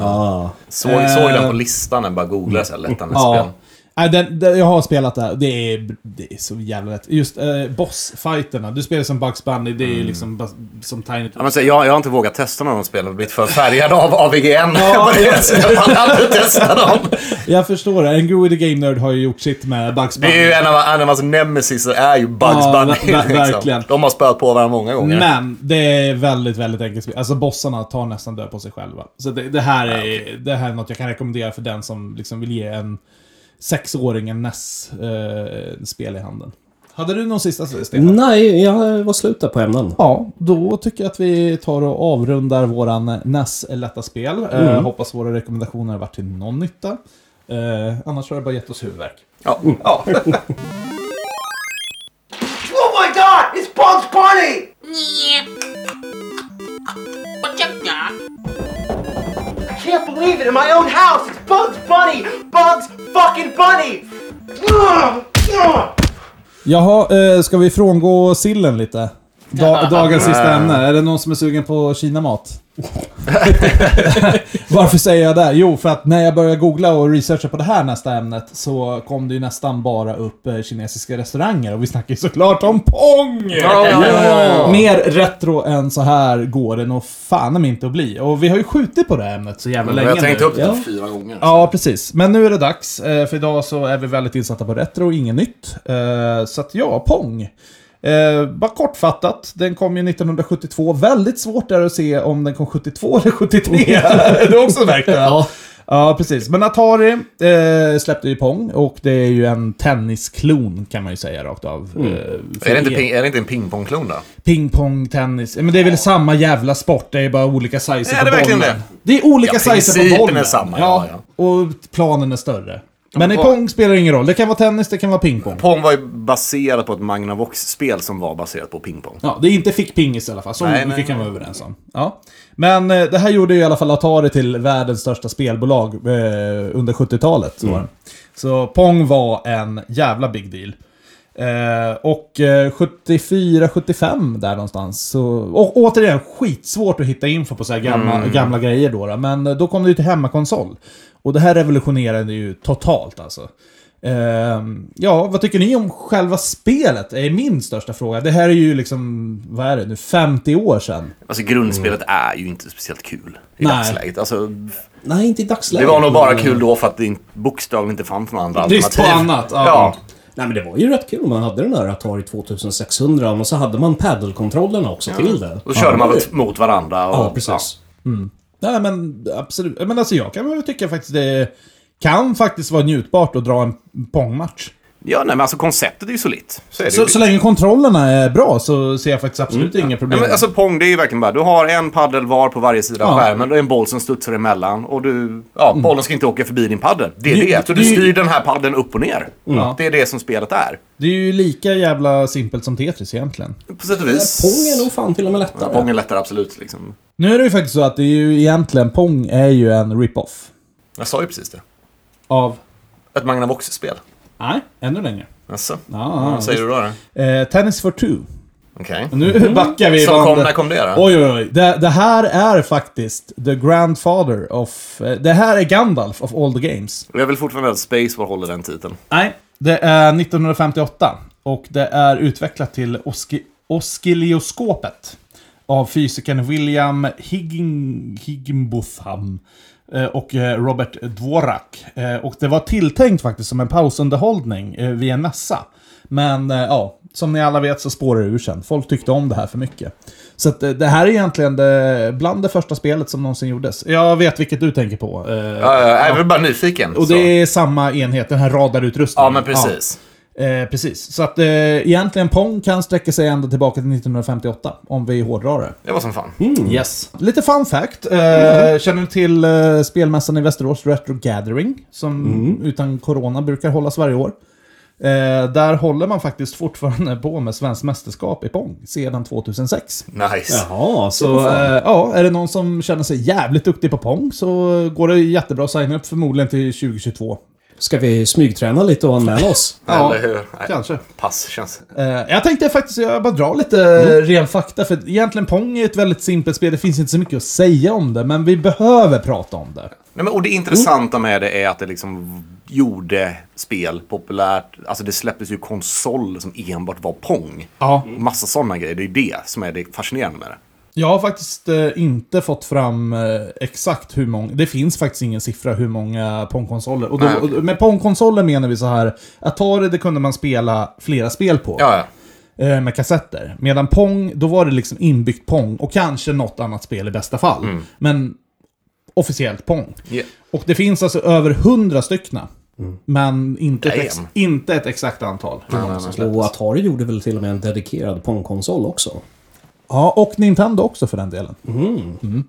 A: Ah.
G: Såg, såg den på listan när jag bara googlade så här lättande
C: Eh. Ja.
G: ja.
C: Nej, den, den, jag har spelat det här. Det är, det är så jävla lätt. Just eh, bossfighterna. Du spelar som Bugs Bunny. Det är ju liksom bas- som Tiny
G: Mm. Ja, men så, jag, jag har inte vågat testa någon av de spelen. Jag har blivit för färgad av AVGN. Ja. jag pallar inte testa dem.
C: Jag förstår det. Angry with the Game Nerd har ju gjort sitt med Bugs
G: Det
C: Bunny.
G: är ju en av, en av hans nemesiser är ju Bugs
C: Ja,
G: Bunny. liksom.
C: ver- ver- verkligen.
G: De har spöat på varandra många gånger.
C: Men det är väldigt, väldigt enkelt spel. Alltså bossarna tar nästan död på sig själva. Så det, det, här är, det här är något jag kan rekommendera för den som liksom vill ge en sexåring en NES-spel i handen. Hade du någon sista Stefan?
A: Nej, jag var slut där på ämnen.
C: Ja, då tycker jag att vi tar och avrundar våran NES lätta spel. Eh, hoppas våra rekommendationer har varit till någon nytta. Eh, annars har det bara gett oss huvudvärk.
G: Ja.
M: Oh my god, it's Bugs Bunny! I can't believe it, in my own house, it's Bugs Bunny! Bugs fucking Bunny! Ugh, ugh.
C: Jaha, eh, ska vi frångå sillen lite? Da- dagens sista ämne. Är det någon som är sugen på Kinamat? Varför säger jag det? Jo, för att när jag började googla och researcha på det här nästa ämnet så kom det ju nästan bara upp eh, kinesiska restauranger och vi snackar ju såklart om Pong! Mer retro än så här går det nog fan om inte att bli. Och vi har ju skjutit på det här ämnet så jävla länge
G: Jag tänkte
C: nu.
G: upp det typ fyra gånger.
C: Ja, precis. Men nu är det dags. eh, För idag så är vi väldigt insatta på retro och inget nytt. Eh, Så att ja, Pong. Eh, bara kortfattat, den kom ju 1972. Väldigt svårt där att se om den kom 72 eller 73. det är också märkt ja. ja, precis. Men Atari eh, släppte ju Pong och det är ju en tennisklon kan man ju säga rakt av. Eh, för
G: Mm. Är det, inte
C: er.
G: ping, är det inte en pingpongklon då?
C: Pingpong, tennis. Men det är väl samma jävla sport, det är bara olika sizes
G: Är
C: på
G: det verkligen
C: bollen.
G: det?
C: är olika
G: Ja,
C: sizes på
G: principen
C: bollen.
G: är samma,
C: ja,
G: ja,
C: Och planen är större. Men i
G: vad-
C: pong spelar det ingen roll. Det kan vara tennis, det kan vara pingpong.
G: Pong var ju baserat på ett Magnavox-spel som var baserat på pingpong.
C: Ja, det är inte fickpingis i alla fall. Så
G: Nej,
C: mycket
G: nej,
C: kan vi vara överens om. Ja. Men eh, det här gjorde ju i alla fall Atari till världens största spelbolag eh, under 70-talet.
G: Mm.
C: så var det. Så Pong var en jävla big deal. Eh, och eh, 74-75 där någonstans. Så, och återigen, skitsvårt att hitta info på så här gamla,
G: Mm.
C: gamla grejer då, då. Men eh, då kom det ju till hemmakonsol. Och det här revolutionerade ju totalt alltså. Ehm, ja, vad tycker ni om själva spelet? är min största fråga. Det här är ju liksom, vad är det nu, 50 år sedan.
G: Alltså grundspelet är ju inte speciellt kul i
C: Nej.
G: dagsläget. Alltså,
A: Nej, inte i dagsläget.
G: det var nog bara
A: men-
G: kul då för att det in- bokstavligen inte fanns några andra
C: Brist på
G: alternativ.
C: annat. Ja.
G: Ja.
A: Nej, men det var ju rätt kul. Man hade den där Atari 2600 och så hade man paddelkontrollerna också till det.
G: Då körde man
A: det-
G: väl mot varandra. Och,
A: Ja, precis.
C: Nej, men absolut. Men alltså jag kan väl tycka faktiskt det kan faktiskt vara njutbart att dra en pongmatch.
G: Ja, nej, men alltså konceptet är ju solitt. Så, är det
C: Så,
G: ju.
C: så länge kontrollerna är bra så ser jag faktiskt absolut inga
G: Nej,
C: problem.
G: men alltså Pong, det är ju verkligen bara, du har en paddel var på varje sida av
C: Ja.
G: skärmen, det är en boll som studsar emellan och du, ja, bollen ska inte åka förbi din paddel. Det är
C: Det-
G: Mm. det. Mm. Så du
C: det-
G: styr den här paddeln upp och ner. Det är det som spelet är.
C: Det är ju lika jävla simpelt som Tetris egentligen.
G: På sätt och vis.
A: Pong är nog fan till och med lättare.
G: Pong är lättare, absolut. Liksom.
C: Nu är det ju faktiskt så att det är ju egentligen, Pong är ju en rip-off.
G: Jag sa ju precis det.
C: Av?
G: Ett Magnavox-spel.
C: Nej, ännu längre. Mm,
G: Jaså?
C: Ja,
G: Vad säger du då? då?
C: Eh, tennis for two.
G: Okej.
C: Nu backar vi.
G: Som kom,
C: bandet.
G: när kom det då?
C: Oj, oj, oj. Det, det här är faktiskt the grandfather of... eh, Det här är Gandalf of all the games.
G: Jag vill fortfarande att Space War håller den titeln.
C: Nej. Det är 1958. Och det är utvecklat till oski, Oskilioskopet. Av fysikern William Higgin, Higginbotham. eh, Och eh, Robert Dvorak. Eh, Och det var tilltänkt faktiskt som en pausunderhållning eh, via NASA. Men eh, ja, som ni alla vet så spårar det ur sen. Folk tyckte om det här för mycket. Så att, eh, det här är egentligen det, bland det första spelet som någonsin gjordes. Jag vet vilket du tänker på. eh,
G: Ja, ja, jag är väl bara nyfiken.
C: och
G: så.
C: det är samma enhet, den här radarutrustningen.
G: Ja, men precis.
C: Ja, eh, precis. Så att eh, egentligen Pong kan sträcka sig ända tillbaka till 1958, om vi hårdrar det.
G: Det var som fan.
C: Mm. Yes. Lite fun fact. Eh, Känner du till eh, spelmässan i Västerås, Retro Gathering, som utan corona brukar hållas varje år? Eh, där håller man faktiskt fortfarande på med svenskt mästerskap i Pong sedan 2006.
G: Nice.
A: Jaha,
C: Så
A: så...
C: eh, ja, är det någon som känner sig jävligt duktig på Pong så går det jättebra att signa upp förmodligen till 2022.
A: Ska vi smygträna lite och anmäla oss?
C: Ja,
G: Eller hur? Nej,
C: kanske.
G: Pass känns...
C: Eh, jag tänkte faktiskt jag bara dra lite ren fakta, för egentligen Pong är ett väldigt simpelt spel. Det finns inte så mycket att säga om det, men vi behöver prata om det.
G: Nej, men, och det intressanta med det är att det liksom gjorde spel populärt. Alltså det släpptes ju konsol som enbart var Pong.
C: Ja.
G: Massa sådana grejer. Det är ju det som är det fascinerande med det.
C: Jag har faktiskt eh, inte fått fram eh, exakt hur många... Det finns faktiskt ingen siffra hur många Pong-konsoler. Och då,
G: Nej, okej.
C: och Med Pong-konsoler menar vi så här, Atari det kunde man spela flera spel på.
G: Ja, ja.
C: eh, med kassetter. Medan Pong, då var det liksom inbyggt Pong och kanske något annat spel i bästa fall. Men officiellt Pong.
G: Mm. Ja.
C: Och det finns alltså över hundra styckna. Men inte ett, ex,
G: Damn.
C: inte ett exakt antal. för de som släpps.
A: Och Atari gjorde väl till och med en dedikerad Pong-konsol också?
C: Ja, och Nintendo också för den delen. Mm.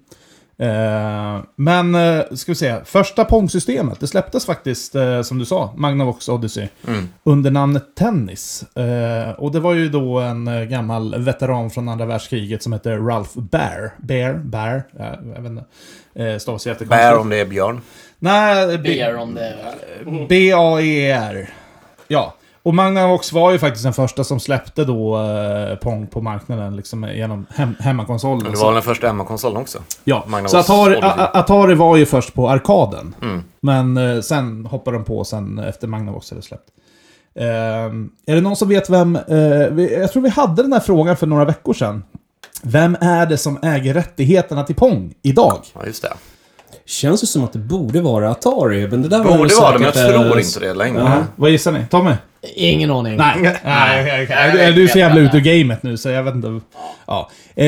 C: Eh, men, eh, ska vi se, första Pong-systemet, det släpptes faktiskt, eh, som du sa, Magnavox Odyssey,
G: Mm.
C: under namnet Tennis. Eh, och det var ju då en eh, gammal veteran från andra världskriget som hette Ralph Bear. Bear? Bear? Eh, jag vet inte. Eh, stavas jättekonstigt.
G: Bär om det är björn.
C: Nej, B- E
L: Ber om det.
C: Mm. B-A-E-R. E Ja. Och Magnavox var ju faktiskt den första som släppte då eh, Pong på marknaden, liksom eh, genom hem- hemmakonsolen.
G: Men det
C: Så-
G: var den första Emma-konsolen också.
C: Ja,
G: Magnavox
C: så Atari,
G: Odyssey. Mm.
C: A- A- Atari var ju först på arkaden. Men eh, sen hoppade de på sen efter Magnavox hade släppt. Ehm, är det någon som vet vem... eh, vi, jag tror vi hade den här frågan för några veckor sedan. Vem är det som äger rättigheterna till Pong idag?
G: Ja, just det.
A: Känns ju som att det borde vara Atari, men det där var
G: Borde
A: ju
G: vara det, men jag
A: säkert, eh,
G: tror inte det längre.
C: Vad gissar ni? Tommy?
D: Ingen aning.
C: Nej. Nej, nej, nej, du är så jävla ute ur gamet nu så jag vet inte. Ja. Eh,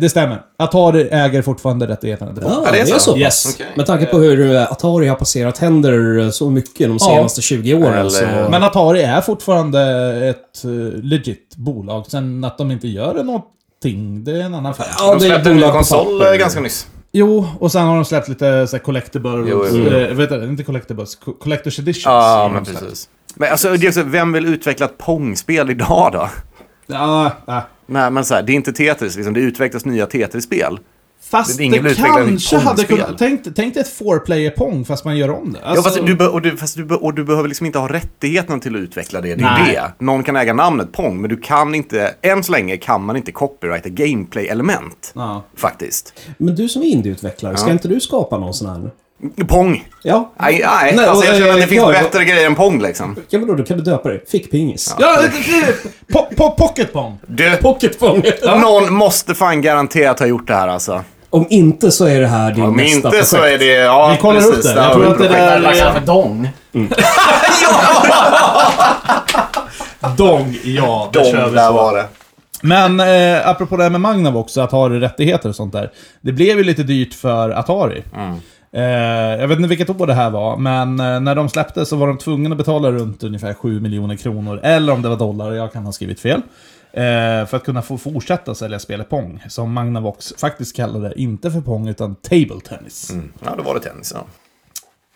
C: det stämmer. Atari äger fortfarande rättigheterna till Pong.
A: Ja,
G: Ja,
A: det är så? pass.
C: Yes.
G: Okej.
A: Med tanke på hur eh, Atari har passerat händer eh, så mycket de senaste 20 åren
G: Eller-
A: så...
C: Men Atari är fortfarande ett eh, legit bolag. Sen att de inte gör någonting, det är en annan affär.
A: Ja,
G: De
A: det är
G: släppte en ny
A: bolag på
G: konsol
A: papper.
G: eh, ganska nyss.
C: Jo, och sen har de släppt lite eh, så här collectibles.
G: Jo, jo, jo.
C: Eh, vet du, inte collectibles, co- collectors editions. har
G: Ja,
C: de
G: men
C: släppt.
G: precis. Men alltså, det är också, vem vill utveckla ett Pong-spel idag då?
C: Ja, ja.
G: Nej, men så här, det är inte Tetris, liksom. det utvecklas nya Tetris-spel.
C: Fast
G: Det är ingen
C: det
G: utveckling av
C: kanske hade
G: Pong-spel.
C: kunnat... Tänk, tänk dig ett four-player Pong fast man gör om det.
G: Ja,
C: Alltså,
G: fast du, be- och du, fast du, be- och du behöver liksom inte ha rättigheten till att utveckla det. Det är
C: Nej.
G: det. Någon kan äga namnet Pong, men du kan inte, än så länge kan man inte copyrighta gameplay-element.
C: Ja.
G: Faktiskt.
A: Men du som är indieutvecklare, ska inte du skapa någon sån här?
G: Pong!
A: Ja.
G: Nej, nej.
A: Nej,
G: alltså, jag
A: och,
G: känner att
A: eh,
G: det finns
A: ja,
G: bättre grejer än Pong liksom.
A: Ja, men då, då kan du döpa dig. Fickpingis.
C: Ja, det- det- po- po- pocket Pong.
G: Du,
A: Pocketfång.
G: någon måste fan garanterat ha gjort det här alltså.
A: Om inte så är det här din
G: Om
A: nästa
G: inte
A: projekt.
G: så är det... Ja,
C: Vi kollar upp
G: precis,
C: det.
G: där
C: Jag
G: har
C: tror
G: vi
C: att det
G: projekt.
L: Vad
C: där...
L: kallar han för dong?
C: Dong, ja. det kör
G: De
C: vi
G: där
C: så.
G: var det.
C: Men eh, apropå det här med Magnav också, Atari rättigheter och sånt där. Det blev ju lite dyrt för Atari. Eh, jag vet inte vilket år det här var, men eh, när de släppte så var de tvungna att betala runt ungefär 7 miljoner kronor, eller om det var dollar, jag kan ha skrivit fel. Eh, för att kunna få fortsätta sälja spelet Pong, som Magnavox faktiskt kallade det, inte för Pong utan Table Tennis.
G: Ja, då var det tennis. Ja,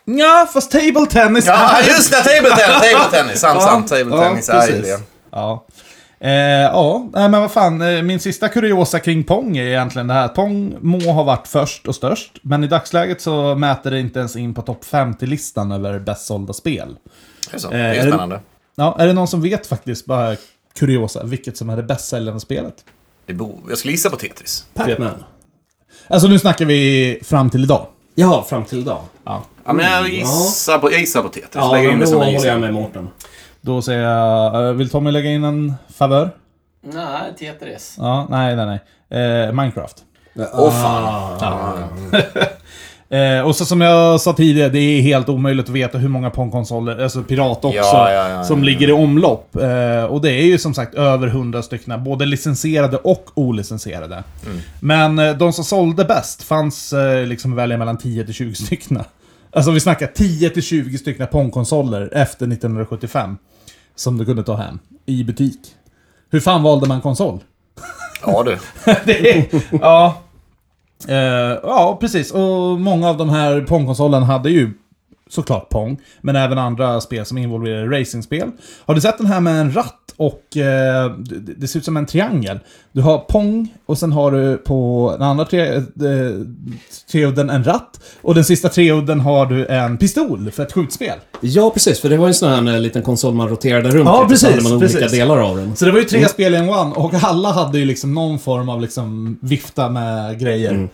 C: Ja, fast Table Tennis
G: ja just det! Table tennis! Table tennis. Sant, sant. Table
C: Ja,
G: tennis är ju
C: precis.
G: det.
C: Ja. Eh, ja, nej, men vad fan. eh, Min sista kuriosa kring Pong är egentligen det här att Pong må ha varit först och störst, men i dagsläget så mäter det inte ens in på topp 50-listan över bäst sålda spel.
G: Det är så.
C: Eh,
G: Det
C: är
G: är
C: det-
G: spännande.
C: Ja, är det någon som vet faktiskt, bara kuriosa, vilket som är det bäst säljande spelet?
G: Det bo- jag skulle gissa på Tetris.
A: Pac-Man.
C: Alltså nu snackar vi fram till idag.
A: Ja, fram till idag.
G: Ja, men jag gissar på, jag gissar på Tetris.
A: Ja,
G: Lägger in
A: men
G: det
A: då
G: som en
A: håller jag
G: gissning.
A: med Mårten.
C: Då säger jag, eh, vill Tommy lägga in en favör?
L: Nej, Tetris.
C: Ja, nej, nej, nej. Eh, Minecraft.
G: Åh fan.
C: Eh, och så som jag sa tidigare, det är helt omöjligt att veta hur många Pong-konsoler, alltså pirat också,
G: Ja, ja, ja,
C: som
G: ja.
C: ligger i omlopp. Eh, och det är ju som sagt över 100 stycken, både licensierade och olicensierade.
G: Mm.
C: Men eh, de som sålde bäst fanns eh, liksom att välja mellan 10 till 20 stycken. Alltså vi snackar 10 till 20 stycken Pong-konsoler efter 1975. Som du kunde ta hem i butik. Hur fan valde man konsol?
G: Ja du.
C: det är, ja. Eh, ja, precis. Och många av de här Pong-konsolerna hade ju såklart Pong, men även andra spel som involverar racingspel. Har du sett den här med en ratt och eh, det, det ser ut som en triangel? Du har Pong och sen har du på den andra tre, eh, treudden en ratt och den sista treudden har du en pistol för ett skjutspel.
A: Ja, precis. För det var ju en sån här eh, liten konsol man roterade runt
C: Ja,
A: lite, så hade
C: precis,
A: man
C: precis.
A: olika delar av den.
C: Så det var ju
B: Mm.
C: tre spel i en one och alla hade ju liksom någon form av liksom vifta med grejer.
B: Mm.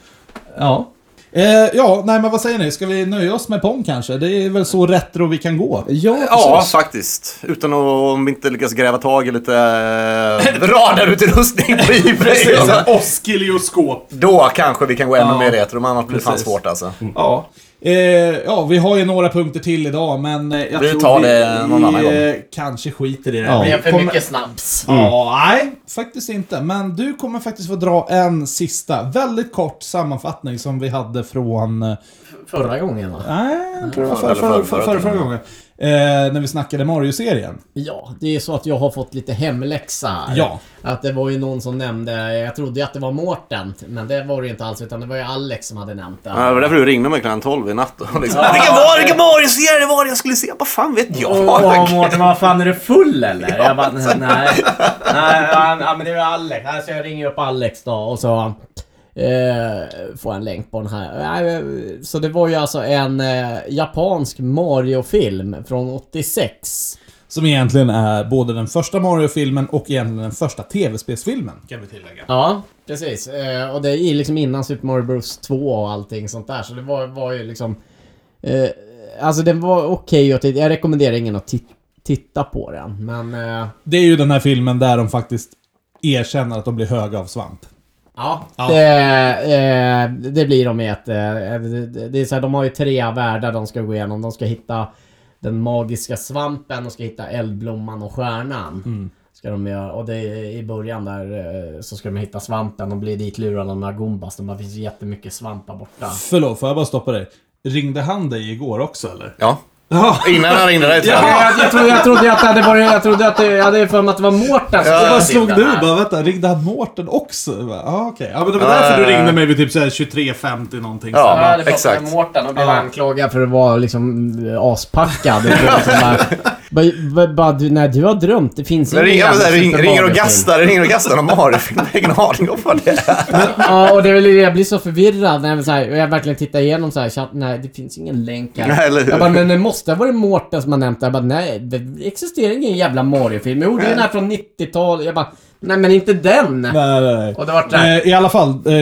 C: Ja. Eh, ja, nej men vad säger ni? Ska vi nöja oss med Pong kanske? Det är väl så retro vi kan gå?
A: Ja,
B: Ja, faktiskt. Utan att, om vi inte lyckas gräva tag i lite eh, radarutrustning på Ebay. alltså.
C: Oskilioskop.
B: Då kanske vi kan gå ännu
C: Ja.
B: mer retro, men annars blir det fan
C: Precis.
B: svårt alltså.
C: Ja. Eh, ja, vi har ju några punkter till idag men eh, jag
B: Vi
C: tror
B: tar
C: vi,
B: det någon annan
C: vi,
B: gång.
C: eh, kanske skiter i det.
A: Ja.
L: Det
C: Vi
L: är för
C: kommer-
L: mycket snaps.
C: Ja,
B: Mm.
C: nej, faktiskt inte. Men du kommer faktiskt få dra en sista, väldigt kort sammanfattning som vi hade från... eh,
L: Förra gången va?
C: Nej, jag tror det var för,
B: Eller
C: för,
B: förra-
C: för,
B: förra
C: förra, förra
B: gången.
C: gången. Eh, när vi snackade Mario-serien.
D: Ja, det är så att jag har fått lite hemläxa här.
C: Ja.
D: Att det var ju någon som nämnde, jag trodde ju att det var Mårten, men det var det ju inte alls utan det var ju Alex som hade nämnt det.
B: Ja, det var därför du ringde mig klockan 12 i natt. och Liksom. Vilken var det? Vilken Mario-serie det var det jag skulle se? Vad fan vet jag?
L: Åh Mårten, vad fan är du full eller? Jag bara, nej. nej, han- ja, men det är Alex.
D: Nej, så jag ringer upp Alex då och så eh, får jag en länk på den här. Nej, eh, Så det var ju alltså en eh, japansk Mario-film från 86.
C: Som egentligen är både den första Mario-filmen och egentligen den första tv-spelsfilmen, kan vi tillägga.
D: Ja, precis. Eh, och det är liksom innan Super Mario Bros 2 och allting sånt där. Så det var, var ju liksom... Eh, alltså den var okej okay Jag rekommenderar ingen att ti- titta på den. Men eh,
C: Det är ju den här filmen där de faktiskt erkänner att de blir höga av svamp.
D: ja,
C: Ja.
D: Det, eh, det blir de i ett... Eh, det det är så här, de har ju tre världar de ska gå igenom. De ska hitta den magiska svampen, de ska hitta eldblomman och stjärnan. Ska de göra, och det är i början där eh, så ska de hitta svampen. De blir ditlurade av några gumbas. De bara, det finns jättemycket svampar borta.
C: Förlåt, får jag bara stoppa dig? Ringde han dig igår också eller?
B: Ja. Innan han ringde dig. tror jag.
D: Jag, jag, trodde, jag trodde ju att det hade varit... Jag trodde att det, jag hade ju för mig att det var Mårten som
C: Och
D: skulle
C: vad slog
D: sitta
C: du?
D: där.
C: Bara vänta, ringde han Mårten också? Jag bara, Ah, okej. Ja, men det var
B: Ja,
C: därför
B: ja,
C: du
B: ja.
C: ringde mig vid typ såhär 23.50 någonting.
B: Ja,
L: Jag hade pratat
B: exakt.
L: med Mårten och blev
D: Jag
L: ja.
D: anklagad för att vara liksom eh, aspackad. Och liksom bara, bara, bara, bara, du, nej, du har drömt. Det finns
B: Det ringer,
D: jävla
B: så här, ring,
D: Super
B: ringer och
D: Mario-film.
B: gastar, det ringer och gastar om Mario-film. Jag har ingen aning om vad det är.
D: Ja, och det är väl det jag blir så förvirrad när jag, så här, och jag verkligen tittar igenom så här, chatt, nej det finns ingen länk här.
B: Nej, eller hur?
D: Jag bara, men det måste ha varit Mårten som har nämnt det. Jag bara, nej det existerar ingen jävla Mario-film. Jo, det är den här från 90-talet. Jag bara, nej men inte den.
C: Nej, nej, nej.
D: Och det vart det här,
C: Eh, I alla fall, eh,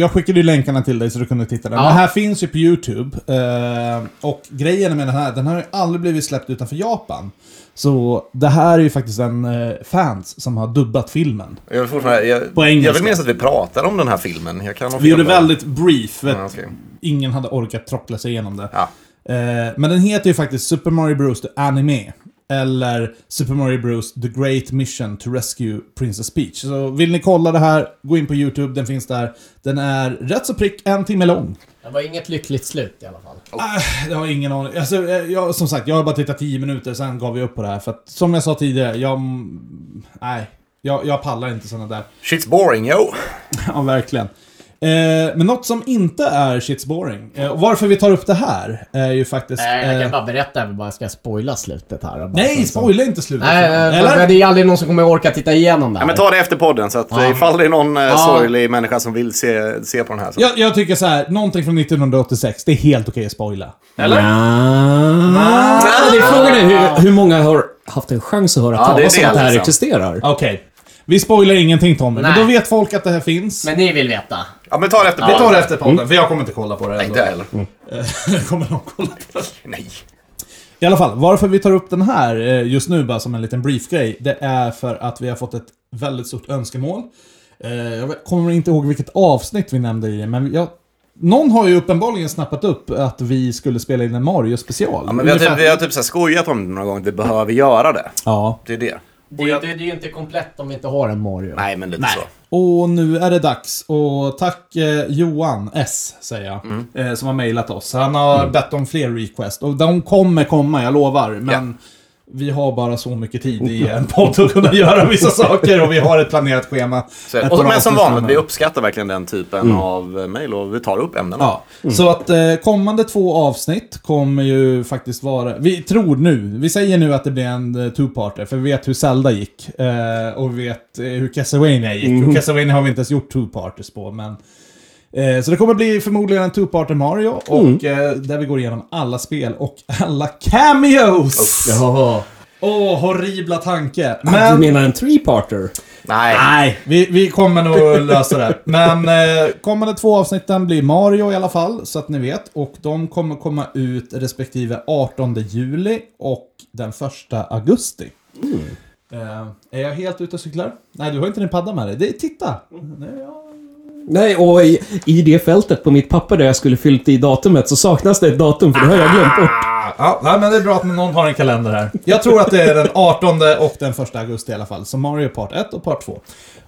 C: jag skickade ju länkarna till dig så du kunde titta där.
D: Ja.
C: Den här finns ju på YouTube. Eh, och grejen med den här, den har ju aldrig blivit släppt utanför Japan. Så det här är ju faktiskt en eh, fans som har dubbat filmen.
B: Jag vill, fortfarande- jag,
C: På engelska.
B: jag vill minnas att vi pratade om den här filmen. Jag kan ha
C: Vi
B: fel
C: gjorde
B: där.
C: väldigt brief, vet,
B: Ja, okej.
C: ingen hade orkat trockla sig igenom det.
B: Ja.
C: Eh, men den heter ju faktiskt Super Mario Bros. The Anime. Eller Super Mario Bros. The Great Mission to Rescue Princess Peach. Så vill ni kolla det här, gå in på YouTube, den finns där. Den är rätt så prick en timme lång.
D: det var inget lyckligt slut i alla fall.
C: Jag har ingen aning. Alltså, eh, jag, som sagt, jag har bara tittat 10 minuter, sen gav vi upp på det här. För att, som jag sa tidigare, jag... Nej. Jag, jag pallar inte sådana där.
B: Shit's boring, yo.
C: Ja, verkligen. Eh, men något som inte är shits boring, eh, och varför vi tar upp det här, är ju faktiskt...
D: Nej, jag
C: eh,
D: kan bara berätta, jag bara ska spoila slutet här. och bara-
C: nej, spoila inte slutet.
D: Nej, eh,
C: Eller?
D: det är aldrig någon som kommer orka titta igenom det
B: Ja,
D: här.
B: men ta det efter podden, så att eh, ifall det är någon eh,
D: Ja.
B: sorglig människa som vill se, se på den här. Så.
C: Jag, jag tycker så här, någonting från 1986, det är helt okej att spoila.
A: Nej, det är frågan är hur, hur många har haft en chans att höra
B: det är
A: talas om
B: det,
A: att det här
B: liksom.
A: existerar?
C: Okej. Vi spoilar ingenting Tommy, men
D: Nej.
C: då vet folk att det här finns.
D: Men ni vill veta.
B: Ja, men ta det efter
C: Vi
B: podden. Mm.
C: tar det efter podden, för jag kommer inte kolla på det.
B: Nej, inte jag heller.
C: Det kommer någon kolla på.
B: Nej.
C: I alla fall, varför vi tar upp den här eh, just nu bara som en liten brief-grej, det är för att vi har fått ett väldigt stort önskemål. Eh, Jag kommer inte ihåg vilket avsnitt vi nämnde i det, men jag... Någon har ju uppenbarligen snappat upp att vi skulle spela in en Mario-special.
B: Ja, men vi har
C: Ungefär-
B: typ, vi har typ så här skojat om det några gånger, vi behöver göra det.
C: ja.
B: Det är det.
D: Det, det, det är ju inte komplett om vi inte har en Mario.
B: Nej, men lite så.
C: Och nu är det dags. Och tack eh, Johan S, säger jag,
G: Mm.
C: eh, som har mejlat oss. Han har bett om fler request. Och de kommer komma, jag lovar. Men vi har bara så mycket tid i en podd att kunna göra vissa saker och vi har ett planerat schema.
G: Så,
C: Ett
G: och, men
C: avsnitt
G: som vanligt,
C: framåt.
G: vi uppskattar verkligen den typen av eh, mejl och vi tar upp ämnena.
C: Ja, så att eh, kommande två avsnitt kommer ju faktiskt vara... Vi tror nu, vi säger nu att det blir en eh, two-parter, för vi vet hur Zelda gick. Eh, och vi vet eh, hur Castlevania gick. Och Castlevania har vi inte ens gjort two-parters på, men... Eh, så det kommer bli förmodligen en two-parter Mario, och eh, där vi går igenom alla spel och alla cameos!
D: Ja.
C: Åh, horribla tanke!
A: Du
C: Men...
A: menar en three-parter?
G: Nej.
C: Nej, vi, vi kommer nog lösa det. Men eh, kommande två avsnitten blir Mario i alla fall, så att ni vet. Och de kommer komma ut respektive 18 juli och den 1 augusti. Eh, är jag helt ute och cyklar? Nej, du har inte din padda med dig. Det, titta!
A: Nej, och i, i det fältet på mitt papper där jag skulle fyllt i datumet så saknas det ett datum för det har jag glömt
G: Ah.
A: bort.
C: Ja, nej, men det är bra att någon har en kalender här. Jag tror att det är den 18 och den 1 augusti i alla fall. Så Mario Part 1 och Part 2.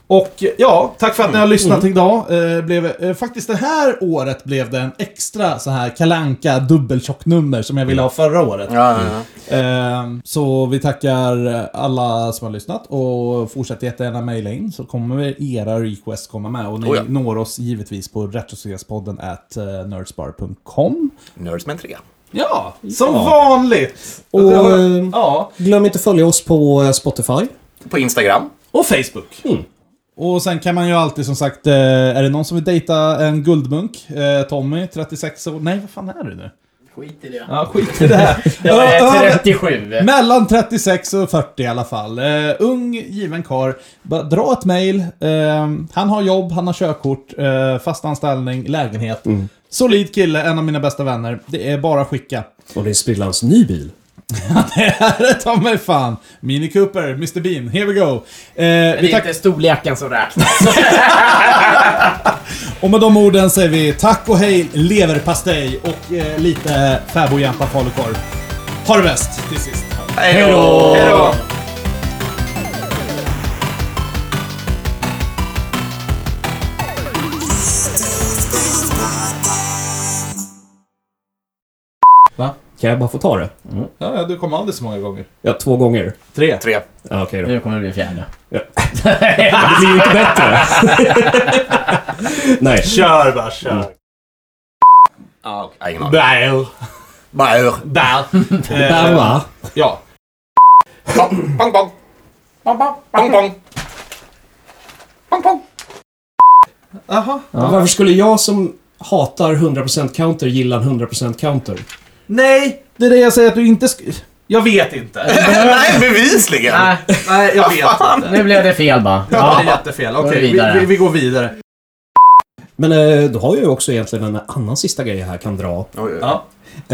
C: Och ja, tack för att ni har lyssnat
G: Mm.
C: idag. Eh, blev, eh, faktiskt det här året blev det en extra så här kalanka dubbeltjocknummer som jag ville ha förra året.
G: Ja, ja, ja.
C: Eh, så vi tackar alla som har lyssnat och fortsätt jättegärna mejla in så kommer era request komma med. Och ni
G: Oh ja.
C: når oss givetvis på retrospelspodden at eh, nerdspar.com.
G: Nerds med en trea.
C: Ja, som vanligt!
A: Och,
C: ja.
A: eh,
C: ja,
A: Glöm inte att följa oss på eh, Spotify.
G: På Instagram.
C: och Facebook. Mm. Och sen kan man ju alltid som sagt, eh, är det någon som vill dejta en guldmunk? Eh, Tommy, 36 år. Nej, vad fan är du nu?
L: Skit i det.
C: Ja, skit i det här.
L: Jag
C: Ja,
L: är
C: ja,
L: 37.
C: Mellan 36 och 40 i alla fall. Eh, ung, given karl. Bara Dra ett mejl. Eh, han har jobb, han har körkort, eh, fast anställning, lägenhet. Solid kille, en av mina bästa vänner. Det är bara att skicka.
A: Och det är sprillans ny bil.
C: Det här är ta mig fan. Mini Cooper, Mr Bean, here we go. Eh,
L: Men
C: vi
L: det är
C: tack-
L: inte storleken som räknas.
C: och med de orden säger vi tack och hej, leverpastej och eh, lite fäbodjämpa falukorv. Ha det bäst till sist.
G: Hej då! Hej då!
A: Kan jag bara få ta det?
C: Mm. Ja, ja, du kom aldrig så många gånger.
A: Ja, två gånger.
C: Tre.
G: Tre.
A: Ja, okej då.
L: Nu kommer det bli fjärde.
A: Det blir ju inte bättre. Nej.
C: Kör bara, kör.
G: Ja, okej. Nej, ingen aning.
C: Bär.
G: Bara ur.
C: Bär.
A: Där va?
C: Ja.
G: Pong, pong, pong. Pong, pong. Pong, pong. Pong, pong.
C: Jaha.
A: Varför skulle jag som hatar 100% counter gilla en 100% counter?
C: Nej, det är det jag säger att du inte sk- Jag vet inte.
G: Nej, bevisligen.
L: Nej,
C: Nej, jag vet inte.
L: nu blev det fel bara.
C: Ja, det är jättefel. Okej,
L: vi
C: vi,
L: vidare.
C: vi, vi går vidare.
A: Men eh, då har jag ju också egentligen en annan sista grej jag här kan dra.
G: Oj, oj, oj.
C: Ja.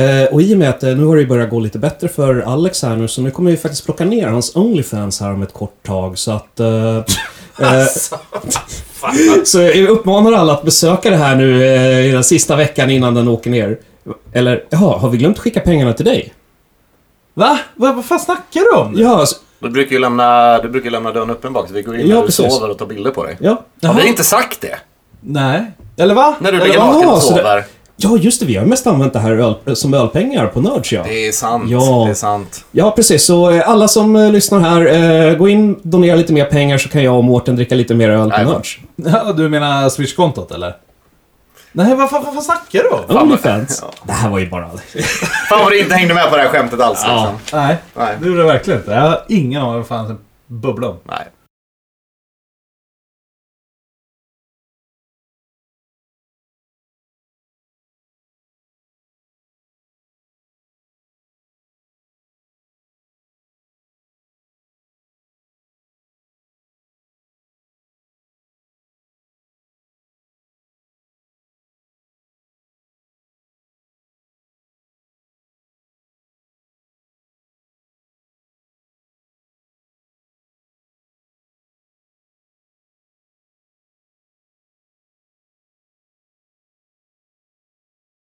A: Eh, och i och med att eh, nu har det ju börjat gå lite bättre för Alex här nu, så nu kommer vi faktiskt plocka ner hans Onlyfans här om ett kort tag, så att... Eh, eh,
G: Alltså,
A: så jag uppmanar alla att besöka det här nu eh, i den sista veckan innan den åker ner. Eller, jaha, har vi glömt skicka pengarna till dig?
C: Va? Vad vad fan snackar du om?
A: Ja, alltså,
G: Du brukar ju lämna, du brukar ju lämna dörren öppen bak så vi går in
A: Ja,
G: när du
A: precis.
G: sover och tar bilder på dig.
A: ja.
G: Har vi inte sagt det?
C: Nej. Eller va?
G: När du
C: Eller
G: ligger
C: va?
A: vad?
G: naken och
A: Så det-
G: sover.
A: Ja, just det. Vi har mest använt det här öl, eh, som ölpengar på Nerds, ja.
G: Det är sant.
A: Ja.
G: Det är sant.
A: Ja, precis. Så eh, alla som eh, lyssnar här, eh, gå in, donera lite mer pengar så kan jag och Mårten dricka lite mer öl på
G: Nej.
A: Nerds.
C: Ja, du menar Swish-kontot eller? Nej, vad fan, vad fan snackar du om?
A: Onlyfans. Det här var ju bara...
G: Fan vad du inte hängde med på det här skämtet alls. Liksom.
C: Nej,
G: Nej.
C: det gjorde jag verkligen inte. Jag har ingen aning vad fan bubblar om.
G: Nej.